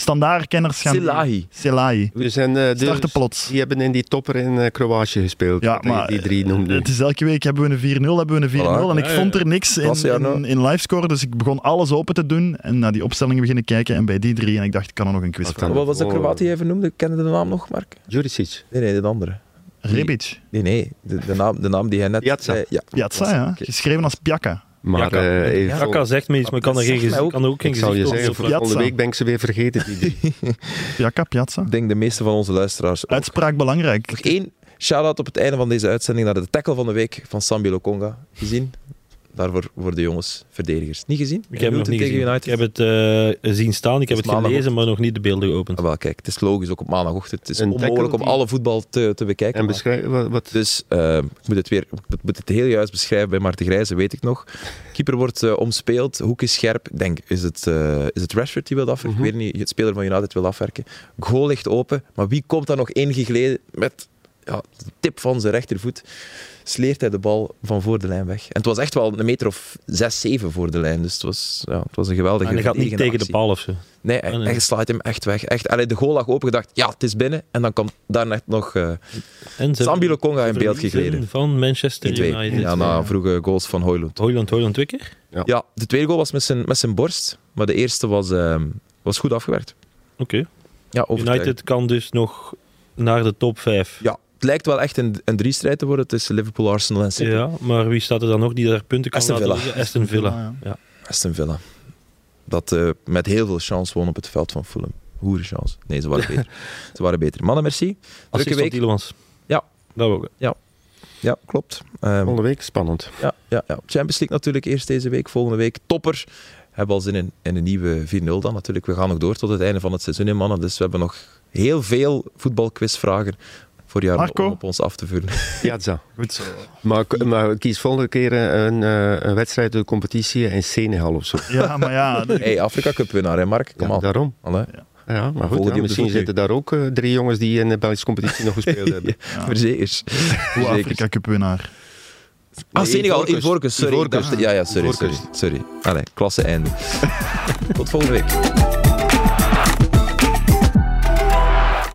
Speaker 4: Standaardkenners gaan...
Speaker 1: Selahi.
Speaker 4: Selahi.
Speaker 3: Dus en, eh, dus
Speaker 4: Startte plots.
Speaker 3: Die hebben in die topper in eh, Kroatië gespeeld.
Speaker 4: Ja,
Speaker 3: dat je
Speaker 4: maar,
Speaker 3: die drie noemde.
Speaker 4: Het is elke week hebben we een 4-0, hebben we een 4-0.
Speaker 1: Voilà. nou.
Speaker 4: En ik
Speaker 2: Ja, ja.
Speaker 4: vond er niks in,
Speaker 1: Klasse, Arno.
Speaker 4: in, in livescore, dus ik begon alles open te doen. En naar die opstellingen beginnen kijken en bij die drie. En ik dacht, ik kan er nog een quiz
Speaker 3: Wat
Speaker 4: van.
Speaker 1: Wat was de Kroaat die even noemde? Kende de naam nog, Mark?
Speaker 3: Juricic.
Speaker 1: Nee, nee, de andere.
Speaker 4: Rebic.
Speaker 1: Nee, nee. De, de naam, de naam die hij net...
Speaker 3: Piazza.
Speaker 1: zei, ja.
Speaker 4: Piazza, ja.
Speaker 1: Oké.
Speaker 4: Geschreven als Piaka.
Speaker 3: Maar
Speaker 2: Jaka.
Speaker 3: eh, even-
Speaker 2: Jaka zegt me iets, maar ik kan er geen
Speaker 1: zegt mij
Speaker 2: gezicht-
Speaker 1: ook-
Speaker 2: kan er ook geen
Speaker 3: ik zou je
Speaker 2: gezicht
Speaker 3: zeggen,
Speaker 2: op
Speaker 3: voor
Speaker 4: Piazza.
Speaker 3: volgende week ben ik ze weer vergeten. Die drie.
Speaker 4: Piaka, Piazza.
Speaker 1: Ik denk de meeste van onze luisteraars ook.
Speaker 4: Uitspraak belangrijk.
Speaker 1: Nog één shout-out op het einde van deze uitzending naar de tackle van de week van Sambi Lokonga. Gezien? Daarvoor voor de jongens verdedigers. Niet gezien?
Speaker 2: Ik heb hem nog
Speaker 1: Newton
Speaker 2: niet gezien. Ik heb het eh, zien staan, ik
Speaker 1: Het
Speaker 2: heb het
Speaker 1: is maandag.
Speaker 2: gelezen, maar nog niet de beelden geopend.
Speaker 1: Ah, wel, kijk, het is logisch, ook op maandagochtend. Het is
Speaker 3: Een
Speaker 1: onmogelijk
Speaker 3: tackle
Speaker 1: om
Speaker 3: die-
Speaker 1: alle voetbal te, te bekijken.
Speaker 3: En
Speaker 1: maar-
Speaker 3: beschrijf wat. wat
Speaker 1: Dus eh, ik, moet het weer, ik moet het heel juist beschrijven bij Maarten Grijze, weet ik nog. Keeper wordt eh, omspeeld, hoek is scherp. Ik Denk, is het, eh, is het Rashford die wil afwerken?
Speaker 2: Mhm.
Speaker 1: Ik weet niet, het speler van United wil afwerken. Goal ligt open, maar wie komt daar nog ingegleden met ja, de tip van zijn rechtervoet? Sleert hij de bal van voor de lijn weg. En het was echt wel een meter of zes, zeven voor de lijn. Dus het was, ja, het was een geweldige
Speaker 2: En hij gaat niet
Speaker 1: verdedigende
Speaker 2: tegen de
Speaker 1: actie.
Speaker 2: paal of zo.
Speaker 1: Nee, hij,
Speaker 2: Ah, nee.
Speaker 1: hij slaat hem echt weg. Echt, allee, de goal lag open, gedacht, ja, het is binnen. En dan komt daarnet nog eh
Speaker 2: En ze
Speaker 1: Sambi Lokonga in beeld
Speaker 2: verliezen
Speaker 1: gegleden.
Speaker 2: Van Manchester
Speaker 1: In twee.
Speaker 2: United.
Speaker 1: Ja, Oh. na vroege goals van Hoylund.
Speaker 2: Hoyland, Hoyland twee keer?
Speaker 1: Ja, de tweede goal was met zijn, met zijn borst, maar de eerste was, ehm, was goed afgewerkt.
Speaker 2: Oké.
Speaker 1: Ja, overtuigend.
Speaker 2: United kan dus nog naar de top 5.
Speaker 1: Ja, het lijkt wel echt een, een drie-strijd te worden tussen Liverpool, Arsenal en City.
Speaker 2: Ja, maar wie staat er dan nog die daar punten kan
Speaker 1: Aston
Speaker 2: laten
Speaker 1: Villa.
Speaker 2: liggen? Aston Villa.
Speaker 4: Ja,
Speaker 1: Aston Villa. Dat eh, met heel veel chance won op het veld van Fulham. Hoerenchance. Nee, ze waren beter. ze waren beter. Mannen, merci. Drukke
Speaker 2: Assist van
Speaker 1: week.
Speaker 2: Tielemans.
Speaker 1: Ja,
Speaker 2: Dat ook.
Speaker 1: Ja, klopt. Ehm,
Speaker 2: Oh.
Speaker 3: Volgende week, spannend.
Speaker 1: ja, ja, ja. Champions League natuurlijk eerst deze week, volgende week topper. Hebben al zin in, in een nieuwe 4-0 dan natuurlijk. We gaan nog door tot het einde van het seizoen, hè, mannen. Dus we hebben nog heel veel voetbalquizvragen voor jou
Speaker 4: Marco?
Speaker 1: om op ons af te vuren.
Speaker 3: Piazza.
Speaker 4: Goed zo.
Speaker 3: Maar, k- maar kies volgende keer een, eh, een wedstrijd uit de competitie in Senegal of zo.
Speaker 4: Ja, maar ja. de-
Speaker 1: Hey, Afrika Cup winnaar, hè Mark? Kom
Speaker 3: Ja,
Speaker 1: aan.
Speaker 3: daarom.
Speaker 1: Al, hè.
Speaker 3: Ja, maar
Speaker 1: Volgen
Speaker 3: goed,
Speaker 1: die
Speaker 3: ja,
Speaker 1: op de
Speaker 3: misschien
Speaker 1: voet nu?
Speaker 3: zitten daar ook eh, drie jongens die in de Belgische competitie nog gespeeld hebben.
Speaker 4: Ja.
Speaker 1: Verzekers.
Speaker 4: Hoe
Speaker 1: Zeker.
Speaker 4: Afrika Cup winnaar.
Speaker 1: Ah,
Speaker 3: Nee,
Speaker 1: Senegal,
Speaker 3: Ivoorkust.
Speaker 1: Ivorcus, sorry. ik
Speaker 3: Ivoorkust.
Speaker 1: dacht- Ja, ja, sorry, sorry.
Speaker 3: Ivoorkust.
Speaker 1: sorry. Allee, klasse einde. Tot volgende week.